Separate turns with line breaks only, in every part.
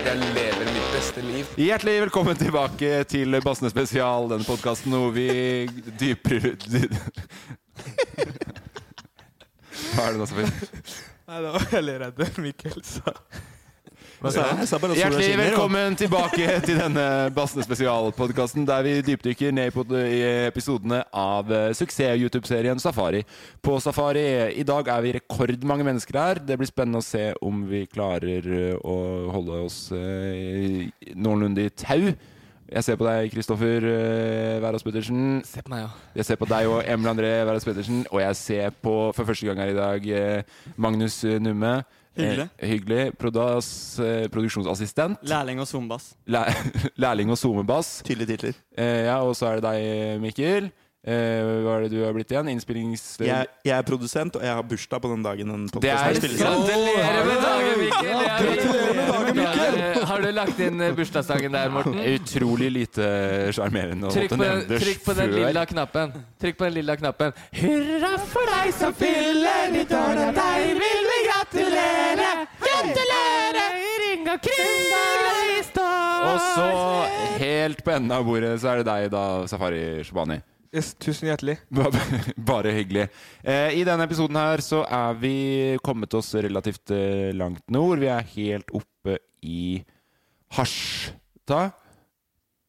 Jeg lever mitt beste liv.
Hjertelig velkommen tilbake til Bassene spesial, denne podkasten hvor vi dyper ut dy- Hva er det nå, Safir?
Nei, det var veldig redd Mikkel sa. Hva sa han?
Hjertelig velkommen tilbake til denne Bassene spesial-podkasten der vi dypdykker ned på, i episodene av eh, suksess-YouTube-serien Safari. På Safari i dag er vi rekordmange mennesker her. Det blir spennende å se om vi klarer eh, å holde oss eh, noenlunde i tau. Jeg ser på deg, Kristoffer eh, Wærås Pettersen.
Se på meg, ja.
Jeg ser på deg og Emil André Wærås Pettersen, og jeg ser på for første gang her i dag eh, Magnus eh, Numme.
Hyggelig.
Eh, hyggelig. Prodas, eh, produksjonsassistent.
Lærling og zombas.
Læ lærling og zoomebass.
Tydelige titler.
Eh, ja, og så er det deg, Mikkel. Eh, hva er det du har blitt igjen? Innspillings...
Jeg, jeg er produsent, og jeg har bursdag på den dagen den
det
podcasten her
er
spilles inn.
Gratulerer med dagen, Mikkel!
Ja,
Det er-
gratulerer med dagen, Mikkel!
Ja, Har du lagt inn eh, bursdagsdagen der, Morten?
Mm. Utrolig lite sjarmerende. å
Trykk
måtte
på, den,
nevne det
trykk på den
før.
lilla knappen. Trykk på den lilla knappen. Hurra for deg som fyller ditt år, og deg vil vi gratulere! Gratulere! Ring og kring deg i stå!
Og så, helt på enden av bordet, så er det deg, da, Safari Shabani.
Yes, tusen hjertelig.
Ba- Bare hyggelig. Eh, I denne episoden her så er vi kommet oss relativt eh, langt nord. Vi er helt oppe i Harstad.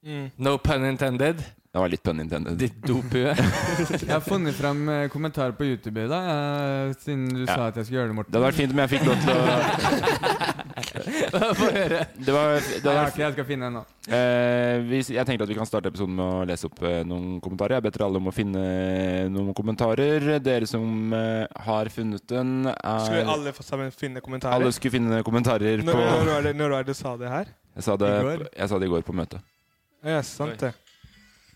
Mm.
No pun intended.
Det var litt pun intended.
Ditt dopue.
Jeg har funnet fram eh, kommentarer på YouTube i dag, eh, siden du
Ja.
sa at jeg skulle gjøre det,
Det
Morten.
hadde vært fint om jeg fikk lov til å Det var, det
Nei, jeg,
hadde
har
vært,
ikke, jeg skal finne en nå.
eh, vi, jeg tenkte at vi kan starte episoden med å lese opp eh, noen kommentarer. Jeg ber dere alle om å finne eh, noen kommentarer. Dere som eh, har funnet den,
Skulle vi
er
alle få sammen finne kommentarer?
Alle skulle finne kommentarer
Når,
på
når, var det, når var det du sa det her?
Jeg sa det,
I går?
jeg sa det i går på møtet.
Ja, sant det.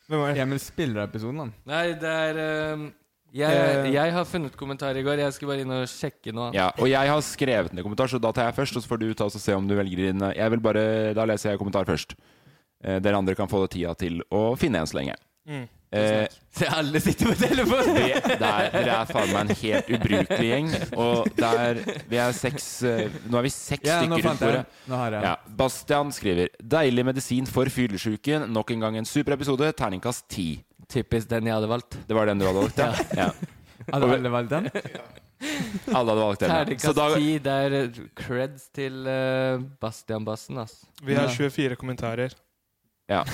Hvem var det?
Emil spiller av episoden, han.
Nei, det er eh, jeg, jeg har funnet kommentar i går. Jeg skulle bare inn og sjekke nå.
Ja, og jeg har skrevet ned kommentar, så da tar jeg først. Og så får du ta oss og se om du velger din. Jeg vil bare, Da leser jeg kommentar først. Eh, dere andre kan få tida til å finne en så lenge.
Mm.
Eh,
Se, alle sitter med telefonen!
det, det er, dere er faen meg en helt ubrukelig gjeng. Og det er, vi er seks eh, Nå er vi seks
Ja, nå
stykker rundt
fant jeg
bordet.
den. Nå har jeg den.
Ja. Bastian skriver 'Deilig medisin for fyllesyken'. Nok en gang en super episode. Terningkast ti.
Typisk den jeg hadde valgt.
Det var den du hadde valgt, ja? ja.
Hadde alle valgt den?
Alle hadde valgt den. ja. Så
Terningkast
da,
10, det er eh, creds til eh, Bastian Bassen, ass.
Vi har
Ja.
24 kommentarer.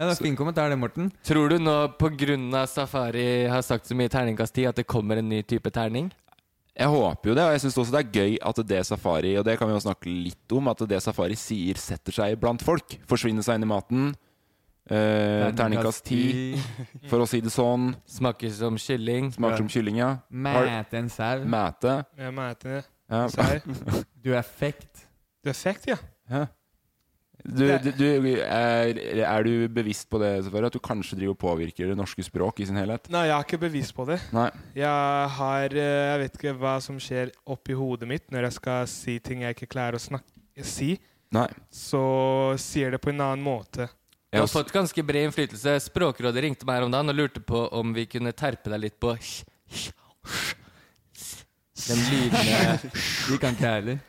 Ja, det er fin kommentar, det, Morten.
Tror du nå pga. Safari har sagt så mye terningkast 10 at det kommer en ny type terning?
Jeg håper jo det, og jeg syns også det er gøy at det safari Og det kan vi jo snakke litt om, at det safari sier, setter seg blant folk. Forsvinner seg inn i maten. Eh, terningkast ti, for å si det sånn.
Smaker som kylling.
Smaker som kylling, ja. Har-
Mæt en sau.
Mæte.
Jeg mæter det.
Ja.
Serr.
Du er fekt.
Du er fekt, ja.
Hæ? du, du, du, er, er du bevisst på det, Safari, at du kanskje driver og påvirker det norske språk i sin helhet?
Nei, jeg har ikke bevis på det.
Nei.
Jeg har eh, Jeg vet ikke hva som skjer oppi hodet mitt når jeg skal si ting jeg ikke klarer å snakke si.
Nei.
Så sier det på en annen måte.
Du
Jeg
har
også,
fått ganske bred innflytelse. Språkrådet ringte meg her om dagen og lurte på om vi kunne terpe deg litt på sj, sj, sj. Den lyden eh,
De kan ikke jeg heller.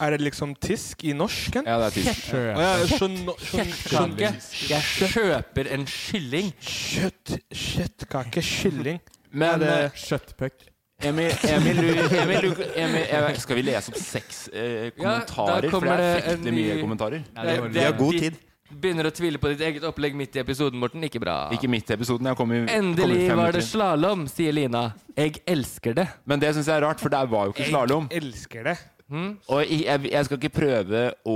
Er det liksom tysk i norsken?
ja, det er tysk.
Tror jeg.
Å ja, skjønno- skjønn-
Kjøttkake. Jeg kjøper en kylling.
Kjøtt, kjøttkake, kylling.
Men
det-
eh,
Kjøttpuck.
Emil, Emil, du- Emil, du- Emil jeg, vet- Skal vi lese opp seks eh,
Ja, da
kommentarer? for det
kommer
er
det en
fryktelig
ny-
mye kommentarer.
Vi har god tid.
Begynner å tvile på ditt eget opplegg midt i episoden, Morten. Ikke bra.
Ikke midt i episoden. Jeg kom i, kom i
Endelig
fem
var det
minutter.
slalåm, sier Lina. Jeg elsker det.
Men det syns jeg er rart, for der var jo ikke slalåm.
Jeg elsker det.
Og jeg, jeg- jeg skal ikke prøve å,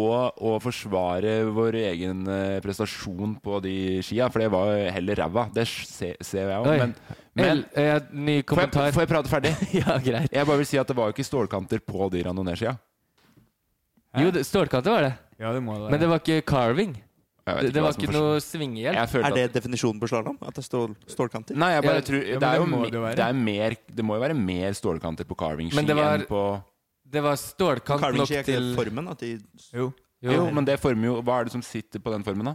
å forsvare vår egen eh, prestasjon på de skia, for det var jo heller ræva. Det ser, ser jeg
Oi.
òg. Men, men
El, eh, ny
får, jeg,
kommentar.
får jeg prate ferdig?
Ja, greit.
Jeg bare vil si at det var jo ikke stålkanter på de randonee-skia.
Jo, det- stålkante var det.
Ja, det må det være.
Men det var ikke carving.
Jeg vet
Det, det
hva
var
som
ikke
forstår-
noe svingehjelp.
jeg følte
Er det
at
definisjonen på slalåm? At det er stål, stålkanter?
Nei, jeg
Ja,
bare tror
ja, men
det, er
det
jo,
må
mi-
det jo være.
det, er mer, det må jo være mer stålkanter på carving-ski
Men det var-
enn på
Det var stålkant
Carving
nok
skjer ikke
til
den formen? At de
Jo.
Jo,
Jo, men det former jo Hva er det som sitter på den formen, da?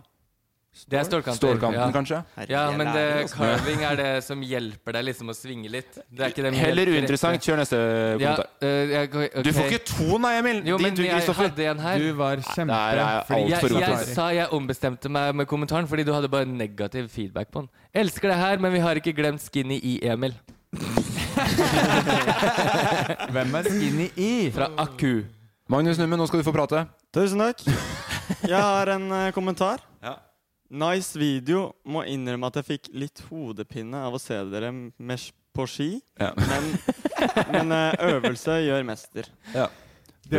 det er stålkanter.
Stålkanten,
ja.
kanskje?
Herre,
Ja,
jeg
men
lærer,
det,
altså.
carving er det som hjelper deg liksom å svinge litt. Det er ikke det
Heller uinteressant. Kjør neste
Ja,
kommentar.
eh, jeg, ok.
Du får ikke to, nei, Emil!
Jo, men
Din tur,
jeg
Kristoffer.
hadde en her.
Du var
Nei, det er
kjempeflink.
alt for
Jeg, jeg
uansvarlig.
sa jeg ombestemte meg med kommentaren fordi du hadde bare negativ feedback på den. Elsker det her, men vi har ikke glemt skinny i Emil.
Hvem er skinny i?
Fra Aku.
Magnus Numme, nå skal du få prate.
Tusen takk. Jeg har en eh, kommentar.
Ja.
Nice video. Må innrømme at jeg fikk litt hodepine av å se dere med, sk- på ski.
Ja.
Men, men eh, øvelse gjør mester.
Det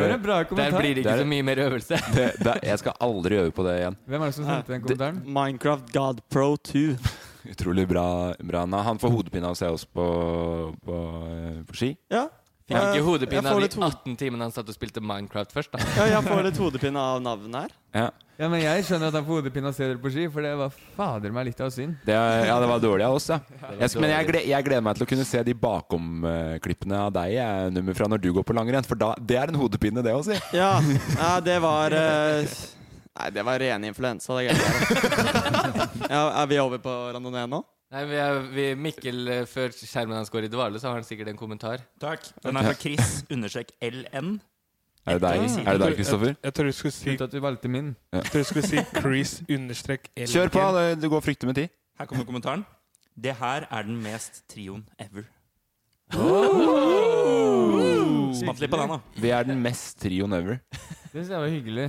var en bra
Der
kommentar.
blir det ikke
Der-
så mye mer øvelse.
Det, det, jeg skal aldri øve på det igjen.
Hvem er det som sendte den kommentaren?
Minecraft God Pro 2.
Utrolig bra. bra. Nei, han får hodepine av å se oss på, på, eh, på ski.
Ja.
Fikk
Eh,
ikke hodepine
jeg får
av de
litt hode-
18 timene han satt og spilte Minecraft først, da.
Ja, jeg får litt hodepine av navnet her.
Ja.
Ja, men Jeg skjønner at han får hodepine av å se dere på ski, for det var fader meg litt av synd.
Det, er- ja, det var dårlig av oss, ja. Jeg, men jeg, gled, jeg gleder meg til å kunne se de bakom-klippene av deg jeg, nummer fra når du går på langrenn. For da, det er en hodepine, det å si.
Ja, ja det var eh, Nei, det var rene influensa, det greia der. Ja, er vi over på randonee nå?
Nei, vi er, vi, Mikkel, eh, før skjermen hans går i dvale, så har han sikkert en kommentar.
Takk. Den er fra Chris, understrek LN.
Er det deg, er det deg Kristoffer?
Jeg tror du skulle si,
Kult at du valgte min.
jeg tror du skulle si Chris understrek L.
Kjør på, det, det går fryktelig med tid.
Her kommer kommentaren. Det her er den mest trioen ever.
Oh!
Smatt litt på den, da.
Vi er den mest trioen ever.
Det synes jeg var hyggelig.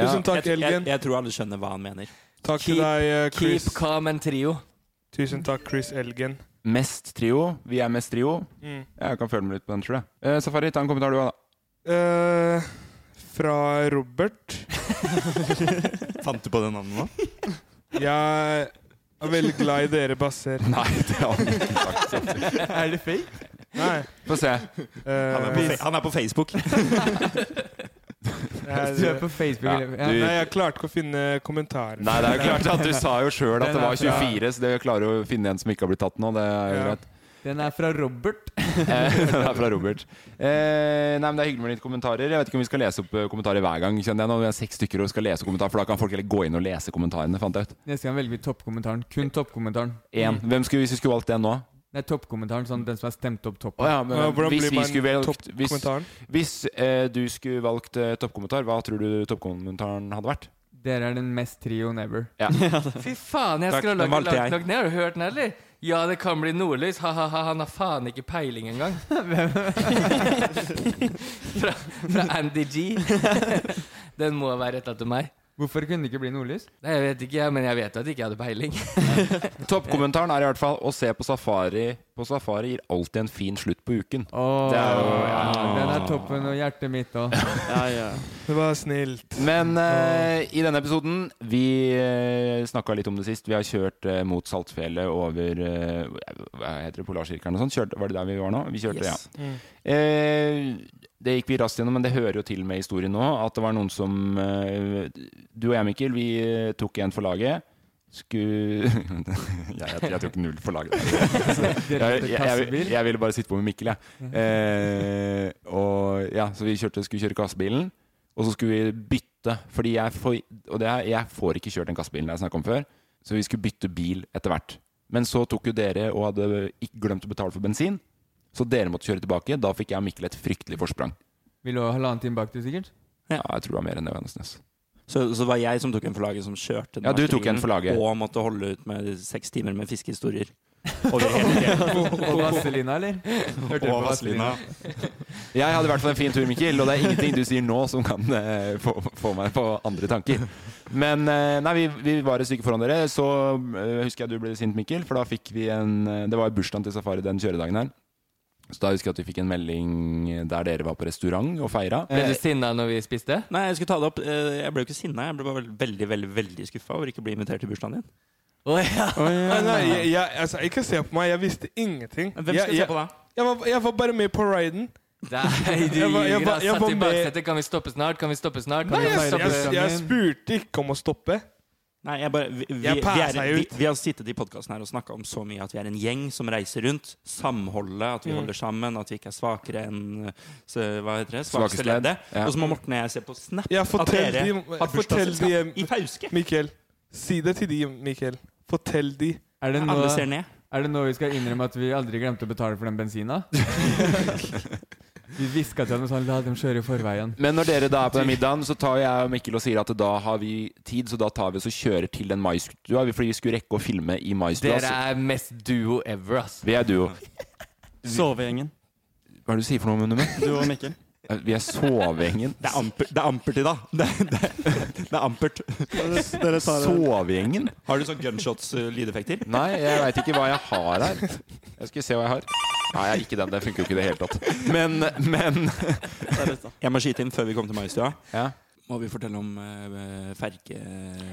Tusen takk,
Jeg, jeg,
Elgen.
jeg tror alle skjønner hva han mener.
Takk til
Keep-
deg, eh, Chris.
Keep calm and trio.
Tusen takk, Chris Elgen.
Mest trio. Vi er mest trio.
Mm.
Jeg kan føle meg litt på den, tror jeg. Eh, Safari, ta en kommentar du har, da.
Eh, fra Robert.
Fant du på det navnet nå?
Jeg er veldig glad i dere, basser.
Nei, det har han ikke sagt.
Er det fake?
Nei.
Få se.
Han er
eh,
på, fe- han er på Facebook.
Du er
jeg,
på Facebook.
Ja,
eller- Ja,
du-
nei, jeg klarte ikke å finne kommentaren.
Nei, det er klart at du sa jo sjøl at det var
Den er fra-
24, så det klarer du å finne en som ikke har blitt tatt nå. Det er jo
Ja.
greit.
Den er fra Robert.
Eh, Det er fra Robert. Eh, nei, men Det er hyggelig med litt kommentarer. Jeg vet ikke om vi skal lese opp eh, kommentarer hver gang. kjenner jeg nå. Vi er seks stykker og skal lese kommentarer, for da kan folk heller gå inn og lese kommentarene. fant jeg ut.
Neste gang velger vi toppkommentaren. Kun toppkommentaren.
En. Hvem skulle, hvis vi skulle valgt den nå?
Nei, toppkommentaren, sånn den som er stemt opp topp.
Å ja, men,
Ja, hvordan
hvis
blir
vi skulle
man
valgt, hvis,
toppkommentaren?
hvis eh, du skulle valgt eh, toppkommentar, hva tror du toppkommentaren hadde vært?
Dere er den mest trioen ever.
Fy faen, jeg
Takk,
skrolla
den
ikke
valgte
langt
jeg.
nok ned. Har du hørt den, eller? Ja, det kan bli nordlys. Ha-ha-ha, han har faen ikke peiling engang. fra, fra Andy G. den må være retta til meg.
Hvorfor kunne det ikke bli nordlys?
Nei, jeg vet ikke, men jeg vet at jeg ikke hadde peiling.
Eh. Toppkommentaren er i hvert fall å se på safari på på safari gir alltid en fin slutt på uken.
Åh,
Det er jo- ja.
Den er toppen og hjertet mitt òg.
Ja, ja.
Det var snilt.
Men eh, i denne episoden Vi uh, snakka litt om det sist. Vi har kjørt eh, mot Saltfjellet over eh, Hva heter det? Polarsirkelen og sånn? Kjørte- Var det der vi var nå? Vi kjørte,
Yes.
ja. Eh, det gikk vi raskt gjennom, men det hører jo til med historien nå at det var noen som eh, Du og jeg, Mikkel, vi eh, tok en for laget. Skulle jeg, jeg, jeg tok null for laget. jeg, jeg, jeg, jeg ville bare sitte på med Mikkel, jeg. Eh, og, ja, så vi kjørte, skulle kjøre kassebilen, og så skulle vi bytte. Fordi jeg får, og det er, jeg får ikke kjørt den kassebilen jeg snakka om før, så vi skulle bytte bil etter hvert. Men så tok jo dere og hadde ikke glemt å betale for bensin, så dere måtte kjøre tilbake. Da fikk jeg og Mikkel et fryktelig forsprang.
Vi lå halvannen time bak du, sikkert.
Ja, jeg tror det var mer enn det. Vennesnes.
Så, så det var jeg som tok en for laget, som kjørte den
Ja, du tok en
markeringen,
for laget.
Og måtte holde ut med seks timer med fiskehistorier. Over hele
På Vazelina, eller? Hørte du på Vazelina?
Jeg hadde i hvert fall en fin tur, Mikkel, og det er ingenting du sier nå som kan eh, få, få meg på andre tanker. Men eh, nei, vi, vi var et stykke foran dere, så eh, husker jeg du ble sint, Mikkel, for da fikk vi en eh, Det var bursdagen til Safari den kjøredagen her. Så da husker jeg at vi fikk en melding der dere var på restaurant og feira.
Ble
Eh.
du sinna når vi spiste?
Nei, jeg skulle ta det opp. Eh, Jeg ble jo ikke sinna. Jeg ble bare veld- veldig veldig, veldig skuffa over ikke å bli invitert til bursdagen din.
Å, ja.
Nei, nei, jeg, jeg, altså, ikke se på meg. Jeg visste ingenting.
Hvem skal
jeg,
se på
jeg,
da?
jeg, var, jeg var bare med på riden.
Nei, du
Jeg var- jeg
gir
var-
oss
jeg
satt
var
i
med-
baksetet. Kan vi stoppe snart? Kan vi stoppe snart? Kan
Nei,
vi
jeg,
stoppe
jeg, jeg,
programmet?
spurte ikke om å stoppe.
Nei, jeg bare, vi, vi,
Jeg
vi,
passa
er,
jo
vi,
ut.
vi har sittet i podkasten her og snakka om så mye at vi er en gjeng som reiser rundt. Samholdet, at vi
Mm.
holder sammen, at vi ikke er svakere enn eh, så, Hva heter det?
Svakeste
Svakeste
ledd.
leddet.
Ja.
Og så må Morten og jeg se på Snap
Ja, fortell
at dere
de-
har
fortell
bursdagsselskap
de-
i Fauske.
Mikkel, si det til de, Mikkel. Fortell de.
Er det, nå,
Alle ser ned.
er det nå vi skal innrømme at vi aldri glemte å betale for den bensina? Vi hviska til dem sånn La dem kjøre i forveien.
Men når dere da er på den middagen, så tar jeg og Mikkel og sier at da har vi tid, så da tar vi oss og kjører til den maistua, fordi vi skulle rekke å filme i maistua.
Dere
så-
er mest duo ever, ass.
Vi er duo.
Sovegjengen.
Hva er det du sier for noe, Munnummer?
Du og Mikkel.
Vi er sovegjengen.
Det er, amper, det er ampert i dag. Det, er- det, er- det er ampert.
Dere tar det.
Sovegjengen?
Har du sånn gunshots-lydeffekter?
Nei, jeg veit ikke hva jeg har her. Jeg skal se hva jeg har. Nei, jeg er ikke den. Det funker jo ikke i det hele tatt. Men, men
Jeg må skyte inn før vi kommer til Maistua.
ja.
sånn. Må vi fortelle om uh,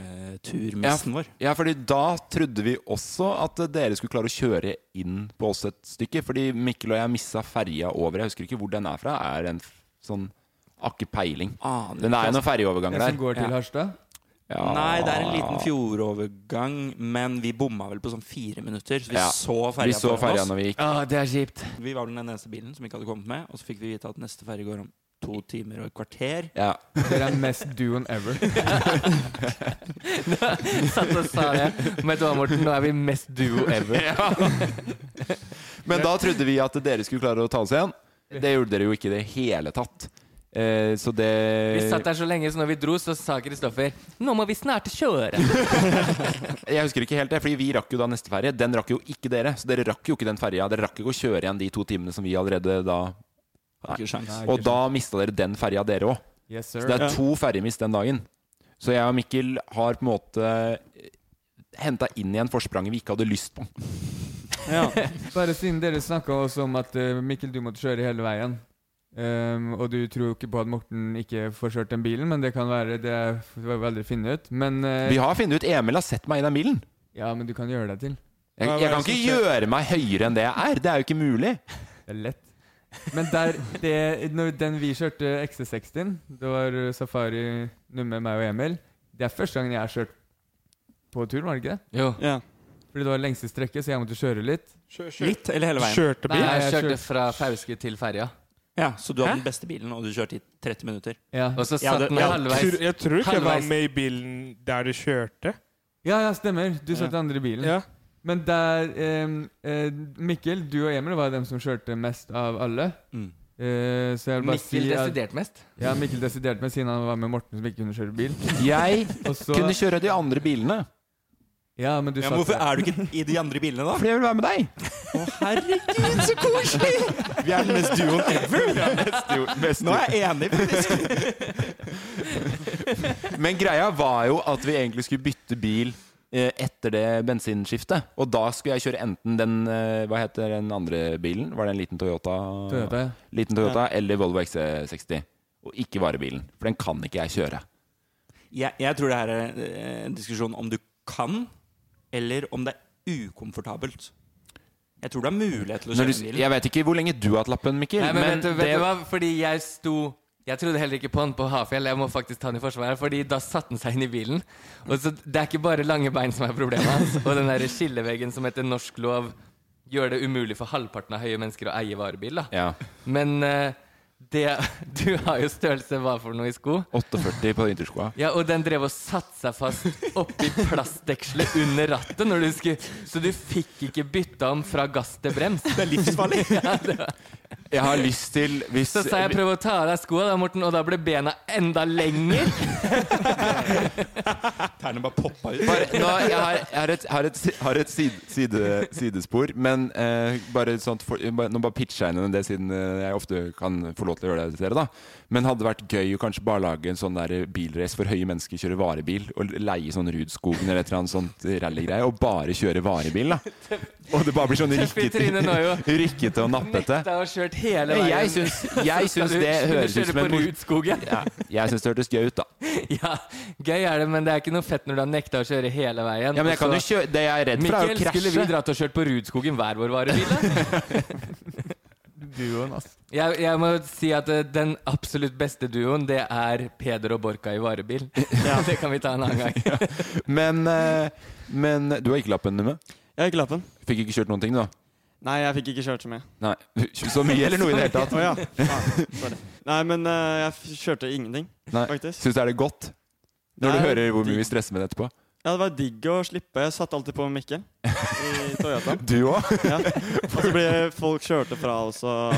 fergeturmessen vår?
ja, fordi da trodde vi også at dere skulle klare å kjøre inn på oss et stykke. Fordi Mikkel og jeg missa ferja over. Jeg husker ikke hvor den er fra. Er en f- sånn Akke peiling.
Aner altså.
Den er jo noen
Den
ferjeoverganger
som
der.
går til
Ja.
Harstad?
Ja.
Nei, det er en liten fjordovergang, men vi bomma vel på sånn fire minutter. Så vi
Ja.
så
Vi
ferja
så ferja
foran oss.
når vi gikk.
Å, Ah, det er kjipt.
Vi var vel den eneste bilen som ikke hadde kommet med. Og så fikk vi vite at neste ferje går om to timer og et kvarter.
Ja.
Dere er mest duoen ever.
Satt og sa det. Men vet du hva, Morten? Nå er vi mest duo ever.
Men da trodde vi at dere skulle klare å ta oss igjen. Det gjorde dere jo ikke i det hele tatt. Eh, så det
Vi satt der så lenge, så når vi dro, så sa Kristoffer Nå må vi snart kjøre.
Jeg husker ikke helt det, fordi vi rakk jo da neste ferje. Den rakk jo ikke dere. Så dere rakk jo ikke den ferja. Dere rakk ikke å kjøre igjen de to timene som vi allerede da
Har ikke sjans.
Og da mista dere den ferja, dere òg.
Yes,
Så
sir.
det er to ferjemist den dagen. Så jeg og Mikkel har på en måte henta inn igjen forspranget vi ikke hadde lyst på.
Bare siden dere snakka også om at eh, Mikkel, du måtte kjøre hele veien. Ehm, og du tror jo ikke på at Morten ikke får kjørt den bilen, men det kan være Det får vi aldri finne ut. Men, eh,
Vi har funnet ut Emil har sett meg i den bilen.
ja, men du kan gjøre deg til.
Jeg, jeg kan ikke gjøre meg høyere enn det jeg er. Det er jo ikke mulig.
Det er lett. Men der, det, når den vi kjørte XC60-en, det var eh, Safari nummer meg og Emil Det er første gangen jeg har kjørt på tur, var det ikke det?
Jo.
Ja.
Fordi det var lengste strekket, så jeg måtte kjøre litt.
Litt eller hele veien?
Kjørte
Nei,
bil?
jeg
Jeg
kjørte
kjørte-
fra Fauske til ferja.
Ja, Så du hadde den beste bilen, og du kjørte i 30 minutter?
Ja,
Og så
Ja,
satt
det-
den
ja,
halvveis.
Tror- Jeg tror ikke jeg var
Halvveis.
med i bilen der du kjørte.
ja, ja stemmer. Du satt i andre bilen.
Ja.
Men der ehm, eh, Mikkel, du og Emil var dem som kjørte mest av alle.
Mm.
Eh, så jeg vil bare
Mikkel
si at,
desidert mest.
Ja, Mikkel desiderte meg siden han var med Morten, som ikke kunne kjøre bil.
Jeg
Og så,
kunne kjøre de andre bilene.
ja, men du
Ja,
satt
men hvorfor
der.
er du ikke i de andre bilene, da?
Fordi jeg vil være med deg.
Å, herregud, så koselig! Vi er den mest duoen ever. Nå er jeg enig, faktisk.
Men greia var jo at vi egentlig skulle bytte bil eh, etter det bensinskiftet. Og da skulle jeg kjøre enten den eh, Hva heter den andre bilen? Var det en liten Toyota?
Toyota, ja.
Liten Toyota Eller Volvo XC60. Og ikke varebilen, for den kan ikke jeg kjøre.
Jeg, jeg tror det her er eh, en diskusjon om du kan, eller om det er ukomfortabelt. Jeg tror du har mulighet til å
Når
kjøre
du,
bilen.
jeg vet ikke hvor lenge du har hatt lappen, Mikkel.
Nei, men, vet, du, vet
det-
du hva? Fordi jeg sto Jeg trodde heller ikke på han på Hafjell. Jeg må faktisk ta han i forsvar. her, Fordi da satte han seg inn i bilen. Og så Det er ikke bare lange bein som er problemet hans. Og den der skilleveggen som etter norsk lov gjør det umulig for halvparten av høye mennesker å eie varebil. da
ja.
Men eh, det Du har jo størrelse hva for noe i sko.
48 på vinterskoa.
Ja, og den drev og satte seg fast oppi plastdekselet under rattet, når du skulle, så du fikk ikke bytta om fra gass til brems.
Det er livsfarlig.
Jeg har lyst til hvis,
Så sa jeg prøv å ta av deg skoa, da, Morten, og da ble bena enda lenger.
Tærne bare poppa ut.
bare, nå, jeg har, jeg har et, har et, har et side, side, sidespor, men eh, bare sånt for, bare, nå bare pitcher jeg inn det, siden eh, jeg ofte kan få lov til å gjøre det til dere. da Men hadde det vært gøy å kanskje bare lage en sånn der bilrace for høye mennesker, kjøre varebil, og leie sånn Rudskogen eller et eller annet sånt rallygreie, og bare kjøre varebil, da. Og det bare blir sånn
Tøff i trynet nå, jo.
rykkete, rykkete og nappete.
Nekta å kjørt hele
Men
veien.
jeg syns, jeg syns det høres ut som en
mor...
mor- ja, Jeg syns det hørtes gøy ut, da.
Ja, gøy er det, men det er ikke noe fett når du har nekta å kjøre hele veien.
Ja, men jeg
Og
kan
så-
jo
Altså,
kjøre Det jeg er redd for, er
Mikkel,
å
skulle vi
krasje.
dratt og kjørt på Rudskogen hver vår varebil? da?
Duoen, ass.
Jeg, jeg må si at eh, den absolutt beste duoen, det er Peder og Borka i varebil. Det kan vi ta en annen gang.
Men, eh, men du har ikke lappen med?
Jeg har ikke lappen.
Fikk ikke kjørt noen ting, da?
Nei, jeg fikk ikke kjørt så mye.
Nei. Så mye eller noe i det hele tatt?
Å ja. Faen, sorry. Nei, men eh, jeg f- kjørte ingenting,
Nei.
faktisk.
Syns det er det godt? Når du
Nei,
hører hvor mye
digg.
vi stresser med det etterpå?
Ja, det var digg å slippe. Jeg satt alltid på Mikkel i Toyotaen.
Du òg?
Ja. Og så ble folk kjørte fra oss, og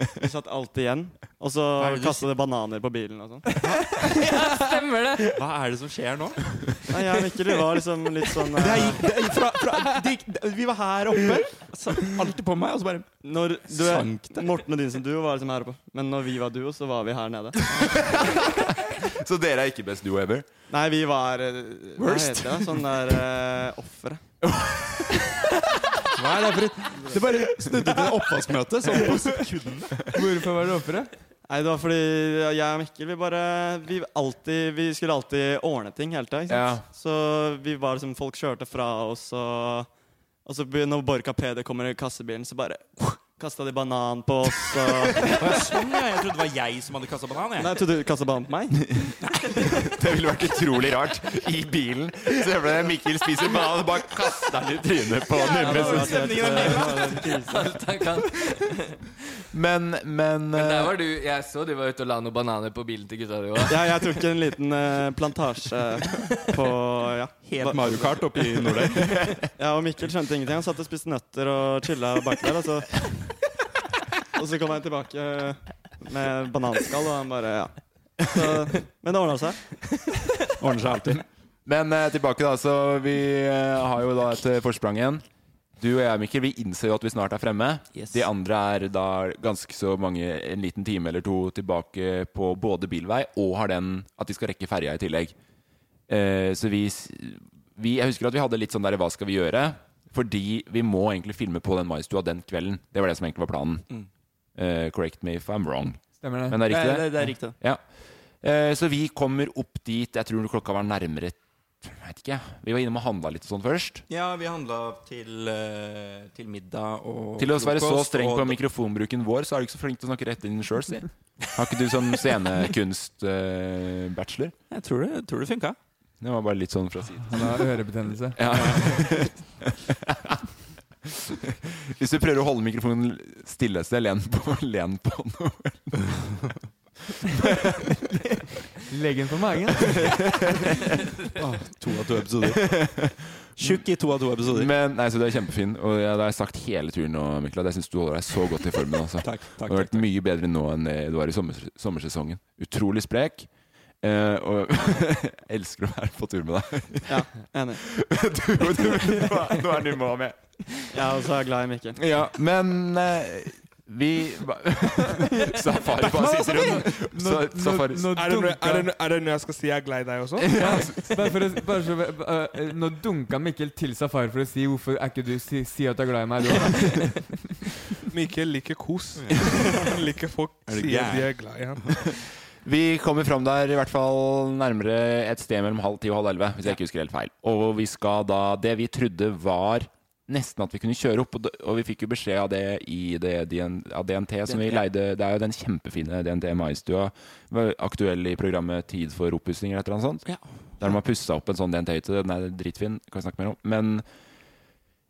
eh, vi satt alltid igjen. Og så
er det du
kastet det bananer på bilen og sånn.
Stemmer det!
Hva er det som skjer nå?
Nei, jeg og Mikkel vi var liksom litt sånn eh,
fra, fra, det, gikk- det- vi var her oppe, altså, så alltid på meg, og så bare
Når du,
sank
Morten og din som duo var liksom her oppe, men når vi var duo, så var vi her nede.
Så dere er ikke best duo ever?
Nei, vi var eh, Hva
Worst.
heter det? Sånn der uh, offere.
Hva er det for et Det bare snudde til et oppvaskmøte sånn på sekundene.
Hvorfor var det offeret?
Nei, det var fordi jeg og Mikkel vi bare Vi, alltid, vi skulle alltid ordne ting hele tida. ikke sant? Så vi var liksom Folk kjørte fra oss, og, og så be- når Borka Peder kommer i kassebilen, så bare kasta de banan på oss. Og,
Sånn, ja. Jeg trodde det var jeg som hadde kasta banan.
nei,
Jeg.
trodde du kasta banan på meg?
Det ville vært utrolig rart. I bilen ser du det Mikkel spiser banan og bare kaster den i trynet på
det
Nimmes.
var helt,
stemningen er
eh, det var en krise.
Alt han kan.
Men,
Men
men
der
eh,
var du, jeg så du var ute og la noen bananer på bilen til gutta di òg.
Ja, jeg tok en liten eh, plantasje på Ja.
Helt Mario Kart oppe i Nordøy.
Ja, og Mikkel skjønte ingenting. Han satt og spiste nøtter og chilla baki der. Og så, og så kom han tilbake med bananskall, og han bare Ja. Så, men det ordna seg.
Ordner seg alltid.
Men eh, tilbake, da. Så vi eh, har jo da et eh, forsprang igjen. Du og jeg, Mikkel, vi innser jo at vi snart er fremme. De andre er da ganske så mange, en liten time eller to tilbake på både bilvei og har den at de skal rekke ferja i tillegg. Eh, så vi, s- vi Jeg husker at vi hadde litt sånn der Hva skal vi gjøre? Fordi vi må egentlig filme på den maistua den kvelden. Det var det som egentlig var planen. Eh, correct me if I'm wrong.
Stemmer det.
Men det er riktig?
Mm. det er riktig.
Ja. Eh, Så vi kommer opp dit Jeg tror klokka var nærmere jeg vet ikke, Vi var innom og handla litt og sånn først.
Ja, vi handla til, eh, til middag og
Til å være så
frokost,
streng på
og-
mikrofonbruken vår, så er du ikke så flink til å snakke rett inn sjøl, si. Har ikke du sånn scenekunst-bachelor?
Eh, Jeg tror det, jeg tror det funka.
Det var bare litt sånn fra siden.
Han har ørebetennelse.
Ja. Hvis du prøver å holde mikrofonen stille, så len på, len på noe.
Legg den på magen.
To av to episoder. Tjukk i to av to episoder.
Men, nei, så Du er kjempefin, og jeg, det har jeg sagt hele turen nå, Mikkel, at jeg syns du holder deg så godt i formen. Altså.
Takk, takk,
Det har
takk.
vært mye bedre nå enn det du var i sommer, sommersesongen. Utrolig sprek. Eh, og elsker å være på tur med deg.
Ja, enig.
du, du, nå er du må med.
Jeg er også glad i Mikkel.
Ja, men eh, Vi Safari bare sitter og
altså,
Sa- Safari
Nå
Er det, noe, er, det
dunka
noe, er det noe jeg skal si jeg er glad i deg også?
Ja, bare for å, bare så, eh, eh, Nå dunka Mikkel til Safari for å si hvorfor er ikke du si, si at du er glad i meg. Du, også?»
Mikkel liker kos. Han liker folk
Er du
sier de
gæren?
er glad i ham.
Vi kommer fram der i hvert fall nærmere et sted mellom halv ti og halv elleve, hvis jeg ikke husker helt feil. Og vi skal da Det vi trodde var nesten at vi kunne kjøre opp, og det- og vi fikk jo beskjed av det i det, DN, av DNT som vi
DNT.
leide Det er jo den kjempefine DNT Maistua, var aktuell i programmet Tid for oppussing eller et eller annet sånt.
Ja.
Der de har pussa opp en sånn DNT-hytte. Den er dritfin, kan vi snakke mer om. Men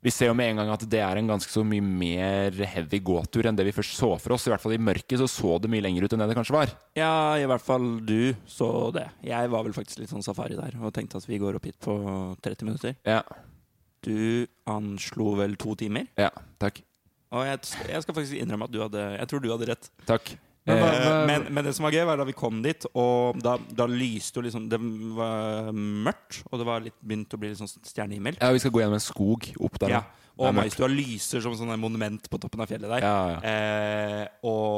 vi ser jo med en gang at det er en ganske så mye mer heavy gåtur enn det vi først så for oss. I hvert fall i mørket så så det mye lenger ut enn det det kanskje var.
Ja, i hvert fall du så det. Jeg var vel faktisk litt sånn safari der og tenkte at vi går opp hit på 30 minutter.
Ja,
Du anslo vel to timer.
ja, takk.
Og jeg, jeg skal faktisk innrømme at du hadde Jeg tror du hadde rett.
Takk.
Men hva-
Eh,
hva-
men, men det som var gøy, var da vi kom dit, og da, da lyste jo liksom Det var mørkt, og det var litt, begynt å bli litt sånn stjernehimmel.
Ja, vi skal gå gjennom en skog opp der.
Ja,
nå. Det
og
er mørkt.
Maistua lyser som sånn monument på toppen av fjellet der.
Ja, ja.
Eh,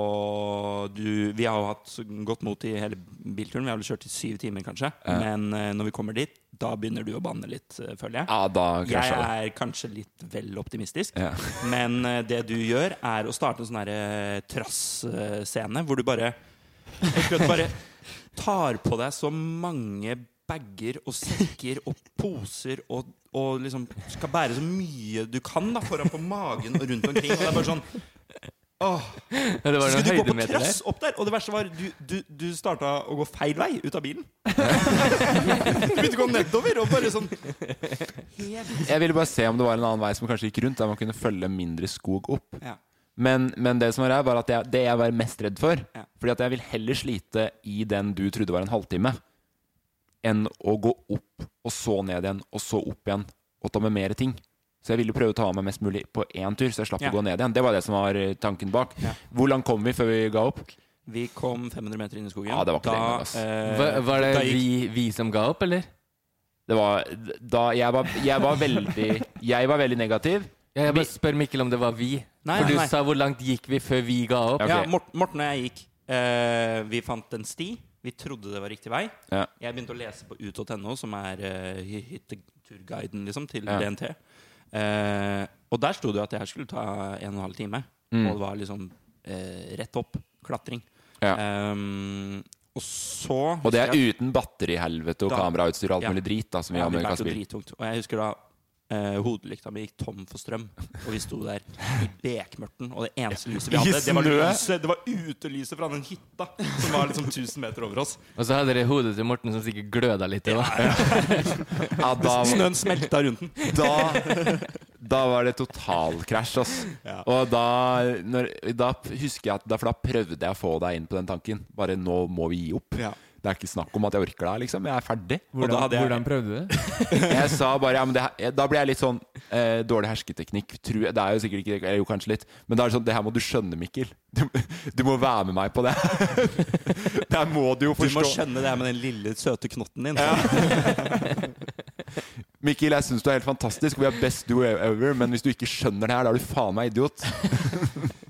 og du Vi har jo hatt godt mot i hele bilturen. Vi har vel kjørt i syv timer, kanskje.
Ja.
Men eh, når vi kommer dit, da begynner du å banne litt, eh, føler jeg.
ja, da
jeg
krasja det.
er kanskje litt vel optimistisk.
Ja.
Men eh, det du gjør, er å starte en sånn herre trass-scene, hvor du bare Rett og slett bare tar på deg så mange bager og sekker og poser og, og liksom skal bære så mye du kan da foran på magen og rundt omkring. Og det er bare sånn Åh,
Det var
skulle
noen
du gå på
høydemeter der.
trass opp der? Og det verste var du, du, du starta å gå feil vei ut av bilen. Du begynte å gå nedover og bare sånn
Jeg ville bare se om det var en annen vei som kanskje gikk rundt, der man kunne følge mindre skog opp.
Ja.
Men, men det som er her, var at jeg, det jeg var mest redd for
Ja.
Fordi at jeg vil heller slite i den du trodde var en halvtime, enn å gå opp, og så ned igjen, og så opp igjen, og ta med mer ting. Så jeg ville prøve å ta av meg mest mulig på én tur, så jeg slapp
Ja.
å gå ned igjen. Det var det som var eh, tanken bak.
Ja.
Hvor langt kom vi før vi ga opp?
Vi kom 500 meter inn i skogen.
Ja, det var ikke det engang, ass.
eh,
Var, var det
da gikk-
vi, vi som ga opp, eller?
Det var da jeg var, jeg var veldig Jeg var veldig negativ.
Ja, jeg
Vi-
bare spør Mikkel om det var vi.
Nei,
For
nei,
du
nei.
sa hvor langt gikk vi før vi ga opp?
Ja.
Ja,
ok.
Mort- Morten og jeg gikk. Eh, vi fant en sti. Vi trodde det var riktig vei.
Ja.
Jeg begynte å lese på ut.no, som er eh, hy- hytteturguiden liksom, til
Ja.
DNT. Eh, og der sto det jo at det her skulle ta en og en halv time.
Mm.
Og det var liksom eh, rett opp. Klatring.
Ja.
Ehm, og så
Og det er
husker jeg-
uten batterihelvete og
Da-
kamerautstyr og alt
Ja.
mulig drit. da Som vi
Ja,
har
vi
med i
bærte jo
kassebil.
drittungt. Og jeg husker da eh, hodelykta mi gikk tom for strøm, og vi sto der i bekmørten. Og det eneste lyset vi
I
hadde, det var,
snø?
lyset, det var utelyset fra den hytta som var liksom 1000 meter over oss.
Og så hadde dere hodet til Morten som sikkert gløda litt. i det.
Ja, da,
Snøen smelta rundt den.
da, da var det totalkrasj, ass.
Ja.
Og da, når, da husker jeg at da, For da prøvde jeg å få deg inn på den tanken. Bare nå må vi gi opp.
Ja.
Det er ikke snakk om at jeg orker deg, liksom. Jeg er ferdig.
Og da
Hvordan,
hadde jeg-
hvordan prøvde du det?
Jeg sa bare ja, men det, her- Da ble jeg litt sånn eh, dårlig hersketeknikk. Tror jeg, det er jo sikkert ikke eller Jo, kanskje litt. Men da er det sånn Det her må du skjønne, Mikkel. Du, du må være med meg på det. Det her må du jo
Du må
forstå.
skjønne det her med den lille, søte knotten din.
Mikkel, jeg syns du er helt fantastisk. Vi er best do ever. Men hvis du ikke skjønner det her, da er du faen meg idiot.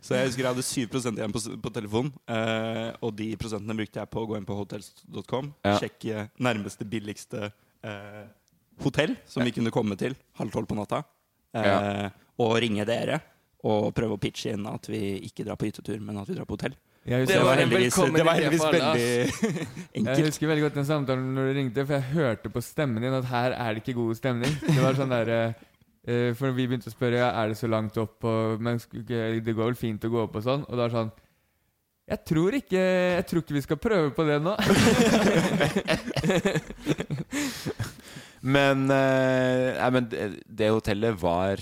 Så jeg husker jeg hadde 7 igjen på, s- på telefonen. eh, og de prosentene brukte jeg på å gå inn på hotels.com.
Ja.
Sjekke nærmeste, billigste eh, hotell som vi kunne komme til halv tolv på natta. eh,
Ja.
Og ringe dere og prøve å pitche inn at vi ikke drar på hyttetur, men at vi drar på hotell.
Jeg
Det
husker,
Det var
en
heldigvis,
velkommen
det var
idé
heldigvis
for alle,
veldig
jeg
enkelt.
husker veldig godt den samtalen når du ringte, for jeg hørte på stemmen din at her er det ikke god stemning. Det var sånn der, eh, eh, For vi begynte å spørre ja, er det så langt opp, og, men sk- ok, det går vel fint å gå opp og sånn. Og da er det sånn jeg tror, ikke, jeg tror ikke vi skal prøve på det nå.
Men, eh, nei, men det, det hotellet var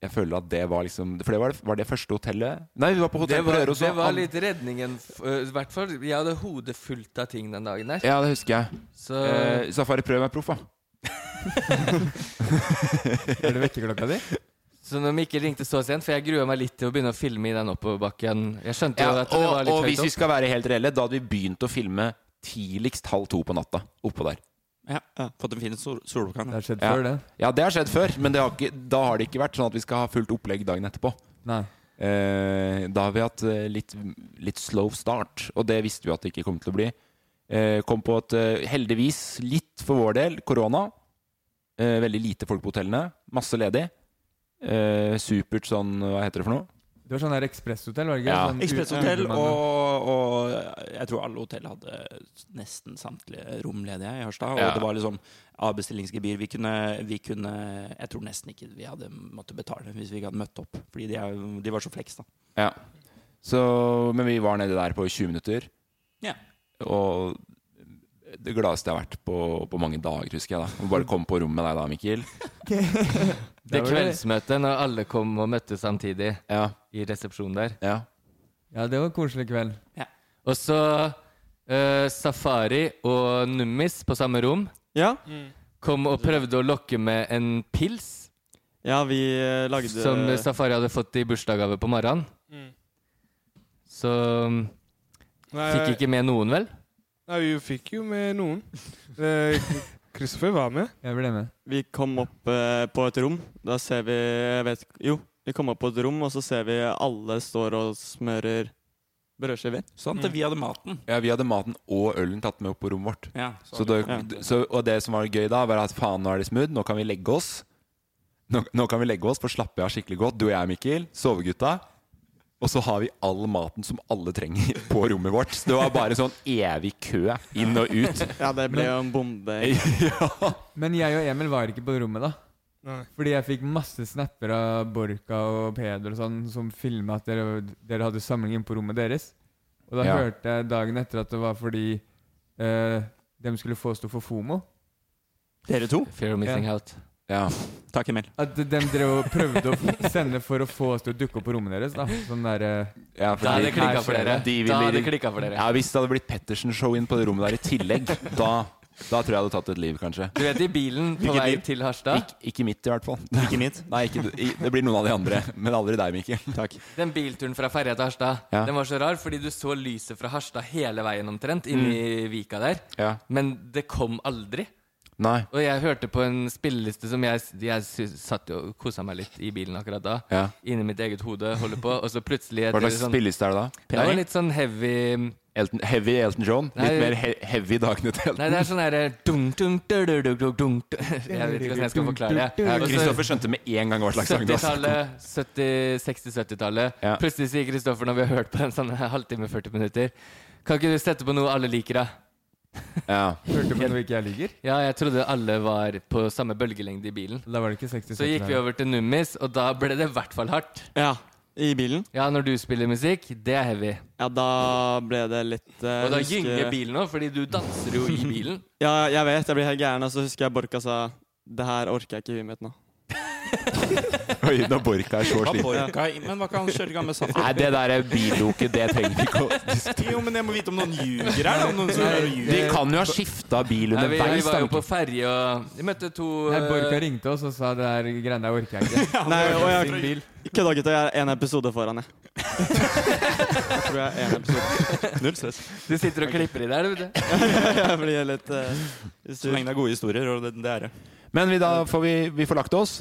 Jeg føler at det var liksom For det var det, var det første hotellet Nei, vi var på
Det
hotell på
var,
Røros.
det
og
var
an-
litt redningen. f- øh, I hvert fall jeg hadde hodet fullt av ting den dagen der.
Ja, det husker jeg.
Så
Eh, Safari, prøv meg proff, da.
Er det vekkerklokka di?
Så når Mikkel ringte så sent, for jeg grua meg litt til å begynne å filme i den oppoverbakken Jeg skjønte jo
Ja,
at det var
og, og
litt
hvis
høyt
vi
opp.
skal være helt reelle, da hadde vi begynt å filme tidligst halv to på natta. Oppå der.
Ja, ja. Fått en fin sol soloppgang.
Det har skjedd
Ja.
før, det.
Ja, det har skjedd før, men det har ikke, da har det ikke vært sånn at vi skal ha fullt opplegg dagen etterpå.
Nei.
Eh, da har vi hatt eh, litt, litt slow start, og det visste vi at det ikke kom til å bli. Eh, kom på at eh, heldigvis, litt for vår del, korona. Eh, veldig lite folk på hotellene. Masse ledig. Eh, supert sånn Hva heter det for noe?
Det var sånn her ekspresshotell, var det ikke?
Ja.
Sånn u-
Ekspresshotell
ubemannet.
og, og Jeg tror alle hotell hadde nesten samtlige rom ledige i Harstad. Og
Ja.
det var liksom avbestillingsgebyr. Vi kunne, vi kunne Jeg tror nesten ikke vi hadde måttet betale hvis vi ikke hadde møtt opp. Fordi de, er, de var så fleks, da.
Ja. Så, men vi var nede der på 20 minutter.
Ja.
Og det gladeste jeg har vært på, på mange dager, husker jeg. da Å Bare komme på rommet med deg da, Mikkel.
Det
var det-
kveldsmøtet når alle kom og møttes samtidig
Ja,
i resepsjonen der.
ja.
Ja, det var en koselig kveld.
Og så eh, Safari og Nummis på samme rom
Ja,
kom og prøvde å lokke med en pils
ja vi eh, lagde
som Safari hadde fått i bursdagsgave på morgenen.
Mm.
Så mm, fikk ikke med noen, vel?
Nei, vi fikk jo med noen. Eh, Kristoffer var med.
Jeg ble med.
Vi kom opp eh, på et rom. Da ser vi jeg vet, Jo, vi kom opp på et rom, og så ser vi alle står og smører brødskiver.
Sånn
Mm.
at vi hadde maten.
Mm. ja, vi hadde maten og ølen tatt med opp på rommet vårt.
Ja,
Så det,
Ja.
så, og det som var gøy da, var at faen, nå er det smooth, nå kan vi legge oss. Nå, nå kan vi legge oss, for slappe av skikkelig godt. Du og jeg, Mikkel. Sovegutta. Og så har vi all maten som alle trenger på rommet vårt. Så det var bare sånn evig kø inn og ut.
Ja, det ble jo en bombe.
ja.
Men jeg og Emil var ikke på rommet, da.
Nei.
Fordi jeg fikk masse snapper av Borka og Peder og sånn som filma at dere, dere hadde samling inne på rommet deres. Og da
Ja.
hørte jeg dagen etter at det var fordi eh, de skulle få stå for FOMO.
Dere to?
Fear of missing out.
ja.
Takk, Emil.
At de drev og prøvde å f- sende for å få oss til å dukke opp på rommet deres. da Sånn der, eh,
ja
Da hadde det
fordi-
klikka for dere.
De ville-
Da hadde det klikket for dere.
Ja, Hvis det hadde blitt Pettersen-show inn på det rommet der i tillegg, da, da tror jeg jeg hadde tatt et liv, kanskje.
Du vet i bilen på
Hvilken
vei
bil?
til Harstad?
Ik ikke mitt, i hvert fall.
Ikke mitt.
Nei, ikke, i- det blir noen av de andre, men aldri deg, Mikkel. Takk.
Den bilturen fra ferja til Harstad,
Ja.
den var så rar fordi du så lyset fra Harstad hele veien omtrent, inni vika der.
Mm. Ja.
Men det kom aldri.
Nei.
Og jeg hørte på en spilleliste som jeg, jeg sy- satt jo og kosa meg litt i bilen akkurat da.
Ja.
Inni mitt eget hode, holder på, og så plutselig
Hva
etter
slags
sånn,
spilleliste er det da?
Det var litt sånn heavy Nei,
Elton, heavy Elton John? Litt
Nei.
mer he heavy Dagny til Elton?
det er sånn herre dunk, dunk, dunk, dunk, dunk, dunk. Jeg vet ikke hvordan jeg skal forklare det.
Ja,
Og så-
Kristoffer skjønte med en gang hva slags sang det var.
70-tallet, 70 60-70-tallet.
Ja.
Plutselig sier Kristoffer, når vi har hørt på den sånn halvtime, 40 minutter Kan ikke du sette på noe alle liker, da?
Ja.
Hørte på noe ikke jeg liker.
Ja, jeg trodde alle var på samme bølgelengde i bilen.
Da var det ikke 60
Så gikk vi over til Nummis, og da ble det i hvert fall hardt.
Ja, i bilen.
Ja, når du spiller musikk, det er heavy.
Ja, da ble det litt eh,
Og da
husker-
gynger bilen òg, fordi du danser jo i bilen.
Ja, jeg vet, jeg blir helt gæren. Og så husker jeg Borka sa Det her orker jeg ikke i huet mitt nå.
sånn-
Oi, når Borka er så
Var
sliten.
Borka i- Men var ikke han kjørt gammel saft?
Nei, det der er billoket, det trenger vi ikke å
Jo, men jeg må vite om noen ljuger her. da, om Noen som ljuger.
De kan jo ha skifta bil
Nei, vi, vi
underveis.
var
da,
jo på
Mikkel.
ferje og Vi møtte to
Nei, Borka
eh,
ringte oss og sa det her greiene der orker jeg ikke.
Nei, og
Sin
jeg
bil.
kødda, gutta. Jeg er en episode foran, jeg. jeg tror jeg er en episode.
Null stress.
Du sitter og klipper i der, du. vet du.
Jeg blir litt eh,
Så lenge det er gode historier, og det, det er det.
Men vi, da får vi, vi får lagt oss.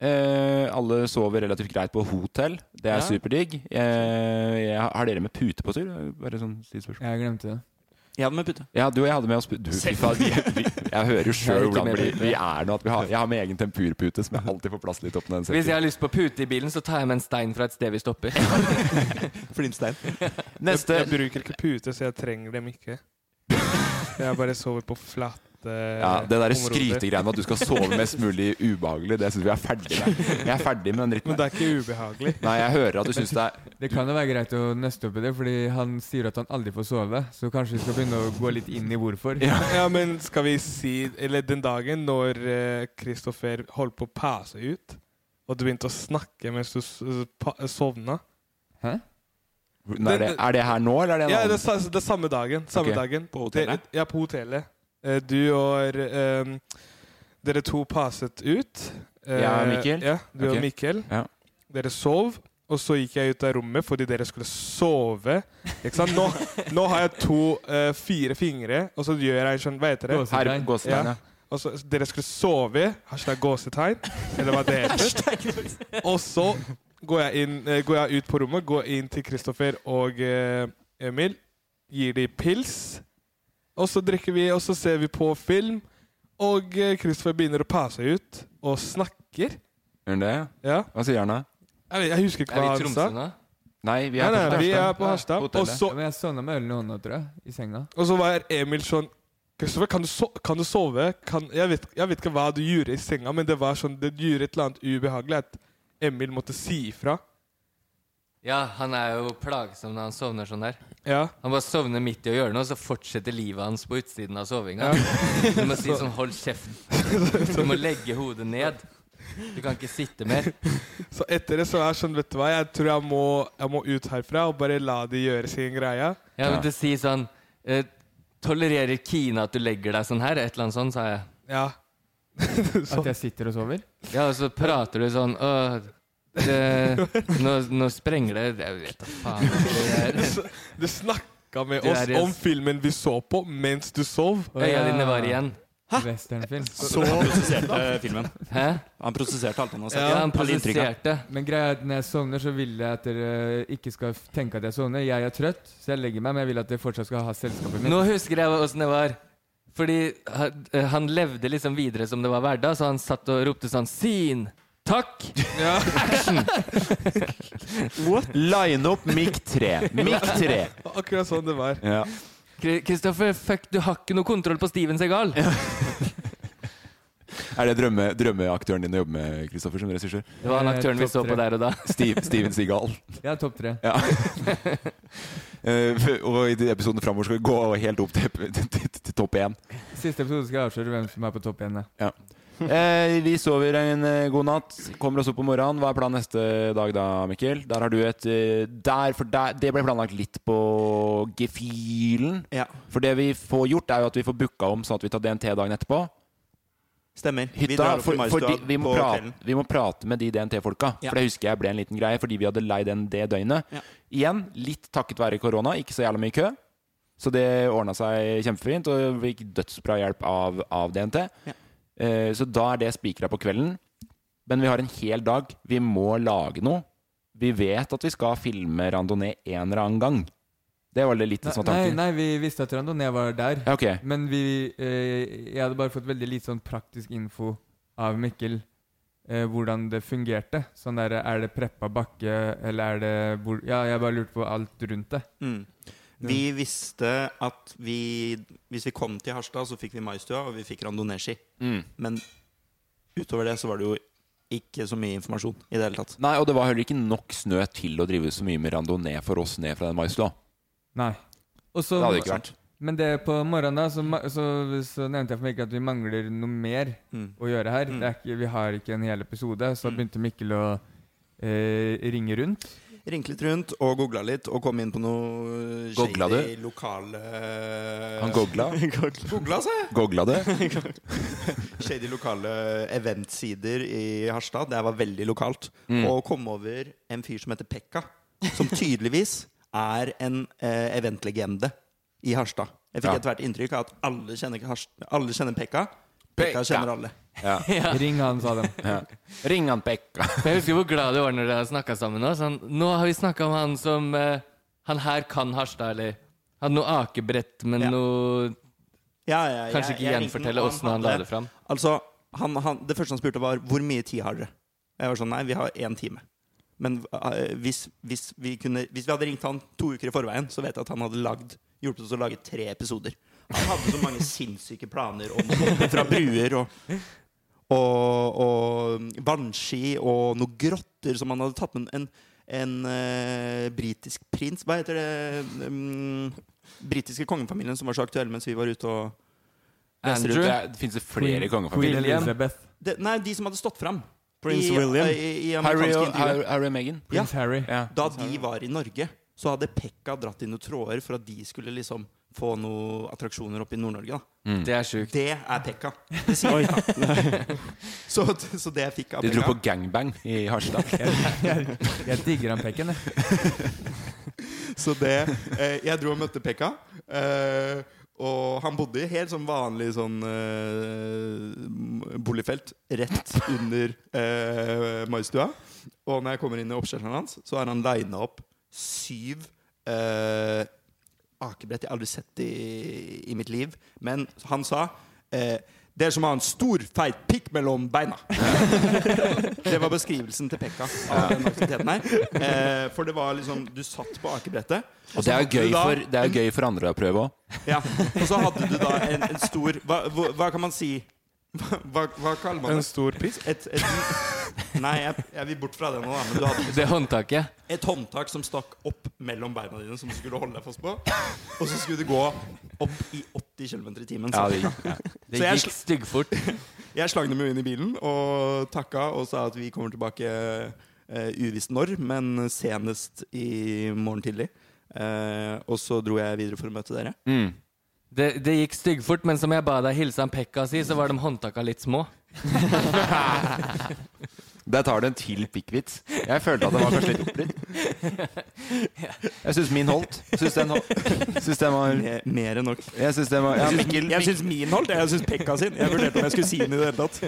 Eh, alle sover relativt greit på hotell. Det er
Ja.
superdigg. Eh, jeg, har dere med pute på tur? Bare sånn sidespørsmål.
Jeg glemte det.
Jeg hadde med pute.
Ja, du og jeg hadde med oss pu- du, fy faen, vi, vi, Jeg hører jo
Jeg
sjøl
er ikke
hvordan
med
vi,
pute.
vi er nå. At vi har, jeg har med egen tempurpute, som jeg alltid får plass litt opp når den
Hvis jeg
setter.
har lyst på pute i bilen, så tar jeg med en stein fra et sted vi stopper.
Flintstein.
Neste
Jeg bruker ikke pute, så jeg trenger dem ikke. Jeg bare sover på flate
ja, Det derre
områder.
skrytegreiene med at du skal sove mest mulig ubehagelig, det syns vi er ferdig med. Jeg er ferdig med den
Men
dritten.
det er ikke ubehagelig.
Nei, jeg hører at du syns det er
Det kan jo være greit å nøste opp i det, fordi han sier at han aldri får sove. Så kanskje vi skal begynne å gå litt inn i hvorfor.
Ja, men skal vi si Eller den dagen når eh, Kristoffer holdt på å pase ut, og du begynte å snakke mens du s- s- pa- sovna
Nei, er, det, er det her nå, eller er det
Ja,
en
det er,
annen?
sa- det er samme dagen. Samme
Ok.
dagen.
På hotellet?
Dere, ja, på hotellet. Eh, Du og eh, Dere to passet ut. Eh,
Ja, Mikkel.
Ja, du
Ok.
og Mikkel.
Ja.
Dere sov, og så gikk jeg ut av rommet fordi dere skulle sove. Ikke sant? Nå, nå har jeg to eh, fire fingre, og så gjør jeg sånn Hva heter det?
Gåse-
Her,
Ja.
gåsetegn, ja.
Og så, dere skulle sove. Hashtag gåsetegn. Eller hva det heter. og så går jeg, inn, eh, går jeg ut på rommet, går inn til Kristoffer og eh, Emil, gir de pils, og så drikker vi, og så ser vi på film, og eh, Kristoffer begynner å pase ut og snakker.
Gjør han det?
Ja.
Hva sier han da?
Jeg, vet- jeg husker ikke
Er vi
hva
i
han
Tromsø
sa.
nå?
Nei, vi
Nei,
er
nei,
på
vi er
Harstad.
på Harstad.
hotellet.
Og så,
Ja, men jeg sovna med ølen i hånda, tror jeg. I senga.
og så var Emil sånn Kristoffer, kan, du so kan du sove? Kan, jeg, vet, jeg vet ikke hva du gjorde i senga, men det var sånn, det gjorde et eller annet ubehagelig at Emil måtte si ifra.
Ja, han er jo plagsom når han sovner sånn der.
Ja.
Han bare sovner midt i å gjøre noe, og så fortsetter livet hans på utsiden av sovinga. Du må si sånn 'hold kjeften'. Du må legge hodet ned. Du kan ikke sitte mer.
Så etter det så er jeg sånn, vet du hva, jeg tror jeg må, jeg må ut herfra og bare la de gjøre sin greie.
Ja, men du sier sånn eh, Tolererer Kina at du legger deg sånn her? Et eller annet sånt, sa jeg.
Ja.
At jeg sitter og sover?
Ja, og så prater du sånn Åh, det, nå, nå sprenger det Jeg vet da faen. hva det er.
Du snakka med
Du er
oss
i en-
om filmen vi så på mens du sov.
Øya dine var igjen.
Westernfilm.
Så
Han prosesserte eh,
eh,
filmen.
Hæ?
Han prosesserte alt han har sett.
Ja, han
Alle inntrykkene.
prosesserte.
Men greia er at når jeg sovner, så vil jeg at dere eh, ikke skal f- tenke at jeg sovner. Jeg er trøtt, så jeg legger meg, men jeg vil at dere fortsatt skal ha selskapet mitt.
Nå husker jeg åssen det var. Fordi han- han levde liksom videre som det var hverdag, så han satt og ropte sånn Sin! Takk!
Line opp mic 3. Mic 3.
Akkurat sånn det var.
Ja.
Kri- Kristoffer, fuck, du har ikke noe kontroll på Steven Segal!
Er det drømme, drømmeaktøren din å jobbe med, Kristoffer, som regissør?
Det var han aktøren vi så på der og da.
Steve, Steven Seagal.
Jeg er topp tre.
Ja. Eh, for- og i de episodene framover skal vi gå helt opp til, til, til topp én.
Siste episode skal jeg avsløre hvem som er på topp igjen. jeg.
Eh, vi sover en eh, god natt, kommer oss opp om morgenen. Hva er planen neste dag da, Mikkel? Der har du et eh, der, for der, Det ble planlagt litt på gefühlen.
Ja,
For det vi får gjort, er jo at vi får booka om sånn at vi tar DNT-dagen etterpå.
stemmer. vi
Hytta,
drar opp
for,
til
for de,
Maristua
vi, må
på
prate,
kvelden.
vi må prate med de DNT-folka.
Ja.
For det husker jeg ble en liten greie, fordi vi hadde leid den det døgnet.
Ja.
Igjen, litt takket være korona, ikke så jævla mye kø. Så det ordna seg kjempefint, og vi fikk dødsbra hjelp av, av DNT.
Ja.
Eh, så da er det spikra på kvelden. Men vi har en hel dag. Vi må lage noe. Vi vet at vi skal filme randonee en eller annen gang. Det var det litt sånn
Nei,
tanken.
nei, vi visste at Randoné var der.
Ja, ok.
Men vi, eh, jeg hadde bare fått veldig lite sånn praktisk info av Mikkel. Eh, hvordan det fungerte. Sånn der, Er det preppa bakke, eller er det hvor, Ja, jeg bare lurte på alt rundt det.
Mm. Vi visste at vi Hvis vi kom til Harstad, så fikk vi maistua, og vi fikk randoneeski.
Mm.
Men utover det så var det jo ikke så mye informasjon i det hele tatt.
Nei, og det var heller ikke nok snø til å drive så mye med randonee for oss ned fra den maistua.
Nei. Og så-
Det hadde det ikke vært.
Men det på morgenen da, så, ma- så, så nevnte jeg for Mikkel at vi mangler noe mer
Mm.
å gjøre her.
Mm.
Det er ikke, vi har ikke en hel episode. Så
Mm.
begynte Mikkel å eh, ringe rundt.
Ringte litt rundt og googla litt, og kom inn på noe
Googla
shady lokale
Han gogla.
Googla, sa jeg!
Gogla det.
Shady lokale eventsider i Harstad. Det var veldig lokalt.
Mm.
Og kom over en fyr som heter Pekka. Som tydeligvis er en eh, eventlegende i Harstad. Jeg fikk
Ja.
etter hvert inntrykk av at alle kjenner, Harst- alle kjenner Pekka.
Pekka.
Pekka kjenner alle.
Ring han, sa de.
Ring han Pekka.
Jeg husker hvor glad du var når dere snakka sammen nå. Sånn, nå har vi snakka om han som eh, Han her kan Harstad, eller Hadde noe akebrett med
Ja.
noe
Ja, ja, jeg-
Kanskje ikke
jeg ringte
gjenfortelle
noen,
åssen han la
hadde-
det fram.
Altså, han, han, Det første han spurte, var hvor mye tid har dere? Jeg var sånn, nei, vi har én time. Men eh, hvis, hvis, vi kunne, hvis vi hadde ringt han to uker i forveien, så vet jeg at han hadde lagd, hjulpet oss å lage tre episoder. Han hadde så mange sinnssyke planer om å hoppe fra bruer og, og, og vannski og noen grotter som han hadde tatt med en, en eh, britisk prins Hva heter det um, britiske kongefamilien som var så aktuell mens vi var ute og
Det,
Andrew?
er- det finnes det flere
Queen
kongefamilier.
William.
Elizabeth.
det, Nei, de som hadde stått fram.
Prince William.
I, i, i
Harry
amerikanske
og,
intervjuer.
Harry, Harry og Meghan.
Ja.
Prince Harry.
Ja.
Da de var i Norge, så hadde Pekka dratt inn noen tråder for at de skulle liksom få noen attraksjoner opp i Nord-Norge. da.
Mm.
Det er sjukt.
Det er Pekka. Det sier han. Så, så det jeg fikk av
De dro
Pekka
på gangbang i Harstad.
Jeg digger han pekken, jeg.
Så det eh, Jeg dro og møtte Pekka. Eh, og han bodde i helt sånn vanlig sånn eh, boligfelt rett under eh, maistua. Og når jeg kommer inn i oppkjørselen hans, så har han lina opp syv eh, akebrett jeg aldri har sett i, i mitt liv. Men han sa eh, det er som å ha en stor, feit pikk mellom beina. det var beskrivelsen til Pekka av den aktiviteten her. Eh, for det var liksom Du satt på akebrettet.
Og det er jo gøy for, det er jo gøy for andre å prøve òg.
Ja, og så hadde du da en, en stor hva, hva, hva kan man si? Hva, hva, hva kaller man
En
det?
stor pisk.
Et, et, nei, jeg, jeg vil bort fra det nå, da. Men du hadde liksom
Det håndtaket.
et håndtak som stakk opp mellom beina dine, som du skulle holde deg fast på. Og så skulle det gå opp i 80 km i timen. Så,
Det
Så jeg
gikk styggfort.
jeg slang dem jo inn i bilen og takka og sa at vi kommer tilbake eh, uvisst når, men senest i morgen tidlig. Eh, og så dro jeg videre for å møte dere.
Det, det gikk styggfort, men som jeg ba deg hilse han Pekka si, så var de håndtaka litt små.
Der tar du en til pikkvits. Jeg følte at det var kanskje litt oppridd. Jeg syns min holdt. Jeg syns den, hol- syns den var
Mer, mer enn nok.
Jeg syns den var ja, Mikkel,
Jeg syns min holdt, jeg syns Pekka sin. Jeg vurderte om jeg skulle si den i det hele tatt.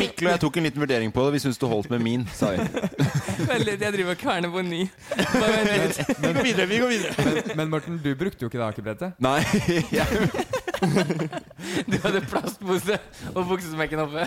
Mikkel og jeg tok en liten vurdering på det. Vi syns du holdt med min, sa jeg.
Veldig, jeg driver og kverner på ny. Bare vent litt.
Vi går videre, vi går videre.
Men, men Morten, du brukte jo ikke det akebrettet.
Nei, jeg,
Du hadde plastpose og buksesmekken oppe.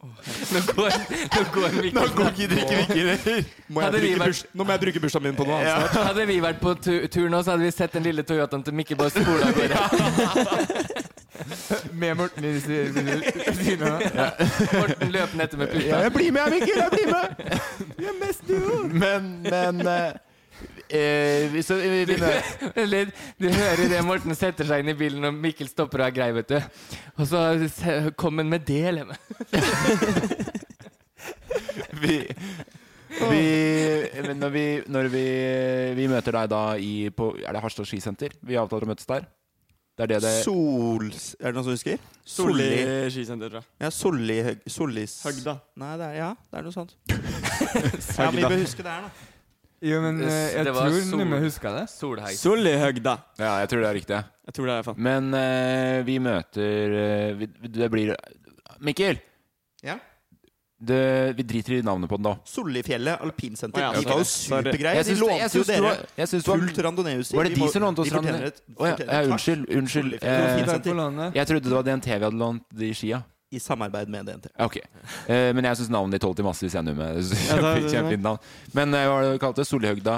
Nå går, nå går
Nå
Mikkel.
går ikke drikke Mikkel heller. Må jeg
Hadde vi
bruke
vært-
burs- Nå må jeg bruke bursdagen min på noe annet. snart.
Hadde vi vært på tu tur nå, så hadde vi sett den lille Toyotaen til Mikkel bare spole av gårde.
Med Morten i siden av meg.
Morten løpende etter med puta.
jeg blir med, jeg, Mikkel! Jeg blir med! Men, men eh, eh, hvis vi, vi, vi mø-
Eller, du hører det Morten setter seg inn i bilen, og Mikkel stopper og er grei, vet du. Og så se- kom han med det lemet.
vi, vi, men når vi, når vi, vi møter deg da i på, Er det Harstad skisenter? Vi avtaler å møtes der? Det er det det
Sol... Er det noen som husker?
Solli skisenter, tror jeg.
Ja, Solli Høg- Sollis
Høgda.
Nei, det er, ja, det er noe sånt. ja, vi bør huske det her, da.
Jo, men eh, jeg
Det var
tror
sol.
Numme huska det.
Solheis.
Solli Høgda.
Ja, jeg tror det er riktig.
Jeg tror det er faen.
Men eh, vi møter eh, vi, Det blir Mikkel!
Ja.
Det, vi driter i navnet på den, da.
Sollifjellet alpinsenter.
Å, ja,
de altså, var jo
sorry.
supergreie. De
Jeg syns- jeg
lånte jo
syns du
dere
var- jeg syns du var-
fullt randoneeutstyr.
Var det
Vi
de
må-
som lånte oss
de fortjener
randoneer?
et-
Å ja,
fortjener et
ja,
takk.
unnschild. Unnschild.
Solli-
Eh,
Solli-
Takk for lånet.
jeg trodde det var DNT vi hadde lånt de skia.
i samarbeid med DNT.
Ok. Eh, men jeg syns navnet ditt holdt i massevis, jeg, Numme.
Ja, det
Kjempe-
er-
Kjempefint navn. Men eh, hva var det du kalte det? Solihøgda?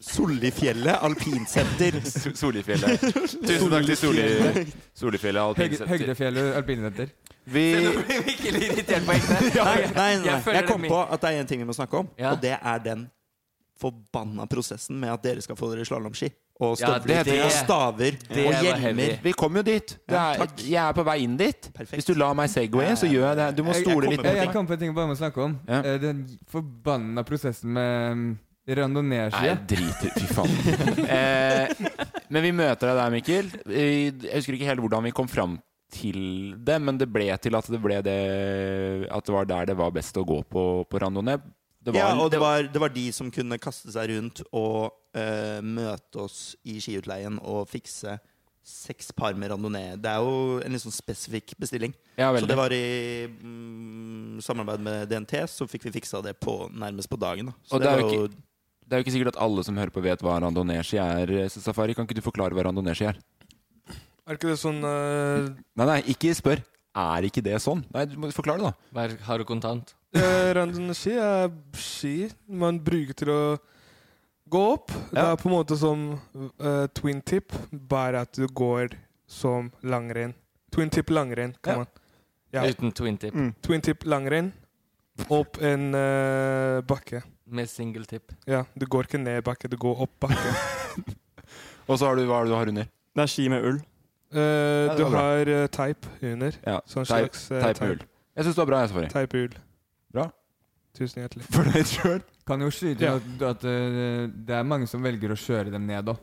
Sollifjellet alpinsenter.
Solifjellet. Tusen takk til Soli, Solifjellet
Høg-
alpinsenter.
Høgdefjellet alpinrenter.
Vi
Virkelig irritert på ekte.
Ja,
Nei,
nei, nei, nei.
jeg
Jeg,
føler det
kom
min-
på at det er én ting vi må snakke om,
Ja.
og det er den forbanna prosessen med at dere skal få dere slalåmski. Og
Ja,
støvler
det-
og staver
det
og
var heavy.
hjelmer.
vi kom jo dit. Det
Ja,
er,
takk.
jeg er på vei inn dit.
Perfekt.
Hvis du lar meg segwaye, så gjør jeg det. Du må
Jeg- jeg
stole
kommer
litt
på
på
Jeg, jeg
ting.
kom på en ting jeg bare må snakke om.
Ja.
Eh, Den forbanna prosessen med um,
Nei,
randonee-skia.
jeg driter Fy faen. eh, men vi møter deg der, Mikkel. Eh, Jeg husker ikke helt hvordan vi kom fram til det, men det ble til at det ble det At det var der det var best å gå på, på randonee. Det var,
Ja, og det var, det var de som kunne kaste seg rundt og eh, møte oss i skiutleien og fikse seks par med randonee. Det er jo en litt sånn spesifikk bestilling.
ja,
Så
veldig.
det var i mm, samarbeid med DNT, så fikk vi fiksa det på, nærmest på dagen. Da. Så
Og det er jo Det er jo ikke sikkert at alle som hører på, vet hva randonee-ski er. Så Safari, kan ikke du forklare hva randonee-ski er?
Er ikke det sånn eh,
Nei, nei, ikke spør. Er ikke det sånn? Nei, du må forklare det, da.
Vær hard og kontant.
Eh, Randonee-ski er ski man bruker til å gå opp. Det
Ja.
er på en måte som eh, twin tip, bare at du går som langrenn. Twin tip langrenn,
Ja.
kan man. Ja.
Uten twin tip.
Twin tip langrenn, opp en eh, bakke.
Med single tip.
Ja, du går ikke ned bakke, du går opp bakke.
Og så har du hva er det du har under?
Det er ski med ull.
Eh,
det
du
var bra.
har eh, teip under.
Ja,
Sånn
teip-
slags eh,
Teip med ull. Jeg syns det var bra, jeg, Safari.
Teip ull.
Bra.
Tusen hjertelig.
Fornøyd sjøl?
Kan jo skyte
Ja.
at, at eh, det er mange som velger å kjøre dem ned òg.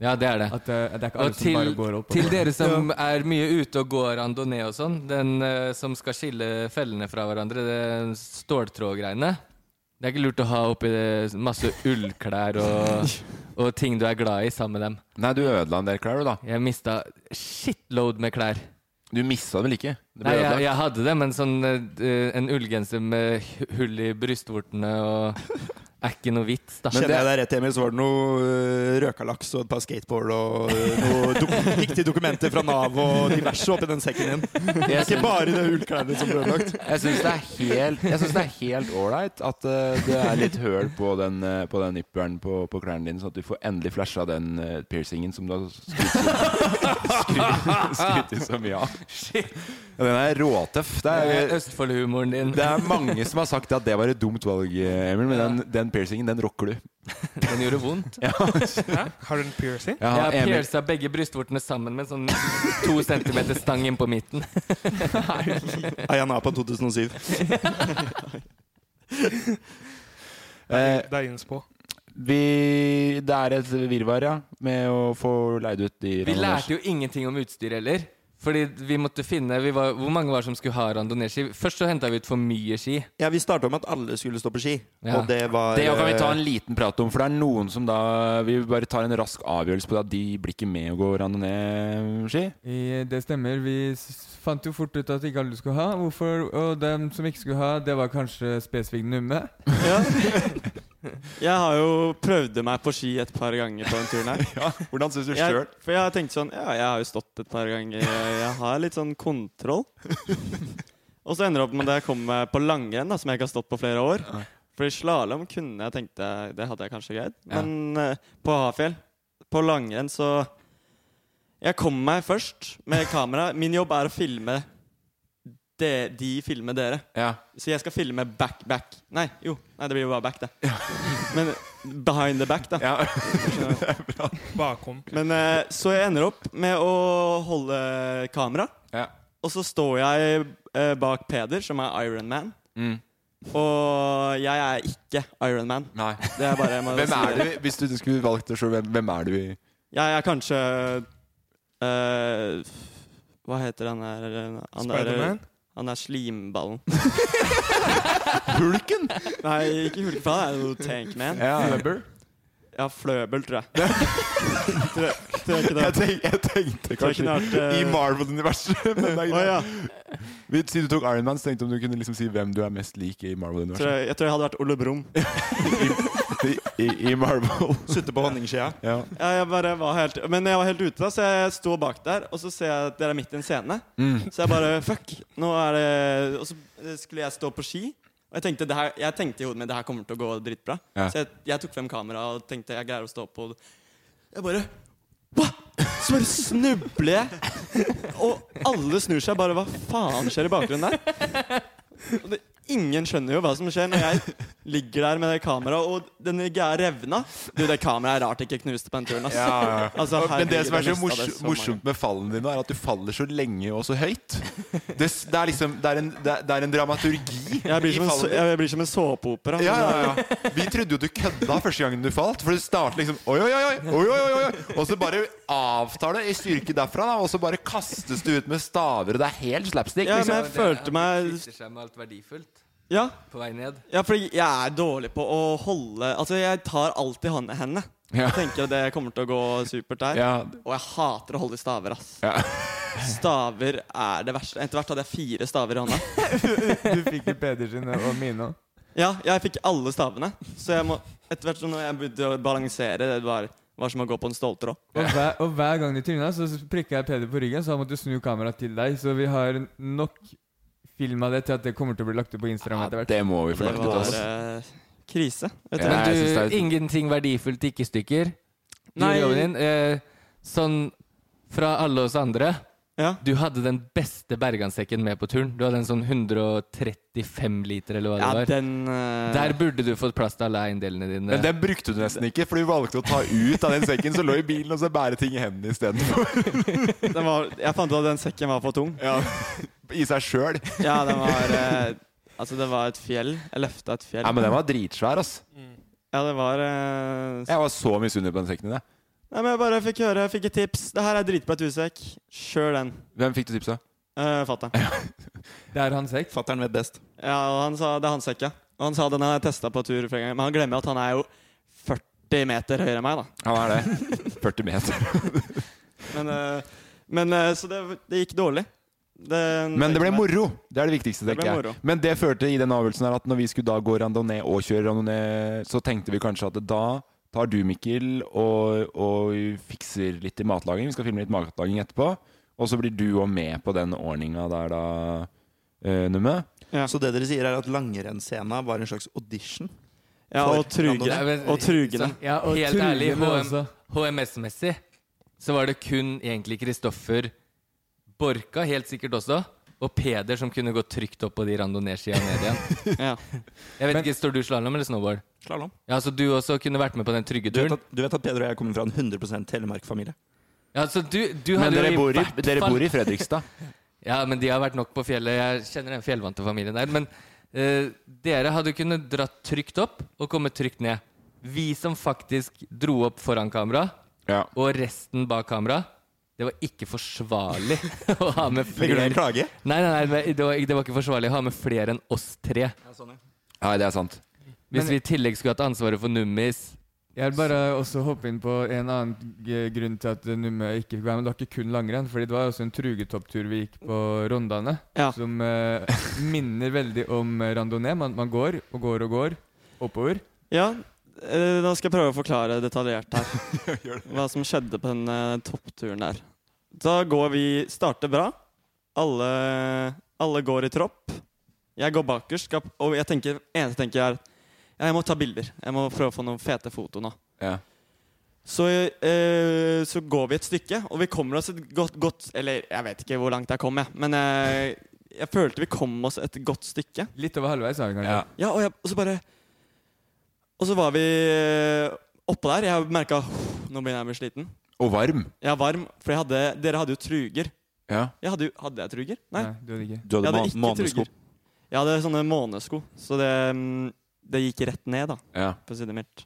Ja, det er det.
At eh, det er ikke
Og
alle
liksom
til-
som bare går opp. og
Til
går.
dere som er mye ute og går randonee og sånn, den eh, som skal skille fellene fra hverandre, det ståltrådgreiene Det er ikke lurt å ha oppi det masse ullklær og, og ting du er glad i, sammen med dem.
Nei, du ødela en del klær, du, da.
Jeg mista shitload med klær.
Du missa det vel ikke? Det ble
Nei, jeg,
ødelagt.
jeg hadde det, men sånn eh, en ullgenser med hu- hull i brystvortene og er ikke noe vits, da.
Kjenner jeg deg rett, Emil, så var det noe øh, røkalaks og et par skateboard og øh, noe dok viktige dokumenter fra Nav og diverse oppi den sekken din. Det er ikke bare det ullklærne som ble ødelagt.
Jeg syns det er helt Jeg synes det er helt ålreit at eh, det er litt høl på den, uh, på den nipperen på, på klærne dine, sånn at du får endelig flasha den eh, piercingen som du har skrytt skrytt- skrytt så mye av. Ja, den er råtøff. Det
Det er
er,
Østfoldhumoren din.
det er mange som har sagt at det var et dumt valg, eh, Emil, men den, den piercingen, den rocker du.
Den gjorde vondt.
Har du en piercing?
Ja,
Jeg
Emil,
pierca begge brystvortene sammen med en sånn to centimeter stang inn på midten.
Ayanapa 2007.
eh,
Det er innspå.
vi, det er et virvar, ja, med å få leid ut de
Vi lærte jo ingenting om utstyr heller. Fordi vi måtte finne vi var, Hvor mange var som skulle ha randonee-ski? Først så henta vi ut for mye ski.
Ja, vi starta med at alle skulle stå på ski,
Ja.
og det var
Det kan vi ta
øh,
en liten prat om, for det er noen som da Vi bare tar en rask avgjørelse på det at de blir ikke med og går randonee-ski.
I, det stemmer. Vi s- fant jo fort ut at ikke alle skulle ha. Hvorfor, og dem som ikke skulle ha, det var kanskje spesifikt numme.
Ja. Jeg har jo prøvd meg på ski et par ganger på den turen her.
Hvordan syns du
Jeg, for jeg har tenkt sånn Ja, jeg har jo stått et par ganger. Jeg har litt sånn kontroll. Og så ender det opp med at jeg kommer meg på langrenn, da, som jeg ikke har stått på flere år. Fordi slalåm kunne jeg tenkt jeg- Det hadde jeg kanskje greid.
Ja.
Men eh, på Hafjell, på langrenn, så Jeg kom meg først med kamera. Min jobb er å filme de, de filmer dere.
Ja.
Så jeg skal filme back, back Nei, jo. Nei, det blir jo bare back, det. Men behind the back, da.
Ja.
Bakom.
Men eh, så jeg ender opp med å holde kamera.
Ja.
Og så står jeg eh, bak Peder, som er Iron Man.
Mm.
Og jeg er ikke Iron Man.
Nei.
Det er bare jeg må
Hvem
si
er
det.
du, hvis du skulle valgt det sjøl, hvem, hvem er du i
Jeg er kanskje eh, Hva heter han der han der-
Spiderman?
Han er slimballen.
Hulken?
Nei, ikke hulk, for han er jo Tankman.
Ja.
Ja, Fløbel, tror jeg. tror, jeg- tror jeg ikke det.
Jeg, tenk, jeg tenkte
Tror jeg
kanskje
kunne vært, eh,
i Marvel-universet, men det er
Å
greit.
ja.
Vi- Siden du tok Iron Man, så tenkte jeg om du kunne liksom si hvem du er mest lik i
Jeg tror
Marvel-universet.
jeg, jeg tror jeg hadde vært Ole Brumm.
I, i Marvel.
Sutte på honningskia.
Ja.
Ja, jeg bare var helt Men jeg var helt ute, da, så jeg står bak der, og så ser jeg at dere er midt i en scene.
Mm.
Så jeg bare Fuck! Nå er det Og så eh, skulle jeg stå på ski. Og jeg tenkte, det her, jeg tenkte i hodet mitt det her kommer til å gå dritbra.
Ja.
Så jeg, jeg tok frem kameraet og tenkte jeg greier å stå på Jeg bare Hva?! Så bare snubler jeg, og alle snur seg bare Hva faen skjer i bakgrunnen der? Og det, ingen skjønner jo hva som skjer når jeg ligger der med det kameraet, og den ikke er revna. Du, det kameraet er rart ikke knuste på den turen, ass.
Ja, ja, ja.
Altså,
Men det
herregud,
som er
jeg mistet
så
det
mors
så mange
morsomt med fallene dine, er at du faller så lenge og så høyt. Det, s- det er liksom Det er en, det er, det er en dramaturgi
Jeg blir
i
som en, så-
fallene.
jeg blir som en såpeopera.
Ja, ja, ja. Vi trodde jo du kødda første gangen du falt. For det starter liksom oi, oi, oi, oi, oi, oi, oi, oi. Og så bare avtar det i styrke derfra, da, og så bare kastes du ut med staver, og det er helt slapstick.
Ja,
liksom.
men jeg følte meg
Kvitter seg med alt verdifullt
Ja,
på vei ned.
ja for jeg er dårlig på å holde Altså, jeg tar alltid hånd- hendene.
Ja.
Jeg tenker at det kommer til å gå supert der.
Ja.
Og jeg hater å holde i staver, ass.
Ja.
Staver er det verste. Etter hvert hadde jeg fire staver i hånda.
Du fikk jo Pedersen og mine òg.
Ja, jeg fikk alle stavene. Så jeg må Etter hvert som når jeg begynte å balansere, det var, var som å gå på en ståltråd.
Og, hver- og hver gang du tryna, så prikka jeg Peder på ryggen, så han måtte snu kameraet til deg. Så vi har nok film av det til at det kommer til å bli lagt ut på Instagram etter hvert.
Det må vi
Det
få lagt ut,
var
altså.
eh, krise. Vet du.
Ja, jeg
Men
synes det
du,
er-
Eh, ingenting verdifullt gikk i stykker. Du,
Nei.
Robin, eh, sånn fra alle oss andre
Ja.
Du hadde den beste bergansekken med på turen. Du hadde en sånn 135 liter, eller hva det
Ja,
var.
den eh,
Der burde du fått plass til alle eiendelene dine.
Men den brukte du nesten ikke, for du valgte å ta ut av den sekken som lå i bilen, og så bære ting i hendene istedenfor.
den var, Jeg fant ut at den sekken var for tung.
Ja. I seg sjøl.
Ja, den var eh, Altså, det var et fjell. Jeg løfta et fjell.
Ja, men den var dritsvær, ass.
Ja, det var eh, s-
Jeg var så misunnelig på den sekken din. jeg.
Nei, men Jeg bare fikk høre, jeg fikk et tips. Det her er dritbra tusekk. Kjør den.
Hvem fikk du tipset av?
Uh, Fatter'n.
Det er hans sekk.
Fatter'n vet best. Ja, og han sa det er hans sekk, ja. Og han sa den har jeg testa på tur flere ganger. Men han glemmer at han er jo 40 meter høyere enn meg, da.
Han er det. 40 meter.
Men, eh, men eh, Så det, det gikk dårlig. Den
Men det ble
sekken der.
moro. Det er det viktigste,
Det ble
tenker
moro.
jeg. Men det førte i den avgjørelsen her at når vi skulle da gå randonee og kjøre randonee, så tenkte vi kanskje at da tar du, Mikkel, og, og fikser litt i matlaging. Vi skal filme litt matlaging etterpå. Og så blir du òg med på den ordninga der, da, eh, Numme.
Ja.
Så det dere sier er at langrennsscena var en slags audition?
Ja, og
for
Nei,
trugene.
men-
Og trugene.
Så, ja, og Helt
Trugene
ærlig, HM,
også.
HMS-messig så var det kun egentlig Kristoffer Borka, helt sikkert også, og Peder som kunne gå trygt opp på de randonee-skia ned igjen.
Ja.
Jeg vet ikke, Står du slalåm eller snowboard?
Slalom.
Ja, Så du også kunne vært med på den trygge
Du vet,
turen?
at, du vet at Peder og jeg kommer fra en 100 Telemark-familie.
Ja, så du, du
Men
hadde jo
dere bor, i,
hvert
dere
fall-
bor i Fredrikstad.
Ja, men de har vært nok på fjellet. Jeg kjenner den fjellvante familien der. Men eh, dere hadde kunnet dratt trygt opp og kommet trygt ned. Vi som faktisk dro opp foran kamera,
Ja.
og resten bak kamera, det var ikke forsvarlig å ha med
Legger du
flere
en klage?
Nei, nei, nei men det, var, det var ikke forsvarlig å ha med flere enn oss tre.
Nei, det er sant.
Hvis vi i tillegg skulle hatt ansvaret for nummis.
Jeg vil bare også hoppe inn på en annen g- grunn til at Numme ikke fikk være med. Det var ikke kun langrenn, fordi det var også en trugetopptur vi gikk på Rondane,
Ja.
som eh, minner veldig om eh, randonee. Man, man går og går og går oppover.
Ja, eh, da skal jeg prøve å forklare detaljert her hva som skjedde på den eh, toppturen der. Da går vi starter bra. Alle, alle går i tropp. Jeg går bakerst, skal- og jeg tenker, eneste tenker jeg er ja, jeg må ta bilder. Jeg må prøve å få noen fete foto nå.
Ja.
Så, eh, så går vi et stykke, og vi kommer oss et godt, godt Eller jeg vet ikke hvor langt jeg kom, jeg. Men eh, jeg følte vi kom oss et godt stykke.
Litt over halvveis, er vi kanskje.
Ja.
Ja, og, jeg, og så bare Og så var vi eh, oppå der. Jeg merka Nå begynner jeg å bli sliten.
Og varm.
Jeg er varm, for jeg hadde, dere hadde jo truger.
Ja.
Jeg hadde, jo- hadde jeg truger? Nei.
du hadde
Du
ikke.
Jeg
hadde,
hadde
ma-
ikke
månesko.
truger. Jeg hadde sånne månesko, så det, mm, det gikk rett ned, da,
Ja.
på sidet mitt.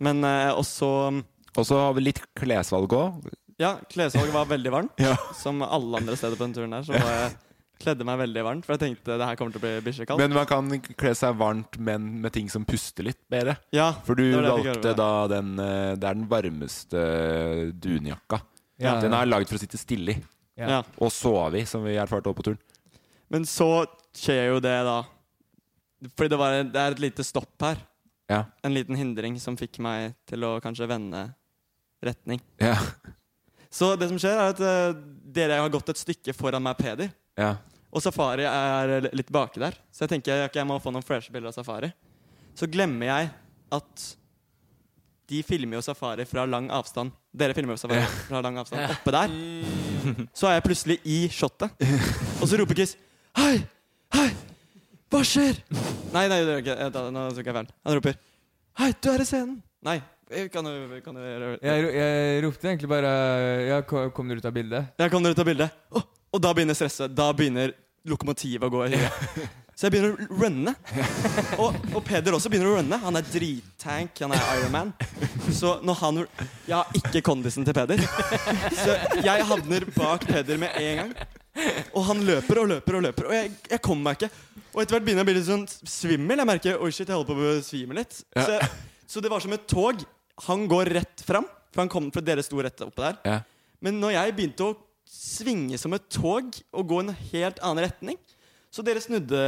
Men eh, også mm,
Og så har vi litt klesvalg òg.
Ja, klesvalget var veldig varmt.
Ja.
Som alle andre steder på den turen her. Så var jeg kledde meg veldig varmt, for jeg tenkte det her kommer til å bli bikkjekaldt.
Men man kan kle seg varmt, men med ting som puster litt bedre.
Ja,
For du
Det var det jeg fikk
valgte
høre.
da den eh, Det er den varmeste dunjakka.
Ja.
Den er lagd for å sitte stille i.
Ja.
ja.
Og sove i, som vi erfarte oppe på turen.
Men så skjer jo det, da. Fordi det, var, det er et lite stopp her.
Ja.
En liten hindring som fikk meg til å kanskje vende retning.
Ja.
Så det som skjer, er at eh, dere har gått et stykke foran meg, Peder.
Ja.
Og Safari er l- litt baki der. Så jeg tenker ok, jeg må få noen freshe bilder av Safari. Så glemmer jeg at de filmer jo Safari fra lang avstand. Dere filmer jo Safari fra lang avstand. Oppe der. Så er jeg plutselig i shotet. Og så roper Chris Hei! Hei! Hva skjer? Nei, nei, det gjør jeg ikke. Vent da, Nå tok jeg feil. Han roper Hei, du er i scenen! Nei. Kan du, kan du gjøre
Jeg, ro- jeg ropte egentlig bare Ja, ko- kom dere ut av bildet?
Jeg kan dere ta bilde. Å, og da begynner stresset. Da begynner lokomotivet å gå i huet. Så jeg begynner å runne. Og, og Peder også begynner å runne. Han er drittank. Han er Ironman. Så når han Jeg har ikke kondisen til Peder. Så jeg havner bak Peder med en gang. Og han løper og løper og løper. Og jeg, jeg kommer meg ikke. Og etter hvert begynner jeg å bli litt sånn svimmel. Jeg merker oi shit, jeg holder på å besvime litt. Så, så det var som et tog. Han går rett fram, for, han kom, for dere sto rett oppe der.
Ja.
Men når jeg begynte å svinge som et tog og gå i en helt annen retning Så dere snudde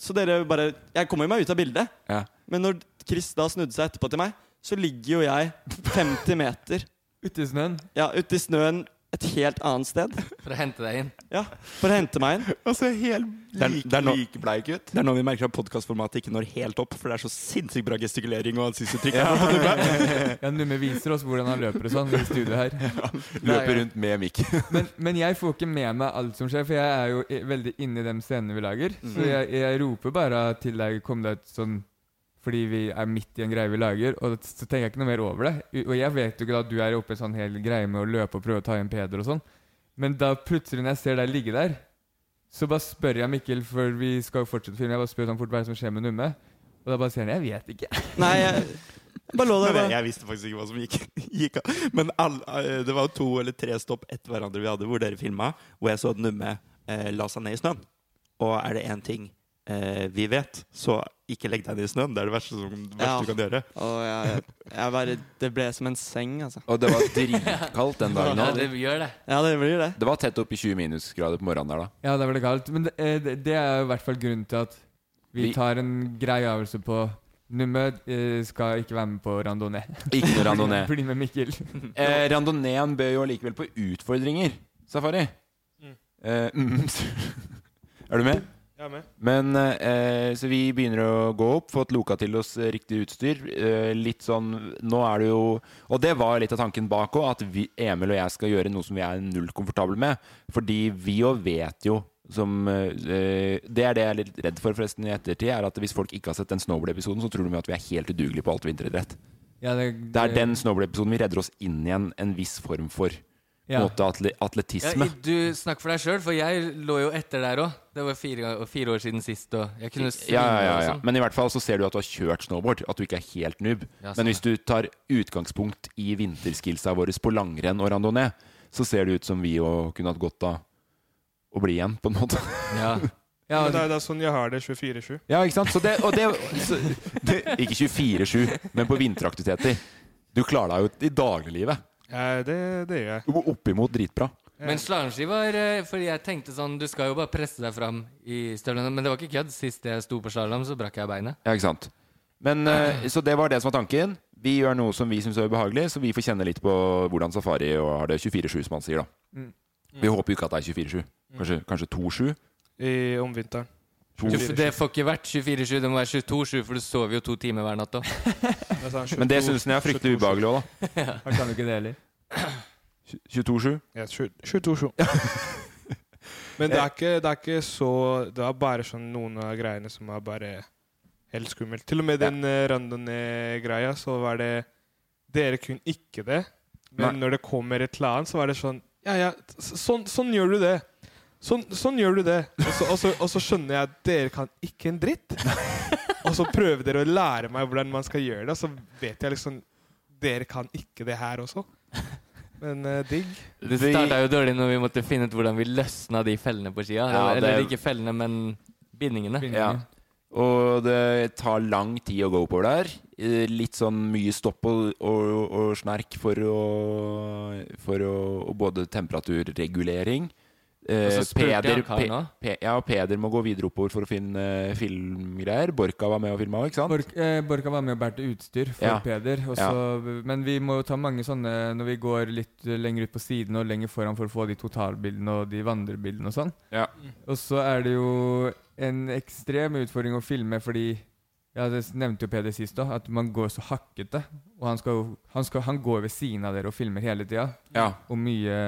Så dere bare Jeg kommer jo meg ut av bildet.
Ja.
Men når Chris da snudde seg etterpå til meg, så ligger jo jeg 50 meter
Ute i snøen?
Ja, ute i snøen et helt annet sted.
For å hente deg inn.
Ja, for å hente meg inn.
Altså, helt
Det er-
like,
det er nå-
like bleik ut. Det er nå vi merker at podkastformatet ikke når helt opp, for det er så sinnssykt bra gestikulering og ansiktuttrykk.
Ja, Numme viser oss hvordan han løper og sånn i studio her.
Løper rundt med mikken.
Men, men jeg får ikke med meg alt som skjer, for jeg er jo i- veldig inne i de scenene vi lager. Så
Mm.
jeg, jeg roper bare til deg 'kom deg ut' sånn fordi vi er midt i en greie vi lager, og så tenker jeg ikke noe mer over det. U- Og jeg vet jo ikke da at du er oppe i en sånn hel greie med å løpe og prøve å ta igjen Peder og sånn. Men da plutselig når jeg ser deg ligge der, så bare spør jeg Mikkel, for vi skal jo fortsette filmen, jeg bare spør sånn fort hva er det som skjer med Numme. Og da bare sier han 'jeg vet ikke'.
Nei, jeg bare lå der.
Men jeg,
Bare.
jeg visste faktisk ikke hva som gikk, gikk av. Men all, eh, det var jo to eller tre stopp etter hverandre vi hadde, hvor dere filma, hvor jeg så at Numme eh, la seg ned i snøen. Og er det én ting eh, vi vet, så ikke legg deg ned i snøen. Det er det verste, som, verste
Ja.
du kan gjøre.
Og jeg, jeg bare Det ble som en seng, altså.
Og det var dritkaldt den dagen.
Ja,
også.
det gjør det.
Ja, det blir det.
Det var tett opp i 20 minusgrader på morgenen der, da.
Ja, det er veldig galt. Men det, eh, det- det er jo i hvert fall grunnen til at vi
Vi-
tar en grei avgjørelse på Numme eh, skal ikke være med på randonee.
Ikke noe randonee.
Bli med Mikkel.
Eh, randoneen bød jo allikevel på utfordringer, Safari. Eh, mm. er du med?
Jeg er med.
Men eh, Så vi begynner å gå opp, fått loka til oss eh, riktig utstyr. Eh, litt sånn Nå er det jo Og det var litt av tanken bak òg, at vi, Emil og jeg skal gjøre noe som vi er null komfortable med. Fordi vi jo vet jo som eh, Det er det jeg er litt redd for forresten i ettertid, er at hvis folk ikke har sett den snowboard-episoden, så tror de jo at vi er helt udugelige på alt vinteridrett.
Ja, det,
Det er den snowboard-episoden vi redder oss inn igjen en viss form for på en
Ja.
måte atle
Ja,
atletisme.
i- du snakker for deg sjøl, for jeg lå jo etter der òg. Det var fire, ga- fire år siden sist, og jeg kunne svinge
Ja, ja, ja, ja.
og sånn.
Men i hvert fall så ser du at du har kjørt snowboard, at du ikke er helt noob.
Ja,
Men hvis du tar utgangspunkt i vinterskillsa våre på langrenn og randonee, så ser det ut som vi òg kunne hatt godt av å bli igjen, på en måte.
Ja.
ja,
Men det, er, det er sånn jeg har det 24-7.
Ja, ikke sant? Så det, og det, så, det Ikke 24-7, men på vinteraktiviteter. Du klarer deg jo i dagliglivet.
Ja, Eh, det, det gjør jeg.
Du går Oppimot dritbra.
Men slalåmski var eh, Fordi jeg tenkte sånn Du skal jo bare presse deg fram i støvlene. Men det var ikke kødd. Sist jeg sto på slalåm, så brakk jeg beinet.
Ja, ikke sant. Men, eh, så det var det som var tanken. Vi gjør noe som vi syns er ubehagelig, så vi får kjenne litt på hvordan Safari og har det 24-7, som han sier. da.
Mm.
Vi håper jo ikke at det er 24-7.
Mm.
Kanskje, kanskje 2-7?
I, om vinteren.
To-
Du, f- det får ikke vært 24-7, det må være 22-7, for du sover jo to timer hver natt òg.
Jeg sa 22,
Men det syns han er fryktelig ubehagelig òg, da.
Han kan jo ikke det heller.
22-7.
Ja, 22-7. Men det er, ikke, det er ikke så Det er bare sånn noen av greiene som er bare helt skummelt. Til og med den ja. randonee-greia, så var det Dere kunne ikke det, men når det kommer et eller annet, så var det sånn Ja, ja, s- sånn, sånn gjør du det. Sånn, sånn gjør du det. Og så, og, så, og så skjønner jeg at dere kan ikke en dritt. Og så prøver dere å lære meg hvordan man skal gjøre det, og så vet jeg liksom Dere kan ikke det her også. Men eh, digg.
Det starta jo dårlig når vi måtte finne ut hvordan vi løsna de fellene på skia.
Ja, det-
Eller ikke fellene, men bindingene.
Ja. Og det tar lang tid å gå oppover der. Eh, Litt sånn mye stopp og, og, og snerk for å For å og både temperaturregulering Eh,
Og så spurte
Peder,
jeg karen
Pe-
også.
Pe- ja, og Peder må gå videre oppover for å finne eh, filmgreier. Borka var med og filma òg, ikke sant?
Bork, eh, Borka var med og bærte utstyr for
Ja.
Peder. og så- Men vi må jo ta mange sånne når vi går litt eh, lenger ut på siden og lenger foran for å få de totalbildene og de vandrebildene og sånn.
Ja.
Og så er det jo en ekstrem utfordring å filme fordi ja, Det s- nevnte jo Peder sist òg, at man går så hakkete. Og han, skal, jo- han, skal, han går ved siden av dere og filmer hele tida.
Ja.
Og mye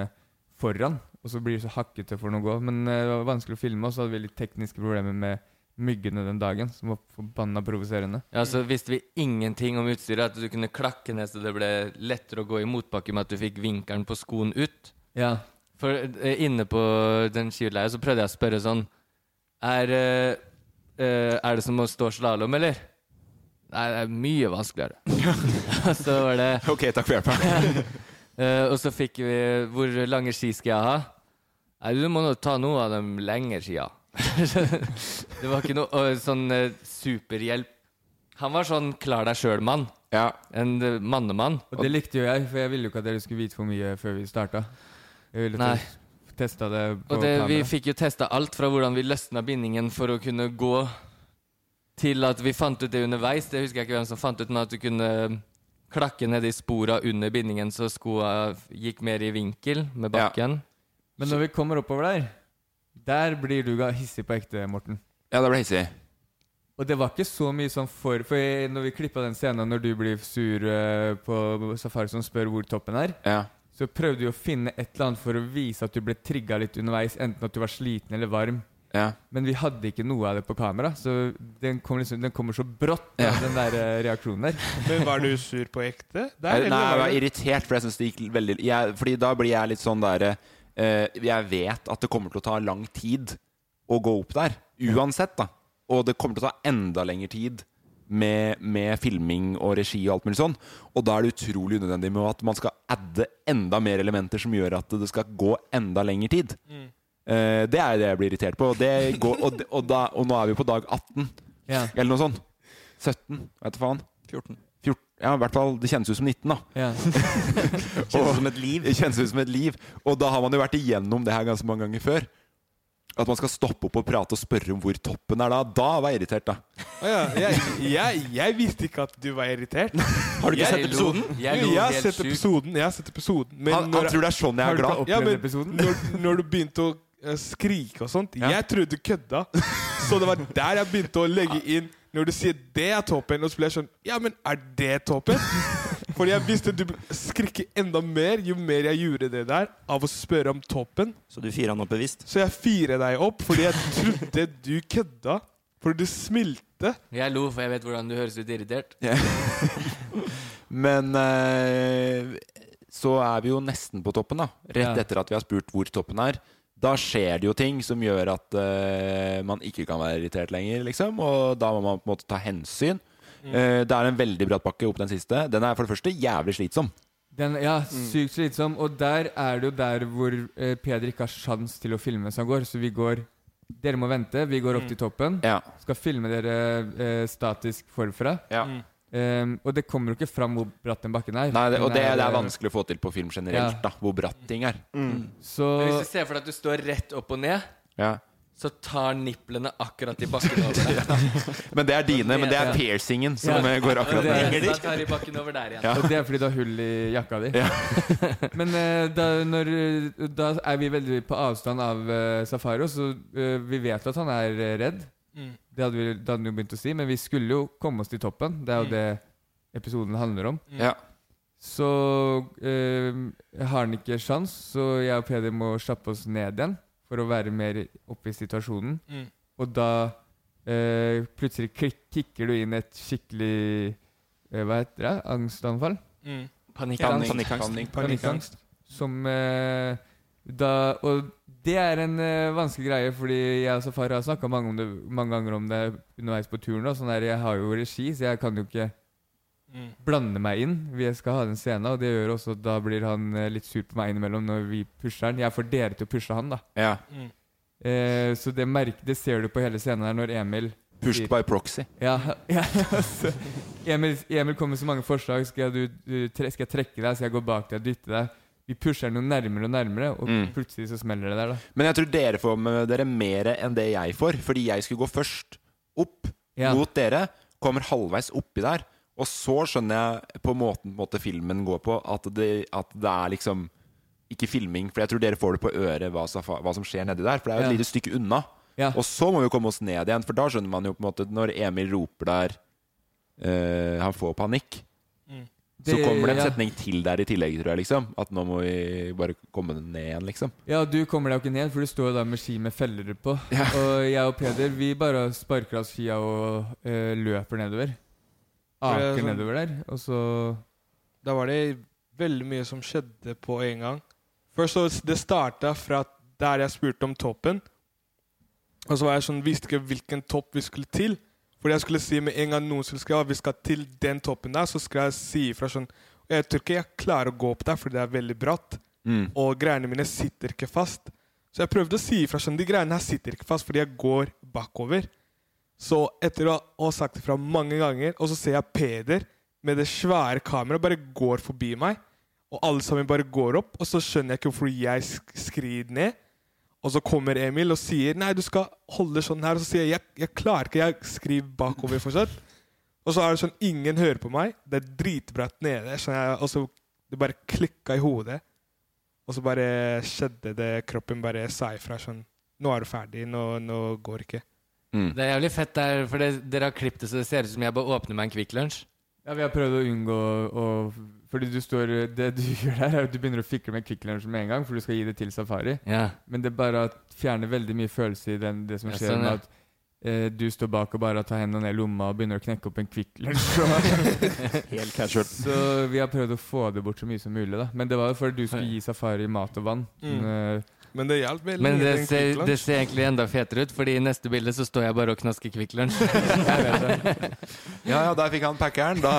foran. Og så blir det så hakkete for noe å gå. Men eh, det var vanskelig å filme, og så hadde vi litt tekniske problemer med myggene den dagen, som var forbanna provoserende.
Ja, så visste vi ingenting om utstyret, at du kunne klakke ned så det ble lettere å gå i motbakke med at du fikk vinkelen på skoen ut.
Ja.
For eh, inne på den skiutleia så prøvde jeg å spørre sånn Er, eh, eh, er det som å stå slalåm, eller? Nei, det er mye vanskeligere. Og så var det
Ok, takk for hjelpen.
Eh, og så fikk vi Hvor lange ski skal jeg ha? Nei, du må nå ta noe av de lengre skia. det var ikke noe eh, sånn eh, superhjelp. Han var sånn klar deg sjøl-mann. En eh, mannemann.
Og det likte jo jeg, for jeg ville jo ikke at dere skulle vite for mye før vi starta. Jeg ville
Nei.
test- testa det på
Og det, vi
kamera.
fikk jo testa alt fra hvordan vi løsna bindingen for å kunne gå, til at vi fant ut det underveis. Det husker jeg ikke hvem som fant ut, men at du kunne klakke ned de spora under bindingen, så skoa gikk mer i vinkel med bakken.
Men når vi kommer oppover der, der blir du ga- hissig på ekte, Morten.
Ja, da ble jeg hissig.
Og det var ikke så mye sånn for For jeg, når vi klippa den scenen når du blir sur eh, på safari som spør hvor toppen er,
Ja.
så prøvde du å finne et eller annet for å vise at du ble trigga litt underveis, enten at du var sliten eller varm.
Ja.
Men vi hadde ikke noe av det på kamera, så den, kom liksom, den kommer så brått, da, den der eh, reaksjonen der.
Men var du sur på ekte?
Nei,
eller
jeg
var
var
det-
irritert, for jeg synes det gikk veldig jeg, Fordi da blir jeg litt sånn derre eh, Jeg vet at det kommer til å ta lang tid å gå opp der. Uansett, da. Og det kommer til å ta enda lengre tid med, med filming og regi og alt mulig sånn. Og da er det utrolig unødvendig med at man skal adde enda mer elementer som gjør at det skal gå enda lengre tid. Eh, det er det jeg blir irritert på. Og, det går, og, det- og, da, og nå er vi på dag 18,
Ja.
eller noe sånt. 17, vet du faen. 14. ja, i hvert fall. Det kjennes ut som 19, da.
Ja.
kjennes ut som et liv. Det kjennes ut som et liv. Og da har man jo vært igjennom det her ganske mange ganger før. At man skal stoppe opp og prate og spørre om hvor toppen er da. Da var jeg irritert, da.
Å ja, jeg, jeg, jeg visste ikke at du var irritert. Har
du ikke sett episoden?
Jeg,
Jeg
jo,
lo
jeg har
helt
sett
sjukt.
episoden. Jeg har sett episoden
Han- han tror det er sånn jeg er
Har du
glad.
ikke opplevd
Ja, men-
episoden? Når, når du begynte å eh, skrike og sånt Jeg trodde du kødda. Så det var der jeg begynte å legge inn Når du sier 'det er toppen', og så ble jeg sånn Ja, men er det toppen? For jeg visste du skrikke enda mer jo mer jeg gjorde det der, av å spørre om toppen.
Så du firer han opp bevisst?
Så jeg firer deg opp fordi jeg trodde du kødda. Fordi du smilte.
Jeg lo, for jeg vet hvordan du høres ut irritert.
Men eh, så er vi jo nesten på toppen, da. Rett
Ja.
etter at vi har spurt hvor toppen er. Da skjer det jo ting som gjør at eh, man ikke kan være irritert lenger, liksom. Og da må man på en måte ta hensyn. Eh, det er en veldig bratt bakke opp den siste. Den er for det første jævlig slitsom.
Den, ja,
Mm.
sykt slitsom. Og der er det jo der hvor eh, Peder ikke har sjans til å filme mens han går. Så vi går Dere må vente. Vi går opp
Mm.
til toppen.
Ja.
Skal filme dere eh, statisk forfra.
Ja. Mm.
Ehm, og det kommer jo ikke fram hvor bratt den bakken er.
Nei, det,
Den
og det, det er
eh,
vanskelig å få til på film generelt,
Ja.
da. Hvor bratt ting er.
Så
Men hvis du ser for deg at du står rett opp og ned,
Ja.
så tar niplene akkurat i bakken over deg.
Men det er dine, men det er
Ja.
piercingen som eh, går
Ja,
akkurat
det-
ned.
Da tar de bakken over der igjen.
Og det er fordi du har hull i jakka di.
Ja.
Men eh, da, når, eh, da er vi veldig på avstand av eh, Safaro, så eh, vi vet jo at han er eh, redd.
Mm.
Det hadde, vi, det hadde han jo begynt å si, men vi skulle jo komme oss til toppen. Det er jo
Mm.
det episoden handler om.
Ja.
Så eh, har han ikke sjans, så jeg og Peder må kjappe oss ned igjen for å være mer oppe i situasjonen.
Mm.
Og da eh, plutselig klik- kicker du inn et skikkelig eh, Hva heter det? Angstanfall?
Mm.
Panikkangst.
Panikkangst.
Panikkangst. Som eh, da Og det er en eh, vanskelig greie, fordi jeg og Safari har snakka mange, om det- mange ganger om det underveis på turen. Og sånn der, jeg har jo regi, så jeg kan jo ikke
Mm.
blande meg inn. Vi skal ha den scenen, og det gjør også at da blir han eh, litt sur på meg innimellom når vi pusher han. Jeg får dere til å pushe han, da.
Ja.
Mm.
Eh, så det, merk, det ser du på hele scenen her når Emil
Pushed
sier-
by proxy.
ja, ja altså. Emil, Emil kom med så mange forslag. Skal, du, du, tre, skal jeg trekke deg? Skal jeg gå bak deg og dytte deg? vi pusher noe nærmere og nærmere, og
Mm.
plutselig så smeller det der, da.
Men jeg tror dere får med dere mer enn det jeg får, fordi jeg skulle gå først opp
Ja.
mot dere, kommer halvveis oppi der, og så skjønner jeg på måten på en måte filmen går på, at det, at det er liksom ikke filming, for jeg tror dere får det på øret hva, safa- hva som skjer nedi der, for det er jo et
Ja.
lite stykke unna.
Ja.
Og så må vi jo komme oss ned igjen, for da skjønner man jo på en måte når Emil roper der eh, han får panikk. Så
Mm. Det-
kommer det en
ja.
setning til der i tillegg, tror jeg. liksom At nå må vi bare komme ned igjen, liksom.
Ja, du kommer deg jo ikke ned, for du står jo der med ski med feller på. Og jeg og Peder vi bare sparker av skia og eh, løper nedover.
Det er
Aker
sånn-
nedover der, og så
Da var det veldig mye som skjedde på en gang. Først så Det starta fra der jeg spurte om toppen. Og så var jeg sånn, visste ikke hvilken topp vi skulle til. Fordi jeg skulle si med en gang noen skulle skrive at vi skal til den toppen der, så skal jeg si ifra sånn Jeg tror ikke jeg klarer å gå opp der, fordi det er veldig bratt.
Mm.
Og greiene mine sitter ikke fast. Så jeg prøvde å si ifra sånn De greiene her sitter ikke fast fordi jeg går bakover. Så etter å ha sagt ifra mange ganger, og så ser jeg Peder med det svære kameraet bare går forbi meg, og alle sammen bare går opp, og så skjønner jeg ikke hvorfor jeg sk skrir ned. Og så kommer Emil og sier nei, du skal holde sånn her. Og så sier jeg jeg, jeg klarer ikke, jeg skriver bakover fortsatt. Og så er det sånn ingen hører på meg. Det er dritbratt nede. Så jeg, og så det bare klikka i hodet. Og så bare skjedde det. Kroppen bare sa ifra sånn Nå er du ferdig. Nå, nå går ikke.
Mm.
Det er jævlig fett der, for det, dere har klippet det så det ser ut som jeg bare åpner meg en Kvikk Lunsj.
Ja, vi har prøvd å unngå å Fordi du står Det du gjør der, er at du begynner å fikle med Kvikk Lunsj med en gang, for du skal gi det til Safari.
Ja.
Men det er bare at fjerner veldig mye følelse i den, det som
Ja,
skjer
sånn,
med
ja.
at eh, du står bak og bare tar hendene ned i lomma og begynner å knekke opp en Kvikk Lunsj.
Helt casual.
Så vi har prøvd å få det bort så mye som mulig, da. Men det var jo fordi du skulle gi Safari mat og vann.
Mm.
Men, eh,
Men det hjalp veldig.
Men
mye
det
med en
ser,
Quick Lunch.
det ser egentlig enda fetere ut, Fordi i neste bilde så står jeg bare og knasker Kvikk Lunsj.
Ja, ja, der fikk han packeren. Da,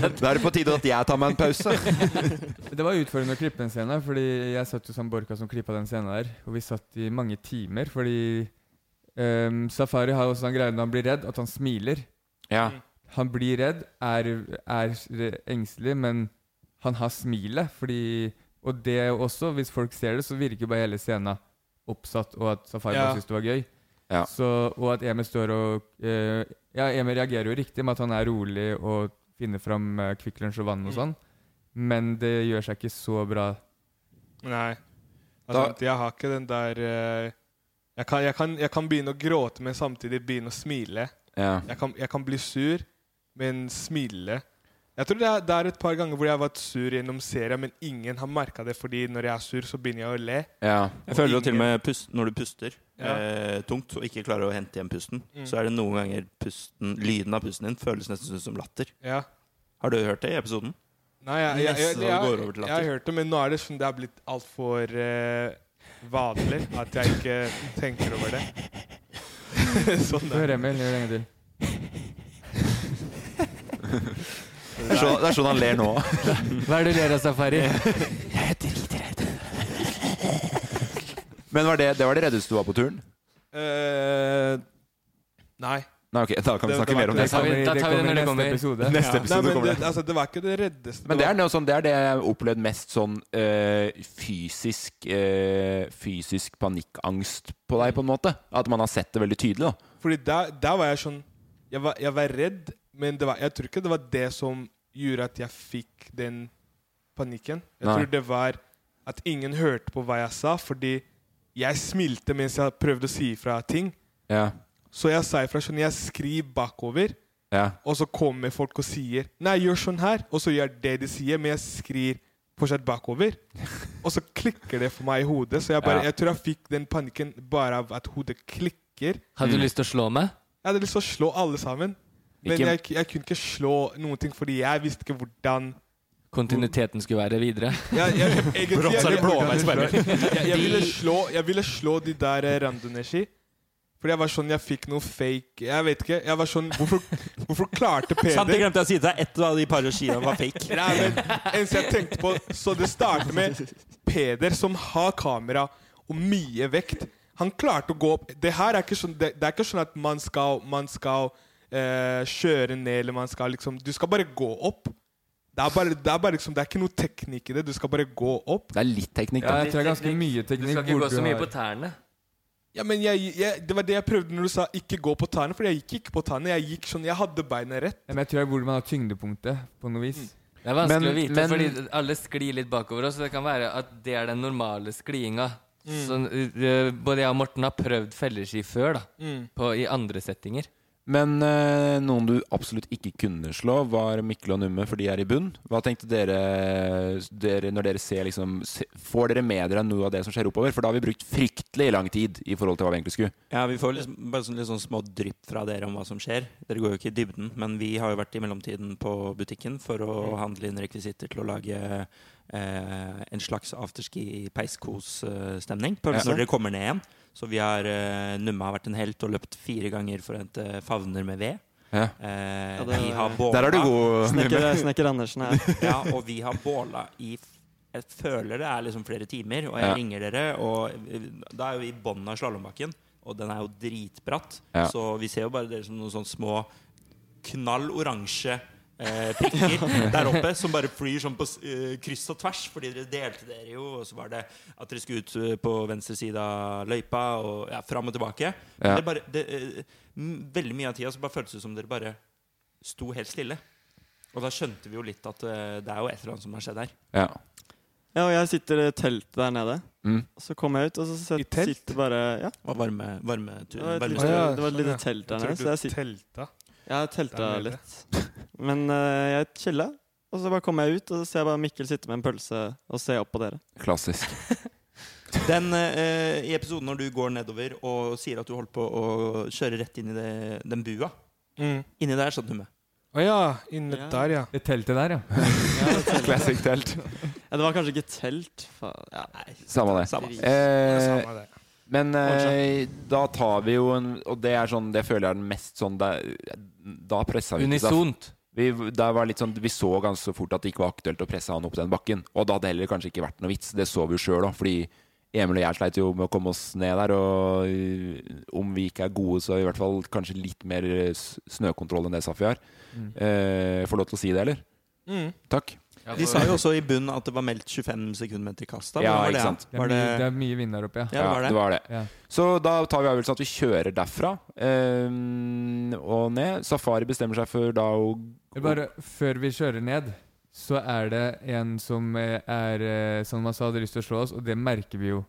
da er det på tide at jeg tar meg en pause.
Det var utfordrende å klippe den scenen, her, fordi jeg satt jo sammen med Borka som klippa den scenen der. Og vi satt i mange timer, fordi ehm, Safari har også den greia når han blir redd, at han smiler.
Ja.
Han blir redd, er, er engstelig, men han har smilet, fordi Og det er jo også, hvis folk ser det, så virker jo bare hele scenen oppsatt, og at Safari
Ja.
bare syns det var gøy. Så, og at Emil står og eh, Ja, Emil reagerer jo riktig med at han er rolig og finner fram uh, Kvikk Lunsj og vann
Mm.
og sånn, men det gjør seg ikke så bra.
Nei. Altså, jeg har ikke den der eh, jeg, kan, jeg, kan, jeg kan begynne å gråte, men samtidig begynne å smile.
Ja.
Jeg, kan, jeg kan bli sur, men smile. Jeg tror det er, det er et par ganger hvor jeg har vært sur gjennom serien, men ingen har merka det, fordi når jeg er sur, så begynner jeg å le.
Jeg føler jo til og
ingen-
med pust, når du puster
Ja.
eh, tungt og ikke klarer å hente igjen pusten,
Mm.
så er det noen ganger pusten, lyden av pusten din føles nesten ut som latter.
Ja.
Har du hørt det i episoden?
Nei, jeg, jeg, jeg,
Nesten
jeg,
så det går over
jeg,
til latter.
har hørt det, men nå er det sånn det er blitt altfor uh, vanlig at jeg ikke tenker over det. sånn
Hør, Emil, gjør det en gang til.
Det er sånn, det er sånn han ler nå.
Hva er det du ler av, Safari?
Men var det, det var det reddeste du var på turen?
Eh, nei.
Nei, ok, da kan vi
Det-
snakke
det var
mer
ikke-
om det.
Da tar vi- da tar vi det når det kommer.
Neste
Nei,
episode
men
kommer
det,
det.
altså, det var ikke det reddeste.
Men
det
det
var-
er, noe sånn, det er det jeg har opplevd mest sånn eh, fysisk, eh, fysisk panikkangst på deg, på en måte. At man har sett det veldig tydelig. da
Fordi der, der var jeg sånn Jeg var, jeg var redd, men det var, jeg tror ikke det var det som gjorde at jeg fikk den panikken. Jeg
Nei.
tror det var at ingen hørte på hva jeg sa, fordi jeg smilte mens jeg prøvde å si ifra ting.
Ja,
Så jeg sa ifra sånn Jeg skriver bakover,
ja,
og så kommer folk og sier 'Nei, gjør sånn her', og så gjør jeg det de sier, men jeg skriver fortsatt bakover. Og så klikker det for meg i hodet, så jeg, bare,
Ja.
jeg tror jeg fikk den panikken bare av at hodet klikker.
Hadde du lyst til å slå meg?
Mm. Jeg hadde lyst til å slå alle sammen. Men
Ikke-
jeg, jeg kunne ikke slå noen ting, fordi jeg visste ikke hvordan
Kontinuiteten skulle være videre.
Jeg, jeg, egentlig-
For oss er det blåveispermer.
jeg, jeg, ville slå, jeg ville slå de der eh, randoneshi. Fordi jeg var sånn Jeg fikk noe fake Jeg vet ikke. Jeg var sånn Hvorfor, hvorfor klarte
Sant, det
Peder
glemte jeg å si til deg. Ett av de par skiene var fake.
Nei, men en som jeg tenkte på Så det starter med Peder som har kamera og mye vekt. Han klarte å gå opp Det her er ikke sånn, det, det er ikke sånn at man skal, man skal eh, kjøre ned, eller man skal liksom Du skal bare gå opp. Det er, bare, det, er bare liksom, det er ikke noe teknikk i det. Du skal bare gå opp.
Det er litt teknikk,
Ja, jeg tror det er ganske
Du
mye teknikk.
skal ikke
hvor
gå så mye
har-
på tærne.
Ja, men jeg, jeg, det var det jeg prøvde når du sa 'ikke gå på tærne', for jeg gikk ikke på tærne. Jeg gikk sånn, jeg hadde beina rett.
Ja, Men jeg tror det er hvor man har tyngdepunktet, på noe vis.
Mm. Det er vanskelig
Men-
å vite,
men-
fordi alle sklir litt bakover oss. Så det kan være at det er den normale skliinga. Så, eh, både jeg og Morten har prøvd felleski før, da. På, I andre settinger.
Men eh, noen du absolutt ikke kunne slå, var Mikkel og Numme, for de er i bunn. Hva tenkte dere, dere når dere ser liksom se, Får dere med dere noe av det som skjer oppover? For da har vi brukt fryktelig lang tid i forhold til hva vi egentlig skulle.
Ja, Vi får liksom, bare sånn, litt sånn små drypp fra dere om hva som skjer. Dere går jo ikke i dybden, men vi har jo vært i mellomtiden på butikken for å
Mm.
handle inn rekvisitter til å lage eh, en slags afterski-peiskos-stemning
Ja.
når dere kommer ned igjen. Så vi har, eh, Numme har vært en helt og løpt fire ganger for å hente favner med ved.
Ja.
Eh,
Ja, det-
vi har båla,
Der er du god,
Snekker, eh,
Numme.
snekker Andersen her.
ja, og vi har båla i f- Jeg føler det er liksom flere timer, og jeg
Ja.
ringer dere, og eh, da er jo vi i bunnen av slalåmbakken, og den er jo dritbratt,
Ja.
så vi ser jo bare dere som noen sånne små knall oransje eh, prikker der oppe som bare flyr sånn på s- eh, kryss og tvers, fordi dere delte dere jo, og så var det at dere skulle ut eh, på venstre side av løypa, og ja, fram og tilbake. Men
Ja.
det bare, det, eh, m- veldig mye av tida så bare føltes det som dere bare sto helt stille. Og da skjønte vi jo litt at eh, det er jo et eller annet som har skjedd her.
Ja.
Ja, og jeg sitter i teltet der nede.
Mm.
Så kom jeg ut, og så
I
set,
telt?
sitter bare Ja.
Og varme, varmetur.
Det var et
varme-
lite,
ja,
det var et lite
sånn,
telt der
Jeg
nede, så jeg
tror du
sitter
telta.
Jeg har telta
Der nede.
litt. Men eh, jeg chilla. Og så bare kom jeg ut, og så ser jeg bare Mikkel sitte med en pølse og se opp på dere.
Klassisk.
Den, eh, I episoden når du går nedover og sier at du holdt på å kjøre rett inn i det, den bua
Mm.
Inni der satt du med.
Å ja, inne
Ja.
der, ja.
Det teltet der, ja.
Classic telt.
Ja, det var kanskje ikke telt. Faen. Ja.
Samme det.
Samme.
Eh,
Samme det.
Men eh, da tar vi jo en Og det er sånn, det føler jeg er den mest sånn Da, da pressa vi ikke, da-
Unisont.
Vi, det var litt sånn, vi så ganske fort at det ikke var aktuelt å presse han opp den bakken. Og da hadde det heller kanskje ikke vært noe vits. Det så vi jo sjøl òg, fordi Emil og jeg sleit jo med å komme oss ned der. Og øh, om vi ikke er gode, så i hvert fall kanskje litt mer øh, s- snøkontroll enn det Safi har. Eh, får lov til å si det, eller?
Mm.
Takk.
Ja,
De
for-
sa jo også i bunnen at det var meldt 25 sekundmeter kast. da.
Ja,
Hvordan var det,
ikke sant.
Det er,
Var det,
mye, det er mye vind der oppe, ja.
ja, det var det.
Ja.
Så da tar vi avgjørelsen at vi kjører derfra eh, og ned. Safari bestemmer seg for da å
Det er Bare før vi kjører ned, så er det en som eh, er eh, Som man sa hadde lyst til å slå oss, og det merker vi jo.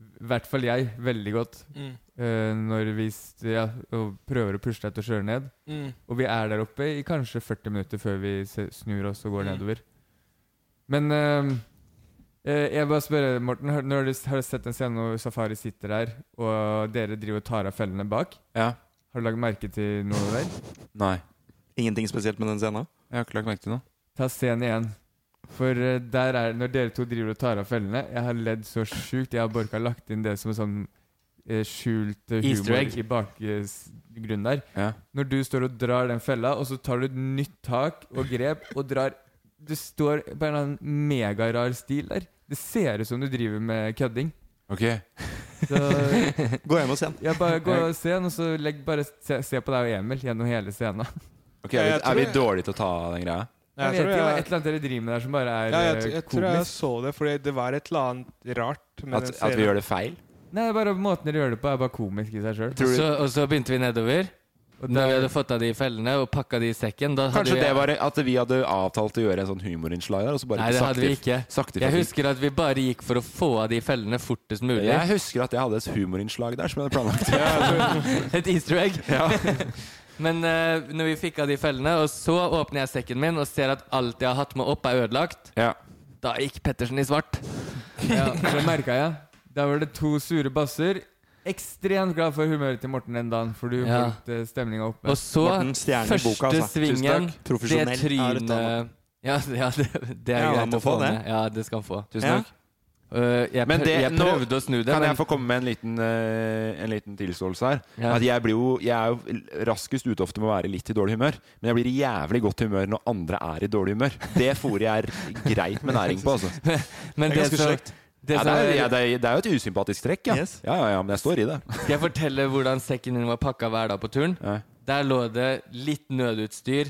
I hvert fall jeg, veldig godt.
Mm.
eh, når vi s- ja, og prøver å pusle deg til å kjøre ned.
Mm.
Og vi er der oppe i kanskje 40 minutter før vi se- snur oss og går
Mm.
nedover. Men eh, eh, jeg bare spør deg, Morten, har, når du s- har du sett en scene hvor Safari sitter der, og dere driver og tar av fellene bak?
Ja.
Har du lagt merke til noe der?
Nei.
Ingenting spesielt med den scenen?
Jeg har ikke lagt merke til noe.
Ta scenen igjen. For eh, der er når dere to driver og tar av fellene Jeg har ledd så sjukt. Jeg har bare ikke lagt inn det som en sånn eh, skjult eh,
Easter
humor
egg.
i bakgrunnen der.
Ja.
Når du står og drar den fella, og så tar du et nytt tak og grep og drar Du står på en eller annen megarar stil der. Det ser ut som du driver med kødding.
Ok.
Så
Gå hjem og se den.
jeg bare gå og se den, og så legg bare se, se på deg og Emil gjennom hele scenen.
Ok, er vi,
Jeg tror
er vi
jeg-
dårlige til å ta den greia?
Nei,
Jeg,
jeg
vet
tror
ikke hva
jeg-
et eller annet dere driver med der som bare er
Ja, jeg,
eh,
jeg, tror jeg
komisk.
så det, for det var et eller annet rart. med
At,
den
at vi
serien.
gjør det feil?
Nei, bare måten dere gjør det på, er bare komisk i seg sjøl.
Tror du-
Så, og så begynte vi nedover.
Og
Da vi
der-
hadde fått av de fellene og pakka de i sekken da hadde
Kanskje
vi,
det var at vi hadde avtalt å gjøre en sånn humorinnslag der, og så bare
Nei, det
ikke
hadde
sakte,
vi ikke.
sakte
Jeg
forbi.
husker at vi bare gikk for å få av de fellene fortest mulig.
Jeg husker at jeg hadde et humorinnslag der som jeg hadde planlagt.
altså,
Et easter egg. Men eh, når vi fikk av de fellene, og så åpner jeg sekken min og ser at alt jeg har hatt med opp, er ødelagt,
ja.
da gikk Pettersen i svart.
Ja, det merka jeg. Der var det to sure basser. Ekstremt glad for humøret til Morten den dagen, for du
Ja.
holdt eh, stemninga oppe.
Og så
Morten, stjerne i
første
boka, altså.
svingen,
Tusen takk.
det
Profesjonell. Ja,
trynet
dette er
ja, ja, det, det er
Ja, han
greit
må
å få
få det.
med. Ja, det skal han få.
Tusen
Ja.
takk.
Eh, jeg,
Men
prøv,
det-
jeg
nå
prøvde å snu det,
Kan jeg
men
få komme med en liten, eh, en liten tilståelse her?
Ja.
At jeg, blir jo, jeg er jo raskest ute ofte med å være litt i dårlig humør, men jeg blir i jævlig godt humør når andre er i dårlig humør. Det fôret jeg er greit med næring på, altså.
men
Det er ganske
som-
slekt.
det
Ja,
som
det, er,
er-
ja, det, er, det er jo et usympatisk trekk, ja.
Yes.
Ja, ja, ja, men jeg står i det.
Skal jeg fortelle hvordan sekken min var pakka hver dag på turen?
Ja.
Der lå det litt nødutstyr.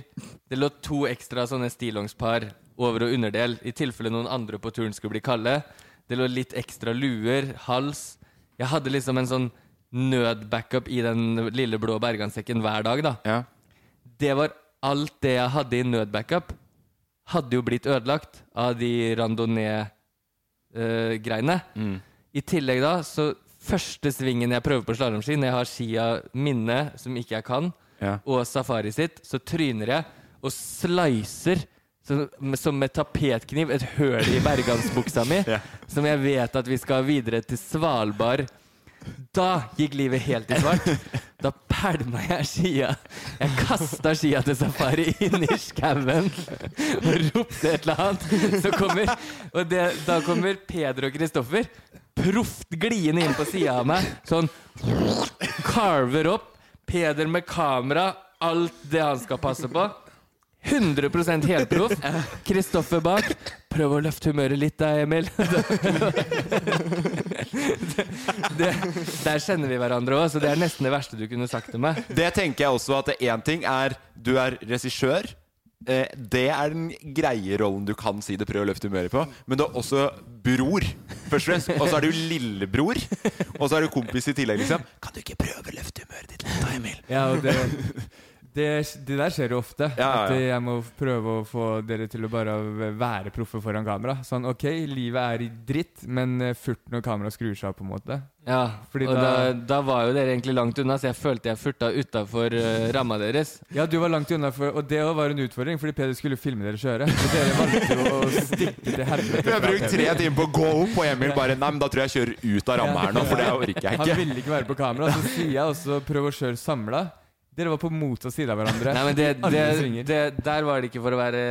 Det lå to ekstra sånne stillongspar over og underdel i tilfelle noen andre på turen skulle bli kalde. Det lå litt ekstra luer, hals. Jeg hadde liksom en sånn nødbackup i den lille blå bergansekken hver dag, da. Det var alt det jeg hadde i nødbackup, hadde jo blitt ødelagt av de randonee-greiene.
Mm.
I tillegg da, så første svingen jeg prøver på slalåmski, når jeg har skia minne, som ikke jeg kan,
Ja.
og safari sitt, så tryner jeg og slicer som, som med tapetkniv et høl i bergansbuksa mi, som jeg vet at vi skal videre til Svalbard. Da gikk livet helt i svart. Da pælma jeg skia. Jeg kasta skia til safari inn i skauen og ropte et eller annet. Så kommer, og det, da kommer Peder og Kristoffer proft gliende inn på sida av meg. Sånn carver opp. Peder med kamera, alt det han skal passe på. 100 helproff. Kristoffer bak. Prøv å løfte humøret litt da, Emil. Det, der kjenner vi hverandre òg, så det er nesten det verste du kunne sagt til meg.
Det tenker jeg også at én ting er Du er regissør. Eh, det er den greie rollen du kan si det prøver å løfte humøret på. Men du er også bror, først og fremst. Og så er du lillebror. Og så er du kompis i tillegg, liksom. Kan du ikke prøve å løfte humøret ditt litt, da, Emil?
Ja, og det, det, det der skjer jo ofte.
Ja, ja,
At
ja.
jeg må prøve å få dere til å bare være proffe foran kamera. Sånn, ok, livet er i dritt, men eh, furt når kameraet skrur seg av, på en måte.
Ja,
Fordi
og da,
da-
da var jo dere egentlig langt unna, så jeg følte jeg furta utafor uh, ramma deres.
Ja, du var langt unna, for, og det også var en utfordring, fordi Peder skulle filme dere kjøre. Og dere valgte jo å stikke til helvete.
Vi har brukt tre timer på å gå opp, og Emil bare Nei, men da tror jeg jeg kjører ut av ramma her nå, for det orker jeg
Han
ikke.
ville ikke være på kamera, så sier jeg også prøv å kjøre samla. Dere var på motsatt side av hverandre.
Nei, men det,
i alle
det,
svinger.
det, Der var det ikke for å være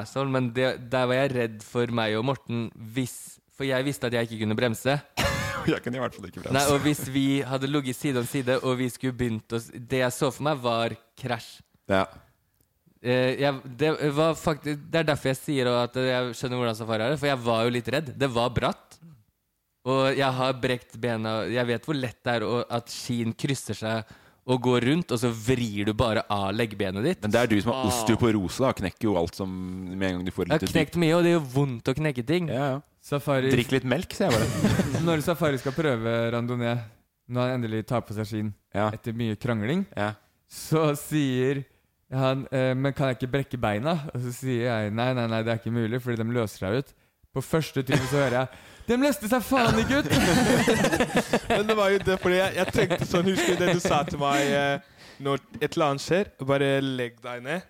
asshole, men det, der var jeg redd for meg og Morten hvis For jeg visste at jeg ikke kunne bremse.
Jeg kan i hvert fall ikke bremse.
Nei, Og hvis vi hadde ligget side om side, og vi skulle begynt å s- Det jeg så for meg, var krasj.
Ja.
Eh, jeg, det, var faktisk, det er derfor jeg sier at jeg skjønner hvordan safari er, for jeg var jo litt redd. Det var bratt. Og jeg har brekt bena Jeg vet hvor lett det er å, at skien krysser seg og går rundt, og så vrir du bare av leggbenet ditt.
Men det er du
Ah.
som har osteoporose, da. Knekker jo alt som med en gang du får
Jeg
litt
har knekt mye, og det gjør vondt å knekke ting.
Safari,
Drikk litt melk, sier jeg bare.
Når Safari skal prøve randonee, når han endelig tar på seg skien
Ja.
etter mye krangling,
Ja.
så sier han eh, Men kan jeg ikke brekke beina? Og så sier jeg nei, nei, nei, det er ikke mulig, fordi de løser seg ut. På første tur så hører jeg De løste seg faen ikke ut!
Men det var jo det, fordi jeg, jeg tenkte sånn Husker du det du sa til meg eh, når et eller annet skjer? Bare legg deg ned.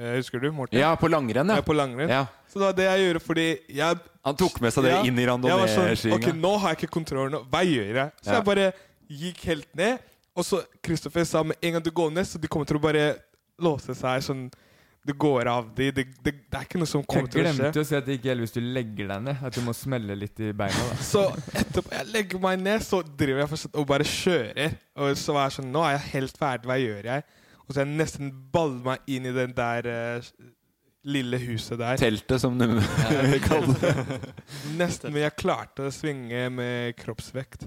Eh, husker du, Morten?
ja, på langrenn,
Jeg
ja.
er på langrenn.
ja.
Så det var det jeg gjorde, fordi jeg
Han tok med seg det
Ja,
inn i
jeg var sånn,
randonee-skinga.
Ok, nå har jeg ikke kontroll. Nå. Hva gjør jeg? Så
Ja.
jeg bare gikk helt ned. Og så Kristoffer sa med en gang du går ned, så de kommer til å bare låse seg sånn Det går av de. Det, det, det er ikke noe som kommer
Jeg
til å skje.
glemte å si at det ikke gjelder hvis du legger deg ned. At du må smelle litt i beina. da
Så etterpå jeg legger meg ned, så driver jeg fortsatt og bare kjører. Og så var jeg sånn Nå er jeg helt ferdig, hva gjør jeg? Og så har jeg nesten ballet meg inn i den der eh, lille huset der.
Teltet, som du kaller det.
Nesten, men jeg klarte å svinge med kroppsvekt.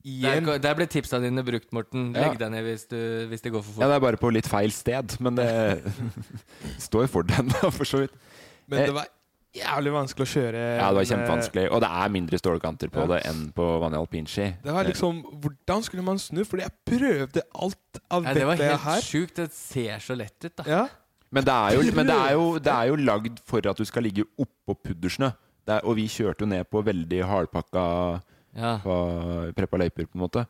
Der,
Igjen.
ko- der ble tipsa dine brukt, Morten.
Ja.
Legg deg ned hvis, du, hvis det går for
Ja,
fort.
det er bare på litt feil sted, men det står for den, da, for så vidt.
Men det var jævlig vanskelig å kjøre.
Eh. Ja, det var
men, eh,
kjempevanskelig. Og det er mindre stålkanter på
Ja.
det enn på vanlig alpinski.
Det var liksom, Hvordan skulle man snu? Fordi jeg prøvde alt av
Nei, det var
dette jeg
helt
har.
sjukt. Det ser så lett ut, da.
Ja.
Men det er jo, men det er jo, det er jo lagd for at du skal ligge oppå puddersnø. Det er, og vi kjørte jo ned på veldig hardpakka
Ja.
pa- preppa løyper, på en måte.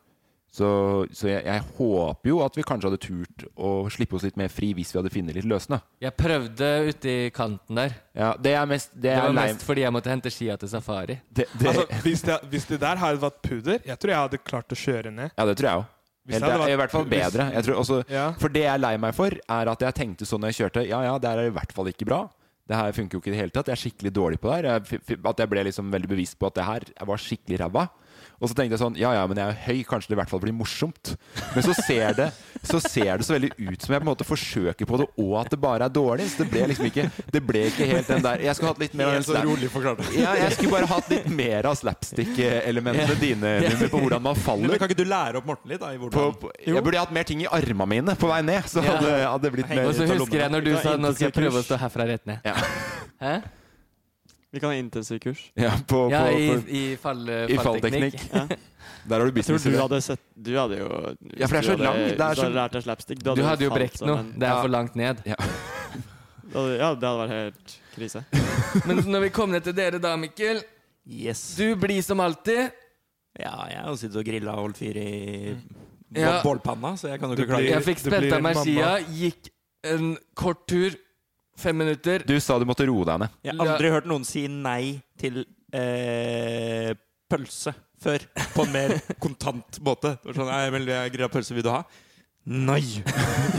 Så, så jeg, jeg håper jo at vi kanskje hadde turt å slippe oss litt mer fri hvis vi hadde funnet litt løsende.
Jeg prøvde ute i kanten der.
Ja, det er mest Det,
Det
er
var
lei-
mest fordi jeg måtte hente skia til safari.
det, det,
Altså, hvis, det, hvis det der hadde vært pudder, jeg tror jeg hadde klart å kjøre ned.
Ja, det tror jeg òg.
Hvis det hadde vært-
I hvert fall
hvis-
bedre. Jeg tror også,
Ja.
For det jeg er lei meg for, er at jeg tenkte sånn når jeg kjørte Ja, ja, det her er i hvert fall ikke bra. Det her funker jo ikke i det hele tatt. Jeg er skikkelig dårlig på det her. Jeg, f- f- at jeg ble liksom veldig bevisst på at det her var skikkelig ræva. Og så tenkte jeg sånn Ja ja, men jeg er høy, kanskje det i hvert fall blir morsomt. Men så ser det så, ser det så veldig ut som jeg på en måte forsøker på det, og at det bare er dårlig. Så det ble liksom ikke Det ble ikke helt den der Jeg skulle hatt litt mer av den
Helt sånn
slap-
rolig forklart.
Ja, jeg skulle bare hatt litt mer av slapstick-elementene dine Mummi, på hvordan man faller.
Men kan ikke du lære opp Morten litt? Da, i
På,
hvordan...
på, jeg burde hatt mer ting i armene mine på vei ned. Så
Ja.
hadde, hadde det blitt mer
Og så
ut av
husker jeg
lommene.
når du
Vi
sa
tar
'nå skal jeg prøve å stå
intensivkurs.
herfra rett ned'.
Ja.
Hæ?
Vi kan ha intensivkurs.
Ja, på,
Ja,
på,
i,
på,
i, fall, eh,
i fallteknikk.
Ja.
Der
Jeg
har du
tror
business.
du
idé.
hadde sett Du hadde jo
Ja, for det er så
du hadde-
lang- det er
Hvis du hadde
så-
lært deg slapstick
Du hadde jo
falt
brekt noe.
sammen.
Det er
Ja.
for langt ned.
Du hadde- Ja, det hadde vært helt krise.
Men når vi kom ned til dere da, Mikkel
Yes.
Du blir som alltid.
Ja, jeg har jo sittet og grilla og holdt fyr i bo-
Ja.
bålpanna, så jeg kan jo
Det
ikke klage.
Jeg
blir-
fikk
det blir
spent av meg
mamma.
skia, gikk en kort tur, fem minutter.
Du sa du måtte roe deg ned.
Jeg har aldri hørt noen si nei til eh, pølse før. På en mer kontant måte. Det var sånn, nei, vel, jeg grilla pølse, vil du ha? Nei!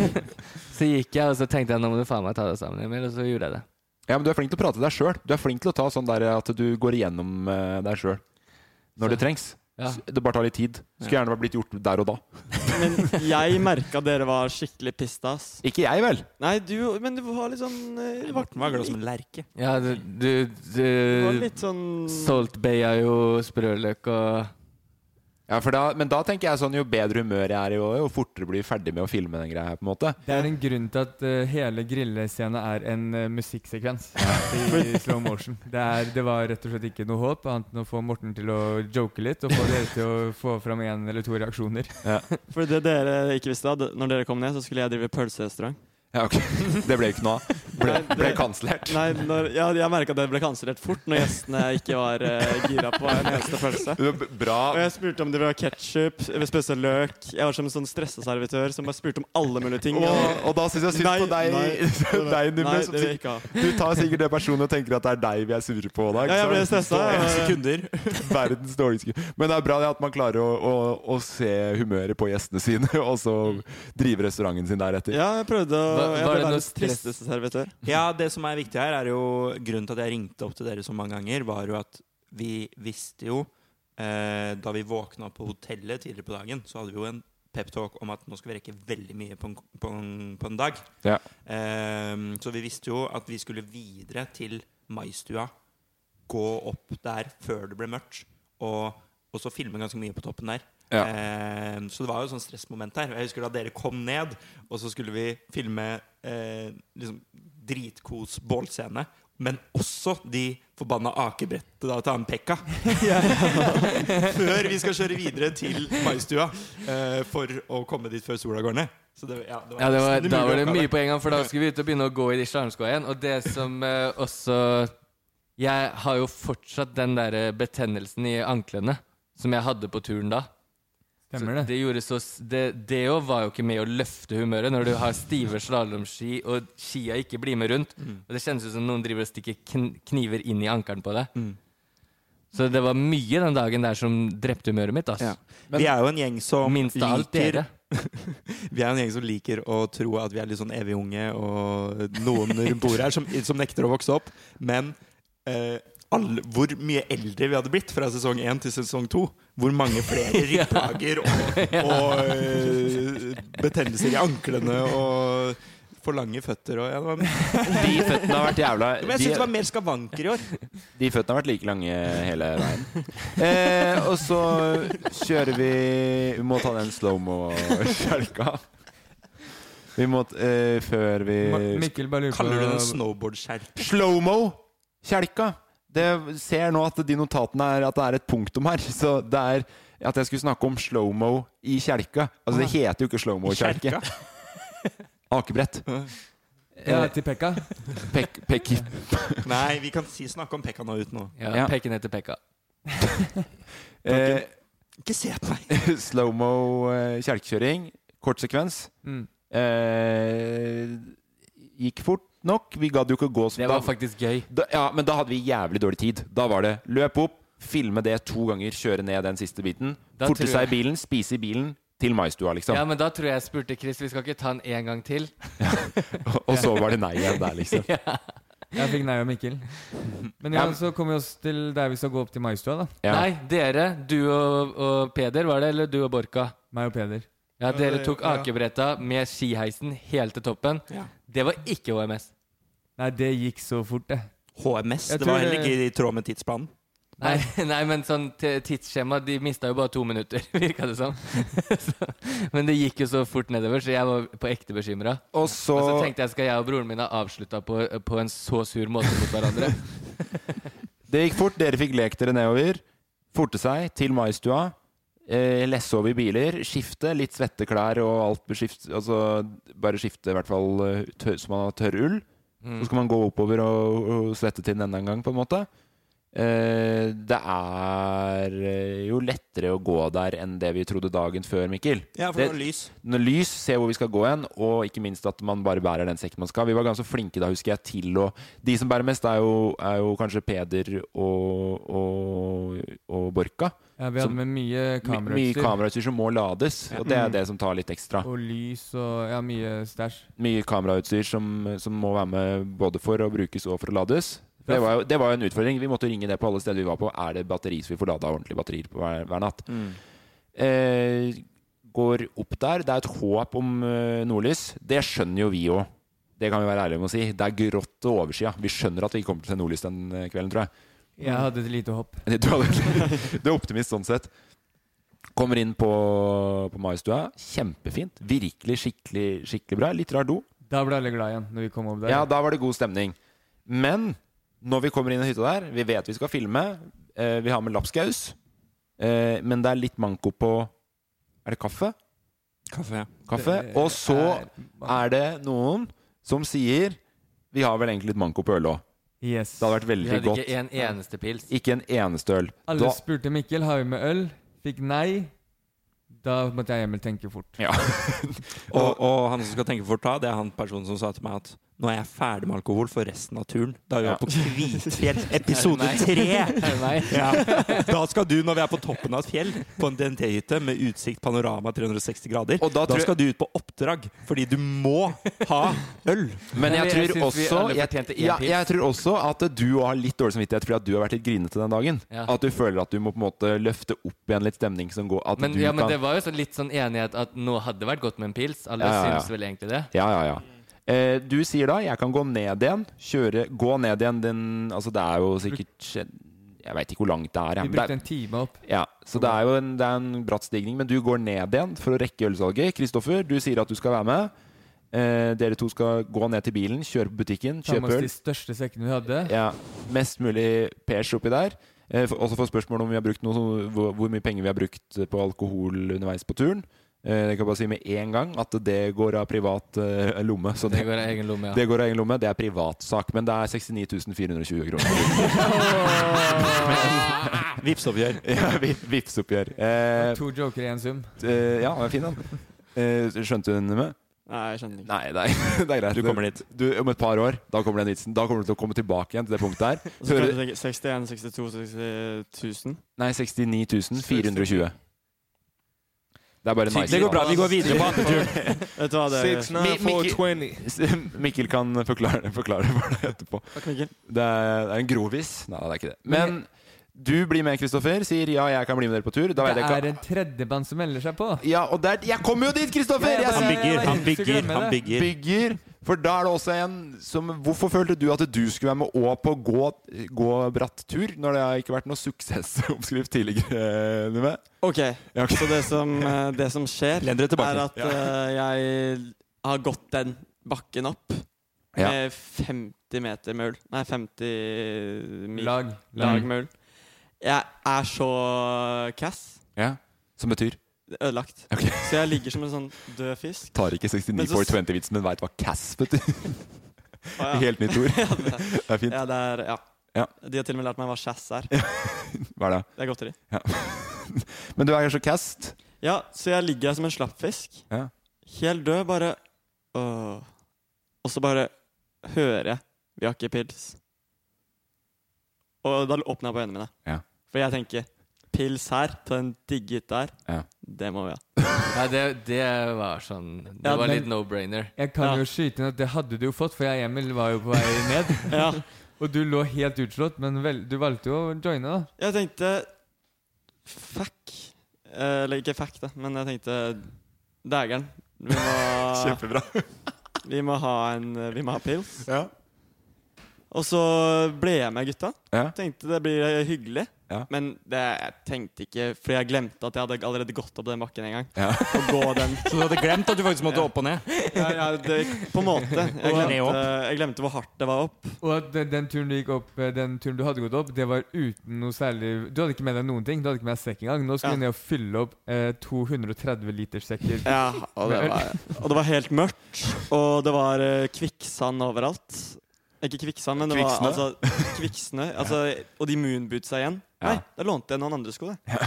Så gikk jeg, og så tenkte jeg nå må du faen meg ta deg sammen, Emil. Og så gjorde jeg det.
Ja, men du er flink til å prate til deg sjøl. Du er flink til å ta sånn der at du går igjennom eh, deg sjøl når det trengs.
Ja.
S- Det bare tar litt tid. Skulle gjerne vært blitt gjort der og da.
Men jeg merka dere var skikkelig pista, ass.
Ikke jeg, vel?
Nei, du Men du var litt sånn eh, du var-
Morten var glad som en lerke.
Ja, du, du,
du var
du
litt sånn
Salt Bay er jo sprøløk og
Ja, for da, men da tenker jeg sånn jo bedre humør jeg er i, jo- jo fortere blir jeg ferdig med å filme den greia her, på en måte.
Det er en grunn til at eh, hele grillescenen er en eh, musikksekvens i slow motion. Det, er, det var rett og slett ikke noe håp, annet enn å få Morten til å joke litt og få dere til å få fram én eller to reaksjoner.
For det dere ikke visste, da når dere kom ned, så skulle jeg drive pølserestaurant.
Ja, ok. Det ble ikke noe av. Ble, ble kansellert.
Nei, når, ja, jeg merka det ble kansellert fort når gjestene ikke var eh, gira på en eneste pølse.
Det var b- Bra.
Og jeg spurte om det var ketsjup, spesiell løk. Jeg var som en sånn stresseservitør som bare spurte om alle mulige ting.
Og, og da syns jeg synd på deg, deg Numme,
Nei, det vil
som
jeg
sikkert-
ikke ha.
Du tar sikkert det personen og tenker at det er deg vi er sure på. Da, ikke
Ja, jeg ble
sant?
stressa.
Sekunder.
Verdens dårligste Men det er bra det at man klarer å, å, å se humøret på gjestene sine, og så drive restauranten sin deretter.
Ja, jeg prøvde å
Hva-
Jeg
var det
ble
noe
verdens
stress?
tristeste servitør.
Ja, det som er viktig her, er jo grunnen til at jeg ringte opp til dere så mange ganger, var jo at vi visste jo eh, Da vi våkna på hotellet tidligere på dagen, så hadde vi jo en peptalk om at nå skal vi rekke veldig mye på en, på en, på en dag.
Ja.
Ehm, så vi visste jo at vi skulle videre til Maistua, gå opp der før det ble mørkt, og, og så filme ganske mye på toppen der.
Ja.
Ehm, så det var jo et sånt stressmoment her. Og Jeg husker da dere kom ned, og så skulle vi filme eh, liksom dritkos bålscene. Men også de forbanna akebrettet da til han Pekka. før vi skal kjøre videre til Maistua eh, for å komme dit før sola går ned. Så det, ja, det var
Ja, det var,
nesten
da var
umulig
det
oppgave.
mye på en gang, for da skulle vi ut og begynne å gå i de slalåmskoa igjen. Og det som eh, også Jeg har jo fortsatt den derre betennelsen i anklene som jeg hadde på turen da. Så
Stemmer det?
det gjorde så s- Det, det jo var jo ikke med å løfte humøret når du har stive slalåmski og skia ikke blir med rundt. Og det kjennes ut som noen driver og stikker kn kniver inn i ankelen på deg. Så det var mye den dagen der som drepte humøret mitt. Ass.
Ja. vi er jo en gjeng som
Minst av alt
liker
dere.
Vi er en gjeng som liker å tro at vi er litt sånn evig unge, og noen rundt bordet her som, som nekter å vokse opp. Men eh, alle, hvor mye eldre vi hadde blitt fra sesong én til sesong to. Hvor mange flere ryggplager og, og eh, betennelser i anklene og for lange føtter og ja, det var, Men
De føttene har vært jævla
jeg syns
de-
det var mer skavanker i år.
De føttene har vært like lange hele veien. Eh, og så kjører vi Vi må ta den slow-mo-kjelka. Vi må t- eh, Før vi
Ma- Mikkel bare lurer
Kaller du det en
på
snowboardskjerp?
Slow-mo-kjelka! Det ser nå at de notatene er at det er et punktum her. Så det er at jeg skulle snakke om slow-mo i kjelka. Altså, det heter jo ikke slow-mo-kjelke. Akebrett.
ja, til Pekka.
Eh, Pek, pek,
Nei, vi kan si snakke om Pekka nå uten å
Ja,
Ja.
Peken etter Pekka.
eh,
Ikke se på meg!
Slow-mo-kjelkekjøring. eh, Kort sekvens.
Mm.
Eh, gikk fort nok. Vi gadd jo ikke å gå så
Det var faktisk gøy.
da, ja, men da hadde vi jævlig dårlig tid. Da var det løp opp, filme det to ganger, kjøre ned den siste biten.
Da
Forte
tror
seg
jeg-
i bilen, spise i bilen, til maistua, liksom.
Ja, men da tror jeg jeg spurte Chris Vi skal ikke ta den en gang til.
Og så var det nei igjen der, liksom.
Jeg fikk nei av Mikkel. Men ja,
Ja, men-
så kommer vi oss til der vi skal gå opp til Maistua, da.
Nei, dere, du og, og Peder, var det? Eller du og Borka?
Meg og Peder.
Ja,
Ja,
dere
det-
tok
ja.
akebretta med skiheisen helt til toppen. Det var ikke HMS.
Nei, det gikk så fort, det.
HMS?
Jeg
Det
tror eh,
var heller
det-
eh,
ikke i tråd med tidsplanen.
Nei, nei men sånn t- tidsskjema De mista jo bare to minutter, virka det som. så, men det gikk jo så fort nedover, så jeg var på ekte bekymra.
Og så,
og så tenkte jeg skal jeg og broren min ha avslutta på, på en så sur måte mot hverandre.
Det gikk fort, dere fikk lekt dere nedover. Forte seg til maistua. Eh, lesse over i biler, skifte, litt svette klær og alt beskift, altså, Bare skifte i hvert fall eh, tør, så man har tørr ull.
Mm.
Så skal man gå oppover og, og svette til den enda en gang, på en måte. Eh, det er eh, jo lettere å gå der enn det vi trodde dagen før, Mikkel.
Ja, for det var lys.
Når lys, se hvor vi skal gå hen, og ikke minst at man bare bærer den sekken man skal. Vi var ganske flinke da, husker jeg, til å De som bærer mest, er jo, er jo kanskje Peder og, og, og Borka.
Ja, vi hadde
Som-
med mye
My, mye
kamerautstyr.
kamerautstyr som må lades, og det er det som tar litt ekstra.
Mm. Og lys og ja, mye stæsj.
Mye kamerautstyr som, som må være med både for å brukes og for å lades. Det var, jo, det var jo en utfordring. Vi måtte ringe det på alle steder vi var på. Er det batteri så vi får lada ordentlige batterier på hver, hver natt? Eh, går opp der. Det er et håp om eh, nordlys. Det skjønner jo vi òg. Det kan vi være ærlige med å si. Det er grått og overskya. Vi skjønner at vi ikke kommer til å se nordlys den eh, kvelden, tror jeg.
Jeg hadde et lite hopp.
Du hadde- du er optimist sånn sett. Kommer inn på, på Maistua. Kjempefint. Virkelig skikkelig, skikkelig bra. Litt rar do.
Da ble alle glad igjen når vi kom opp der.
Ja, da var det god stemning. Men når vi kommer inn i hytta der, vi vet vi skal filme, eh, vi har med lapskaus, eh, men det er litt manko på Er det kaffe?
Kaffe.
Kaffe. Og så er det noen som sier Vi har vel egentlig litt manko på øl òg.
Yes.
Det hadde vært
Vi
veldig
hadde
godt.
ikke en eneste pils.
Ikke en eneste øl.
Alle
Da-
spurte Mikkel har vi med øl. Fikk nei. Da måtte jeg hjem og tenke fort.
Ja.
Og, og han som skal tenke fort da, det er han personen som sa til meg at nå er jeg ferdig med alkohol for resten av turen. Da er vi
Ja.
på Kvitfjell, episode
Er det meg?
tre!
Er det meg?
Ja. Da skal du, når vi er på toppen av et fjell, på en dentehytte med utsikt, panorama 360 grader,
Og da
da,
tror jeg-
skal du ut på oppdrag, fordi du må ha øl!
Men jeg,
Jeg
tror
synes vi
også
alle
jeg,
fortjente én
ja,
pils.
jeg tror også at du også har litt dårlig samvittighet fordi at du har vært litt grinete den dagen.
Ja.
At du føler at du må på en måte løfte opp igjen litt stemning som går at
Men,
du
ja, men det
kan
var jo sånn litt sånn enighet at nå hadde det vært godt med en pils. Alle
Ja, ja, ja.
syns vel egentlig det.
Ja, ja, ja. Eh, du sier da 'jeg kan gå ned igjen'. Kjøre, gå ned igjen den Altså, det er jo sikkert Jeg veit ikke hvor langt det
Vi
er. jeg, Men
brukte
det er
en time opp.
ja, så det er jo en, det er en bratt stigning, men du går ned igjen for å rekke ølsalget. Kristoffer, du sier at du skal være med. Eh, dere to skal gå ned til bilen, kjøre på butikken,
Ta med
kjøpe
oss
øl.
de største sekkene vi hadde.
Ja, mest mulig pers oppi der. Eh, for- også få spørsmål om vi har brukt noe, sånn- hvor, hvor mye penger vi har brukt på alkohol underveis på turen. Eh, jeg kan bare si med en gang at det går av privat eh, lomme. Så
Det
det,
går av egen lomme, ja.
det går av egen lomme. Det er privatsak, men det er 69 420 kroner.
Vipsoppgjør.
ja, vi- Vipsoppgjør. Eh,
To joker i én sum.
eh, ja, den er fin, den. Eh, skjønte hun den med?
Nei, jeg skjønner ikke.
Nei, det er, det er greit.
Du kommer dit.
Du, om et par år, da kommer den vitsen. Da kommer du til å komme tilbake igjen til det punktet der.
Og så
Hører-
kan jeg tenke 61, 62, 60 000.
Nei, 69 420. Det er bare nice.
Det går bra, vi går videre på andre turen.
Vet du hva det er?
Six, nine, four,
Mikkel-
20.
Mikkel kan forklare, forklare for deg etterpå.
Takk, Mikkel.
Det er, det er en grovis. Nei, det er ikke det. Men du blir med, Kristoffer. Sier ja, jeg kan bli med dere på tur. Da
Det
vet jeg
er
ikke
en tredjemann som melder seg på.
Ja, og der Jeg kommer jo dit, Kristoffer!
Ja, ja,
Altså,
Han
Jeg
bygger, han bygger, han bygger.
bygger. For da er det også en som Hvorfor følte du at du skulle være med òg på gå, gå bratt tur, når det har ikke vært noe suksessoppskrift tidligere? Nume?
Ok,
Ja, ok.
så det som, eh, det som skjer,
Len dere tilbake.
er at eh, jeg har gått den bakken opp
Ja.
med 50 meter med ull. Nei, 50 mil.
Lag.
Lag,
Mm.
Lag.
med ull. Jeg er så cass.
Ja. Som betyr
Ødelagt.
Ok.
Så jeg ligger som en sånn død fisk.
Tar ikke
Men
69
så-
for 20-vitsen, men veit hva cass betyr.
Å, ja.
Helt nytt ord. Det er fint.
Ja, det er, ja.
Ja.
De har til og med lært meg hva chass er.
Hva er det?
Det er godteri.
Men du er så cast.
Ja, så jeg ligger her som en slappfisk.
Ja.
Helt død, bare Åh. Og så bare hører jeg Vi har ikke pils. Og da åpner jeg på øynene mine.
Ja.
For jeg tenker Pils her, på den digge hytta her,
Ja.
det må vi ha.
Ja, det, det var sånn Det
Ja,
var
men-
litt no-brainer.
Jeg kan
Ja.
jo skyte inn at det hadde du jo fått, for jeg og Emil var jo på vei ned. Og du lå helt utslått, men vel, du valgte jo å joine, da.
Jeg tenkte Fuck. Eh, Eller ikke fuck, da, men jeg tenkte Dægeren. Vi må
Kjempebra.
vi må ha en Vi må ha pils.
Ja.
Og så ble jeg med gutta.
Ja.
Tenkte det blir hyggelig.
Ja.
Men det, jeg tenkte ikke Fordi jeg glemte at jeg hadde allerede gått opp den bakken en gang.
Ja.
Og gå den
Så du hadde glemt at du faktisk måtte opp og ned?
Ja, ja det, på en måte. Jeg
Og ned
glemte,
opp.
jeg glemte hvor hardt det var opp.
Og at den, den turen du gikk opp eh, Den turen du hadde gått opp, det var uten noe særlig Du hadde ikke med deg noen ting. Du hadde ikke med deg sekk engang. Nå skulle
Ja.
du ned og fylle opp eh, 230 liters sekker.
Ja, og det,
med øl.
var, og det var helt mørkt. Og det var eh, kvikksand overalt. Ikke kvikksand, men det var
Kvikksnø?
altså, kvikksnø. Altså, og de moonbootsa igjen. Nei, da lånte jeg noen andre sko, det.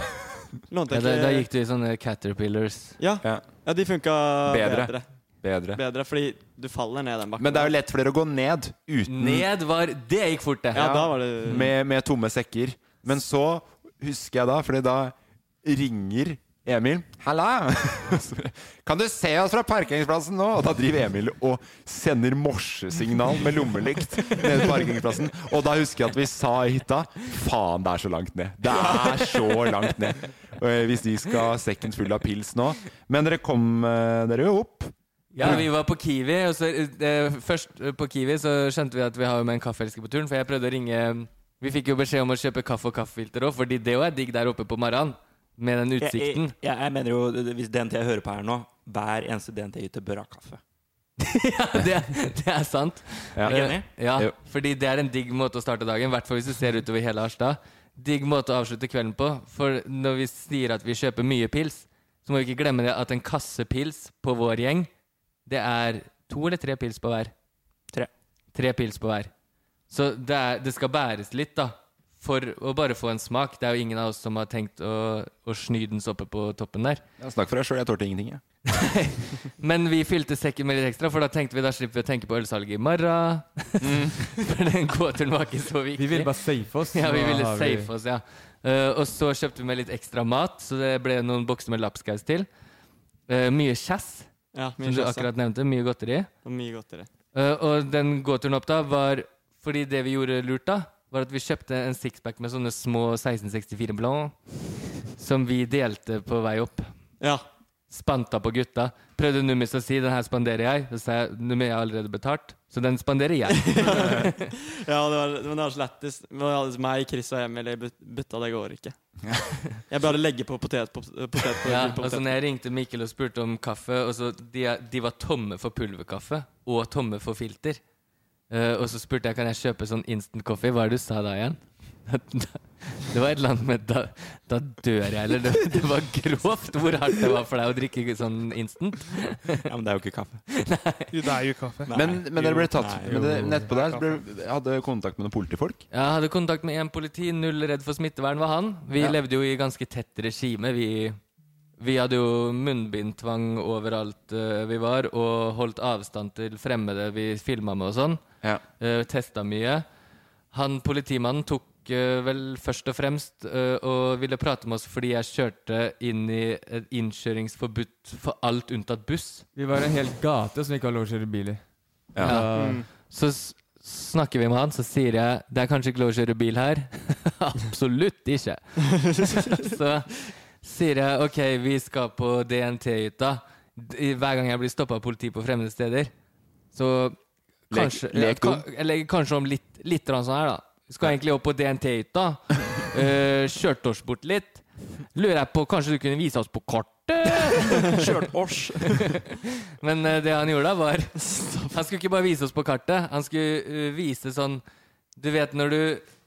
Lånte
Ja,
jeg
da, da
ikke
gikk du i sånne caterpillars.
Ja,
Sånn Ja.
ja de funka
Bedre.
bedre.
Bedre.
Bedre, fordi du faller ned den bakken.
Men det er jo lett for dere å gå ned uten
Ned var Det gikk fort, det.
Ja, da var det
med, med tomme sekker. Men så husker jeg da, Fordi da ringer Emil. 'Halla! Kan du se oss fra parkeringsplassen nå?' Og da driver Emil og sender morsesignal med lommelykt ned på parkeringsplassen. Og da husker jeg at vi sa i hytta 'Faen, det er så langt ned'. Det er så langt ned. Eh, Hvis de skal ha sekken full av pils nå. Men dere kom eh, dere jo opp.
Ja, vi var på Kiwi, og så eh, først eh, på Kiwi så skjønte vi at vi har jo med en kaffeelsker på turen, for jeg prøvde å ringe Vi fikk jo beskjed om å kjøpe kaffe og kaffefilter òg, fordi det òg er digg der oppe på Maran. Med den
Jeg,
utsikten.
jeg, jeg, jeg mener jo, hvis DNT hører på her nå, hver eneste DNT-yter bør ha kaffe.
Ja, det, det er sant.
Ja.
Er du enig?
Eh, Ja,
Jo.
fordi det er en digg måte å starte dagen, i hvert fall hvis du ser utover hele Harstad. Digg måte å avslutte kvelden på, for når vi sier at vi kjøper mye pils, så må vi ikke glemme det at en kasse pils på vår gjeng, det er to eller tre pils på hver.
Tre.
Tre pils på hver. Så det, er, det skal bæres litt, da. For å bare få en smak. Det er jo ingen av oss som har tenkt å, å sny den så oppe på toppen der.
Ja, Snakk for deg sjøl, jeg tålte ingenting. Jeg.
Men vi fylte sekken med litt ekstra, for da tenkte vi da slipper vi å tenke på ølsalget i morgen.
Mm.
for den gåturen var ikke så viktig.
Vi ville bare safe oss.
Ja, vi
Nå
ville
har vi-
safe oss, ja. Eh, og så kjøpte vi med litt ekstra mat, så det ble noen bokser med lapskaus til. Eh, mye kjass,
ja, mye
som du
kjass, ja.
akkurat nevnte. Mye godteri.
Det var Mye godtere.
Eh, og den gåturen opp da var Fordi det vi gjorde lurt da, var at vi kjøpte en sixpack med sånne små 1664 Blanc som vi delte på vei opp.
Ja.
Spanta på gutta. Prøvde Nummis å si 'den her spanderer jeg'. Så sa jeg 'Nummi, jeg har allerede betalt', så den spanderer jeg.
ja, det var, men det var så lættis. Men det var Meg, Chris og Emil i but- butta, det går ikke. Jeg bare legger på potet på potet. på-
Ja, altså-
på
og så
potet.
når jeg ringte Mikkel og spurte om kaffe, og så de, er- de var tomme for pulverkaffe og tomme for filter. Eh, og så spurte jeg kan jeg kjøpe sånn instant coffee. Hva er det du sa da igjen? Det var et eller annet med da, da dør jeg, eller det, det var grovt hvor hardt det var for deg å drikke sånn instant.
Ja, men det er jo ikke kaffe.
Jo, det er jo kaffe.
Nei.
Men, men dere ble tatt
Nei,
men det, Netpå der så ble, hadde kontakt med noen politifolk.
Jeg hadde kontakt med én politi, null redd for smittevern var han. Vi
Ja.
levde jo i ganske tett regime. Vi, vi hadde jo munnbindtvang overalt eh, vi var, og holdt avstand til fremmede vi filma med og sånn.
Ja.
Uh, Testa mye. Han politimannen tok eh, vel først og fremst eh, og ville prate med oss fordi jeg kjørte inn i et innkjøringsforbud for alt unntatt buss.
Vi var en hel gate som ikke har lov å kjøre bil i. Mm.
Ja.
Ja. Så s- snakker vi med han, så sier jeg det er kanskje ikke lov å kjøre bil her. Absolutt ikke. så sier jeg ok, vi skal på DNT-hytta. D- Hver gang jeg blir stoppa av politi på fremmede steder, så
Lek-
kanskje
lek
ja, ka- Eller kanskje om litt, litt grann sånn her, da. Skal egentlig opp på DNT-hytta. Eh, kjørte oss bort litt. Lurer jeg på, kanskje du kunne vise oss på kartet?
Kjørt års.
Men eh, det han gjorde da, var Han skulle ikke bare vise oss på kartet. Han skulle eh, vise sånn Du vet når du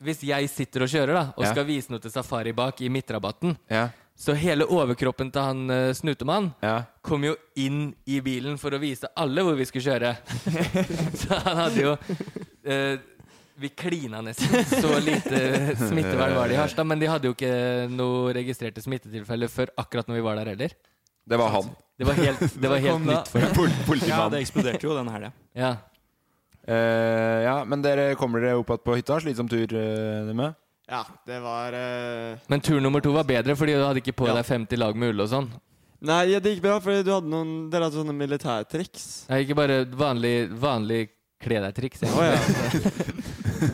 Hvis jeg sitter og kjører, da, og
Ja.
skal vise noe til Safari bak i midtrabatten,
Ja.
så hele overkroppen til han eh, Snutemann
Ja.
kom jo inn i bilen for å vise alle hvor vi skulle kjøre. så han hadde jo eh, Vi klina nesten. Så lite smittevern var det i Harstad. Men de hadde jo ikke noe registrerte smittetilfeller før akkurat når vi var der heller.
Det var han.
Det var helt, det var helt nytt for dem.
Pol
Ja,
politimann.
det eksploderte jo den helga.
Ja.
Eh, ja, men dere kommer dere opp igjen på hytta? Slitsom tur eh, med?
ja, det var eh,
Men tur nummer to var bedre, fordi du hadde ikke på
Ja.
deg 50 lag med ull og sånn.
Nei, ja, det gikk bra, for du hadde noen, dere hadde sånne militærtriks.
Nei, ikke bare vanlig, vanlig kle deg-triks.
Å ja.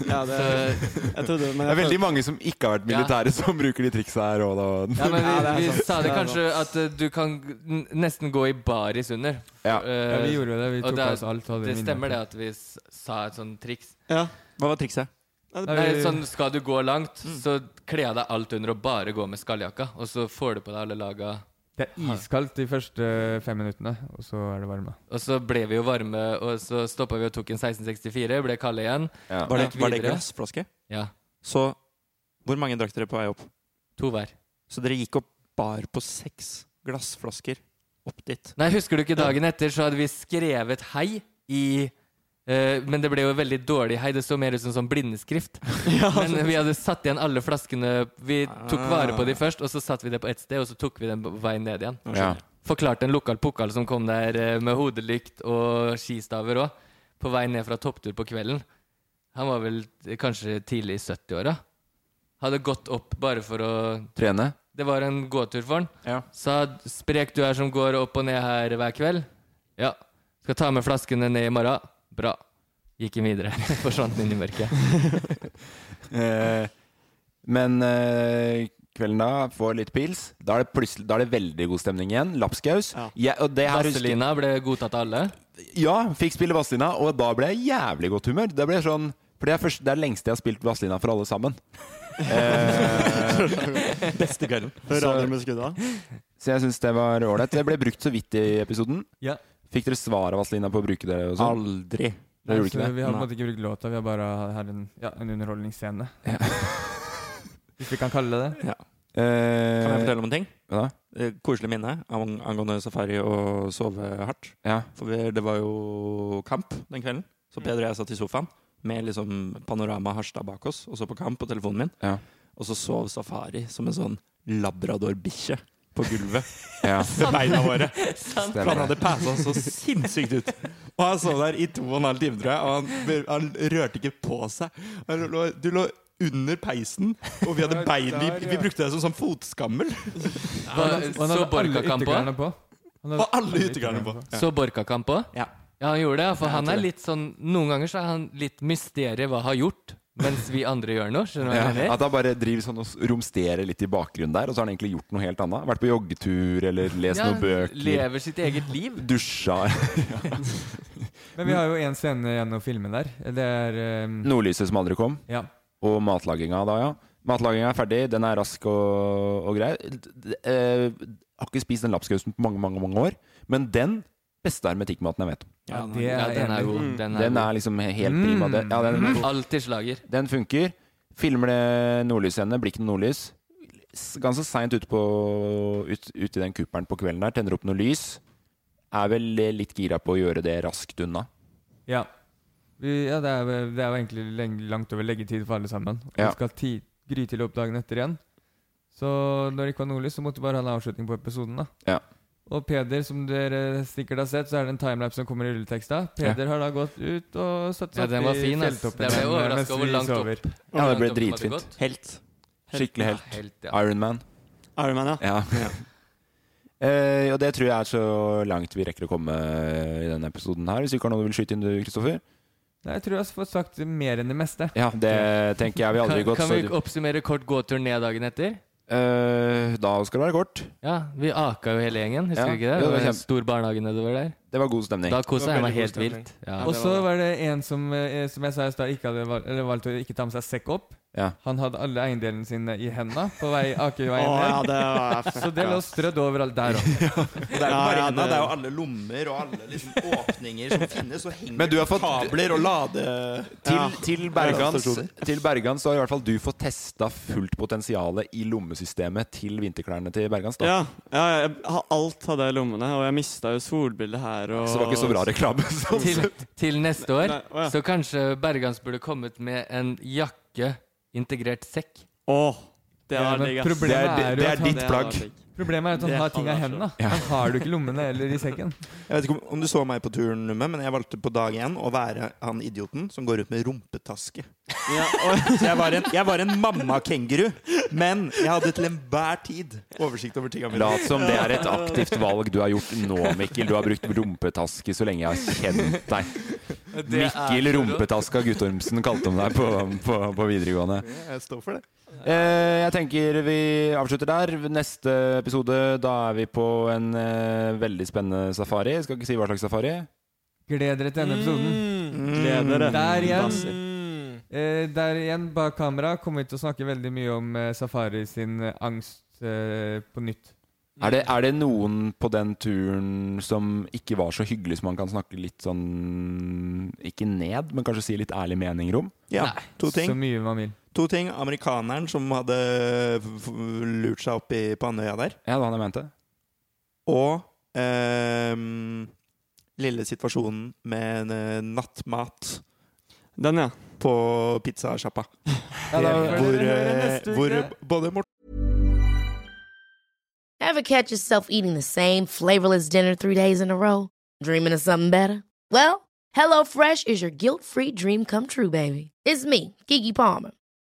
ja det, jeg trodde, men
Det er
jeg
veldig mange som ikke har vært militære, som bruker de triksa her. Og da.
Ja, men vi,
Ja, det er
vi
sant.
sa det
Det er
kanskje at eh, du kan g- n- nesten gå i baris under.
Ja.
Eh,
Ja, vi gjorde det. Vi
og
tok
det er-
av oss alt. hadde
det
vi
stemmer det
minnet.
at vi s- sa et sånt triks.
Ja.
Hva var trikset?
Nei,
Nei,
vi-
sånn, skal du gå langt,
Mm.
så kle av deg alt under og bare gå med skalljakka. Og så får du på deg alle laga.
Det er iskaldt de første fem minuttene, og så er det varme.
Og så ble vi jo varme, og så stoppa vi og tok en 1664, ble kalde igjen.
Ja.
Var det,
Gikk
var det
videre.
glassflaske?
Ja,
Så hvor mange drakk dere på vei opp?
to hver.
Så dere gikk opp bar på seks glassflasker opp dit.
Nei, husker du ikke dagen etter, så hadde vi skrevet hei i eh, men det ble jo veldig dårlig hei. Det så mer ut som sånn blindeskrift. Men vi hadde satt igjen alle flaskene. Vi tok
Ah.
vare på de først, og så satte vi det på ett sted, og så tok vi den på vei ned igjen.
Ja.
Forklarte en lokal pokal som kom der eh, med hodelykt og skistaver òg, på vei ned fra topptur på kvelden. Han var vel eh, kanskje tidlig i 70-åra. Hadde gått opp bare for å
Trene.
Det var en gåtur for han.
Ja.
Sa 'sprek du er som går opp og ned her hver kveld'? Ja. Skal ta med flaskene ned i morgen? Bra. Gikk han videre. Forsvant inn i mørket.
Eh, men eh, kvelden da får litt pils. Da er det, plutselig- da er det veldig god stemning igjen. Lapskaus.
Ja.
Jeg- og det her husker-
Vazelina ble godtatt av alle.
Ja, fikk spille Vazelina, og da ble jeg jævlig godt humør. Det ble sånn For det er, først, det er lengste jeg har spilt Vazelina for alle sammen. Eh,
Beste kvelden.
Hører aldri med skudda.
Så jeg syns det var ålreit. Det ble brukt så vidt i episoden.
Ja.
Fikk dere svar av Vazelina på å bruke det? Og sånn?
Aldri.
Dere gjorde
Så
ikke det?
vi har på en
Nei.
måte ikke brukt låta, vi har bare hatt en, ja, en underholdningsscene. Hvis vi kan kalle det det.
Kan jeg
Eh,
fortelle om en ting?
hva da?
Eh, Koselig minne ang- angående safari og sove hardt.
Ja. Mm.
For vi, det var jo kamp den kvelden. Så Peder og jeg satt i sofaen med liksom panorama Harstad bak oss, og så på kamp på telefonen min.
Ja.
Og så sov Safari som en sånn labradorbikkje på gulvet
ja.
ved beina våre. For han
Stemmer det.
hadde passa så sinnssykt ut.
Og han så der i to og en halv time, tror jeg, og han, rørte ikke på seg. du lå under peisen, og vi hadde bein
i- vi
brukte det som sånn fotskammel.
Hva-
Og han
Så
hadde alle
Borkakamp òg?
yttergærene på. Han hadde
Og alle yttergreiene på.
Så Borkakamp òg?
Ja.
Ja, han gjorde det. For han
tror
er
det.
litt sånn Noen ganger så er han litt mysteriet hva har gjort, mens vi andre gjør noe. Skjønner du hva jeg
Ja,
mener?
at han bare driver sånn og s- romsterer litt i bakgrunnen der, og så har han egentlig gjort noe helt annet. Vært på joggetur eller lest
Ja,
noen bøker.
lever sitt eget liv.
Dusja.
Men vi har jo en scene igjen å filme der. Det er ehm,
Nordlyset som aldri kom.
Ja.
Og matlaginga da, ja. Matlaginga er ferdig, den er rask og, og grei. D- eh, Har ikke spist den lapskausen på mange, mange mange år, men den beste hermetikkmaten jeg vet om.
ja,
den
det
Ja,
er
den er
enig. Mm.
god. Den er god.
Den
Mm.
er liksom he- helt prima. Den, ja, den,
Alltid slager.
den funker. Filmer det nordlysscene, blir ikke noe nordlys. S- Ganske seint ute, på- ut, ut i den kuppelen på kvelden der, tenner opp noe lys. Er vel eh, litt gira på å gjøre det raskt unna.
Ja. Vi, ja det, er, vel- det er jo egentlig lenge, langt over leggetid for alle sammen. Og
Ja.
Vi skal ti, gry til opp dagen etter igjen. Så når det ikke var nordlys, så måtte vi bare ha en avslutning på episoden. da
Ja.
Og Peder, som dere sikkert har sett, så er det en timelapse som kommer i rulleteksta. Peder har da gått ut og satt
Ja,
seg
den var
opp i
fin, ass.
fjelltoppen
Jeg ble
igjen,
overrasket
mens
over
vi
langt opp.
sover.
Ja, det ble
Hvordan hadde det
dritfint.
gått?
Helt.
Skikkelig helt.
Helt, ja.
Ironman.
Ironman, ja.
Ja. Eh, og det tror jeg er så langt vi rekker å komme eh, i denne episoden her. Hvis du ikke har noe du vil skyte inn, du, Kristoffer?
Nei, Jeg tror jeg har fått sagt mer enn det meste.
Ja, det tenker jeg vi aldri
Kan,
gått
kan
så
vi oppsummere kort gåtur ned dagen etter?
Eh, Da skal det være kort.
Ja, vi aka jo hele gjengen, husker
Ja.
du ikke det?
Jo, det
Det
var
var en
kjempe-
stor barnehage nedover der.
Det var god stemning.
Da kosa
Det
jeg
var
meg
veldig
helt
god stemning.
vilt. Ja.
Og så var det en som, eh, som jeg sa i stad, ikke hadde valgt, eller valgte å ikke ta med seg sekk opp.
Ja.
Han hadde alle eiendelene sine i henda på vei Akerveien
Å,
ned.
ja, det var
Så det lå strødd overalt der òg.
Det er jo
Ja,
bare
ja,
enda,
det-
det er jo alle lommer og alle liksom åpninger som finnes, og henger
Men du har fått-
kabler og lade...
Til,
Ja.
til, Bergans, til Bergans så har i hvert fall du fått testa fullt potensialet i lommesystemet til vinterklærne til Bergans. Da.
Ja, ja, jeg, ha- alt hadde jeg i lommene, og jeg mista jo solbildet her. Og,
Så det var ikke så bra reklame. sånn
til,
sett.
til neste år
Nei, å ja.
så kanskje Bergans burde kommet med en jakke, integrert sekk.
Åh,
Det
Ja,
hadde
men
vært digg, ass.
problemet er jo at han- Problemet er at han
Det
har ting i
hadde vært
hendene.
så-
Han har det ikke i lommene eller i sekken.
Jeg vet ikke om, om du så meg på turen, Numme, men jeg valgte på dag én å være han idioten som går rundt med rumpetaske. Så jeg var en, jeg var en mammakenguru, men jeg hadde til enhver tid oversikt over tingene mine.
Lat som det er et aktivt valg du har gjort nå, Mikkel. Du har brukt rumpetaske så lenge jeg har kjent deg.
Det er
Mikkel
så rått.
Rumpetaska Guttormsen kalte de deg på, på, på videregående.
Jeg står for det.
Eh, jeg tenker vi avslutter der. Neste episode, da er vi på en eh, veldig spennende safari. Skal ikke si hva slags safari.
Gled dere til denne episoden. Mm.
Gled dere.
Der igjen.
Basser.
Eh, der igjen bak kamera kommer vi til å snakke veldig mye om eh, Safari sin eh, angst eh, på nytt.
Er det, er det noen på den turen som ikke var så hyggelig, som man kan snakke litt sånn Ikke ned, men kanskje si litt ærlige meninger om?
Ja, to ting.
Så mye man vil.
To ting. Amerikaneren som hadde f- f- lurt seg opp i, på Andøya der.
Ja, det var han jeg mente.
Og ehm, lille situasjonen med en, eh, nattmat
Den, ja.
på pizzasjappa.
Ja, da-
hvor, eh,
Neste uke.
hvor både Morten
Ever catch yourself eating the same flavorless dinner three days in a row? Dreaming of something better? Well, HelloFresh is your guilt free dream come true, baby. It's me, Gigi Palmer.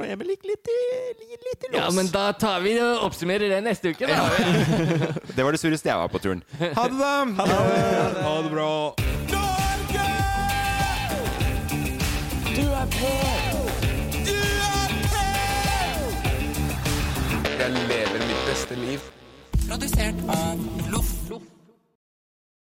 og Emil gikk litt i, litt- litt i lås.
Ja, men da tar vi og oppsummerer det neste uke, da.
Det var det sureste jeg var på turen.
Ha det, da!
Ha det bra.
Jeg lever mitt beste liv. Produsert av Loff.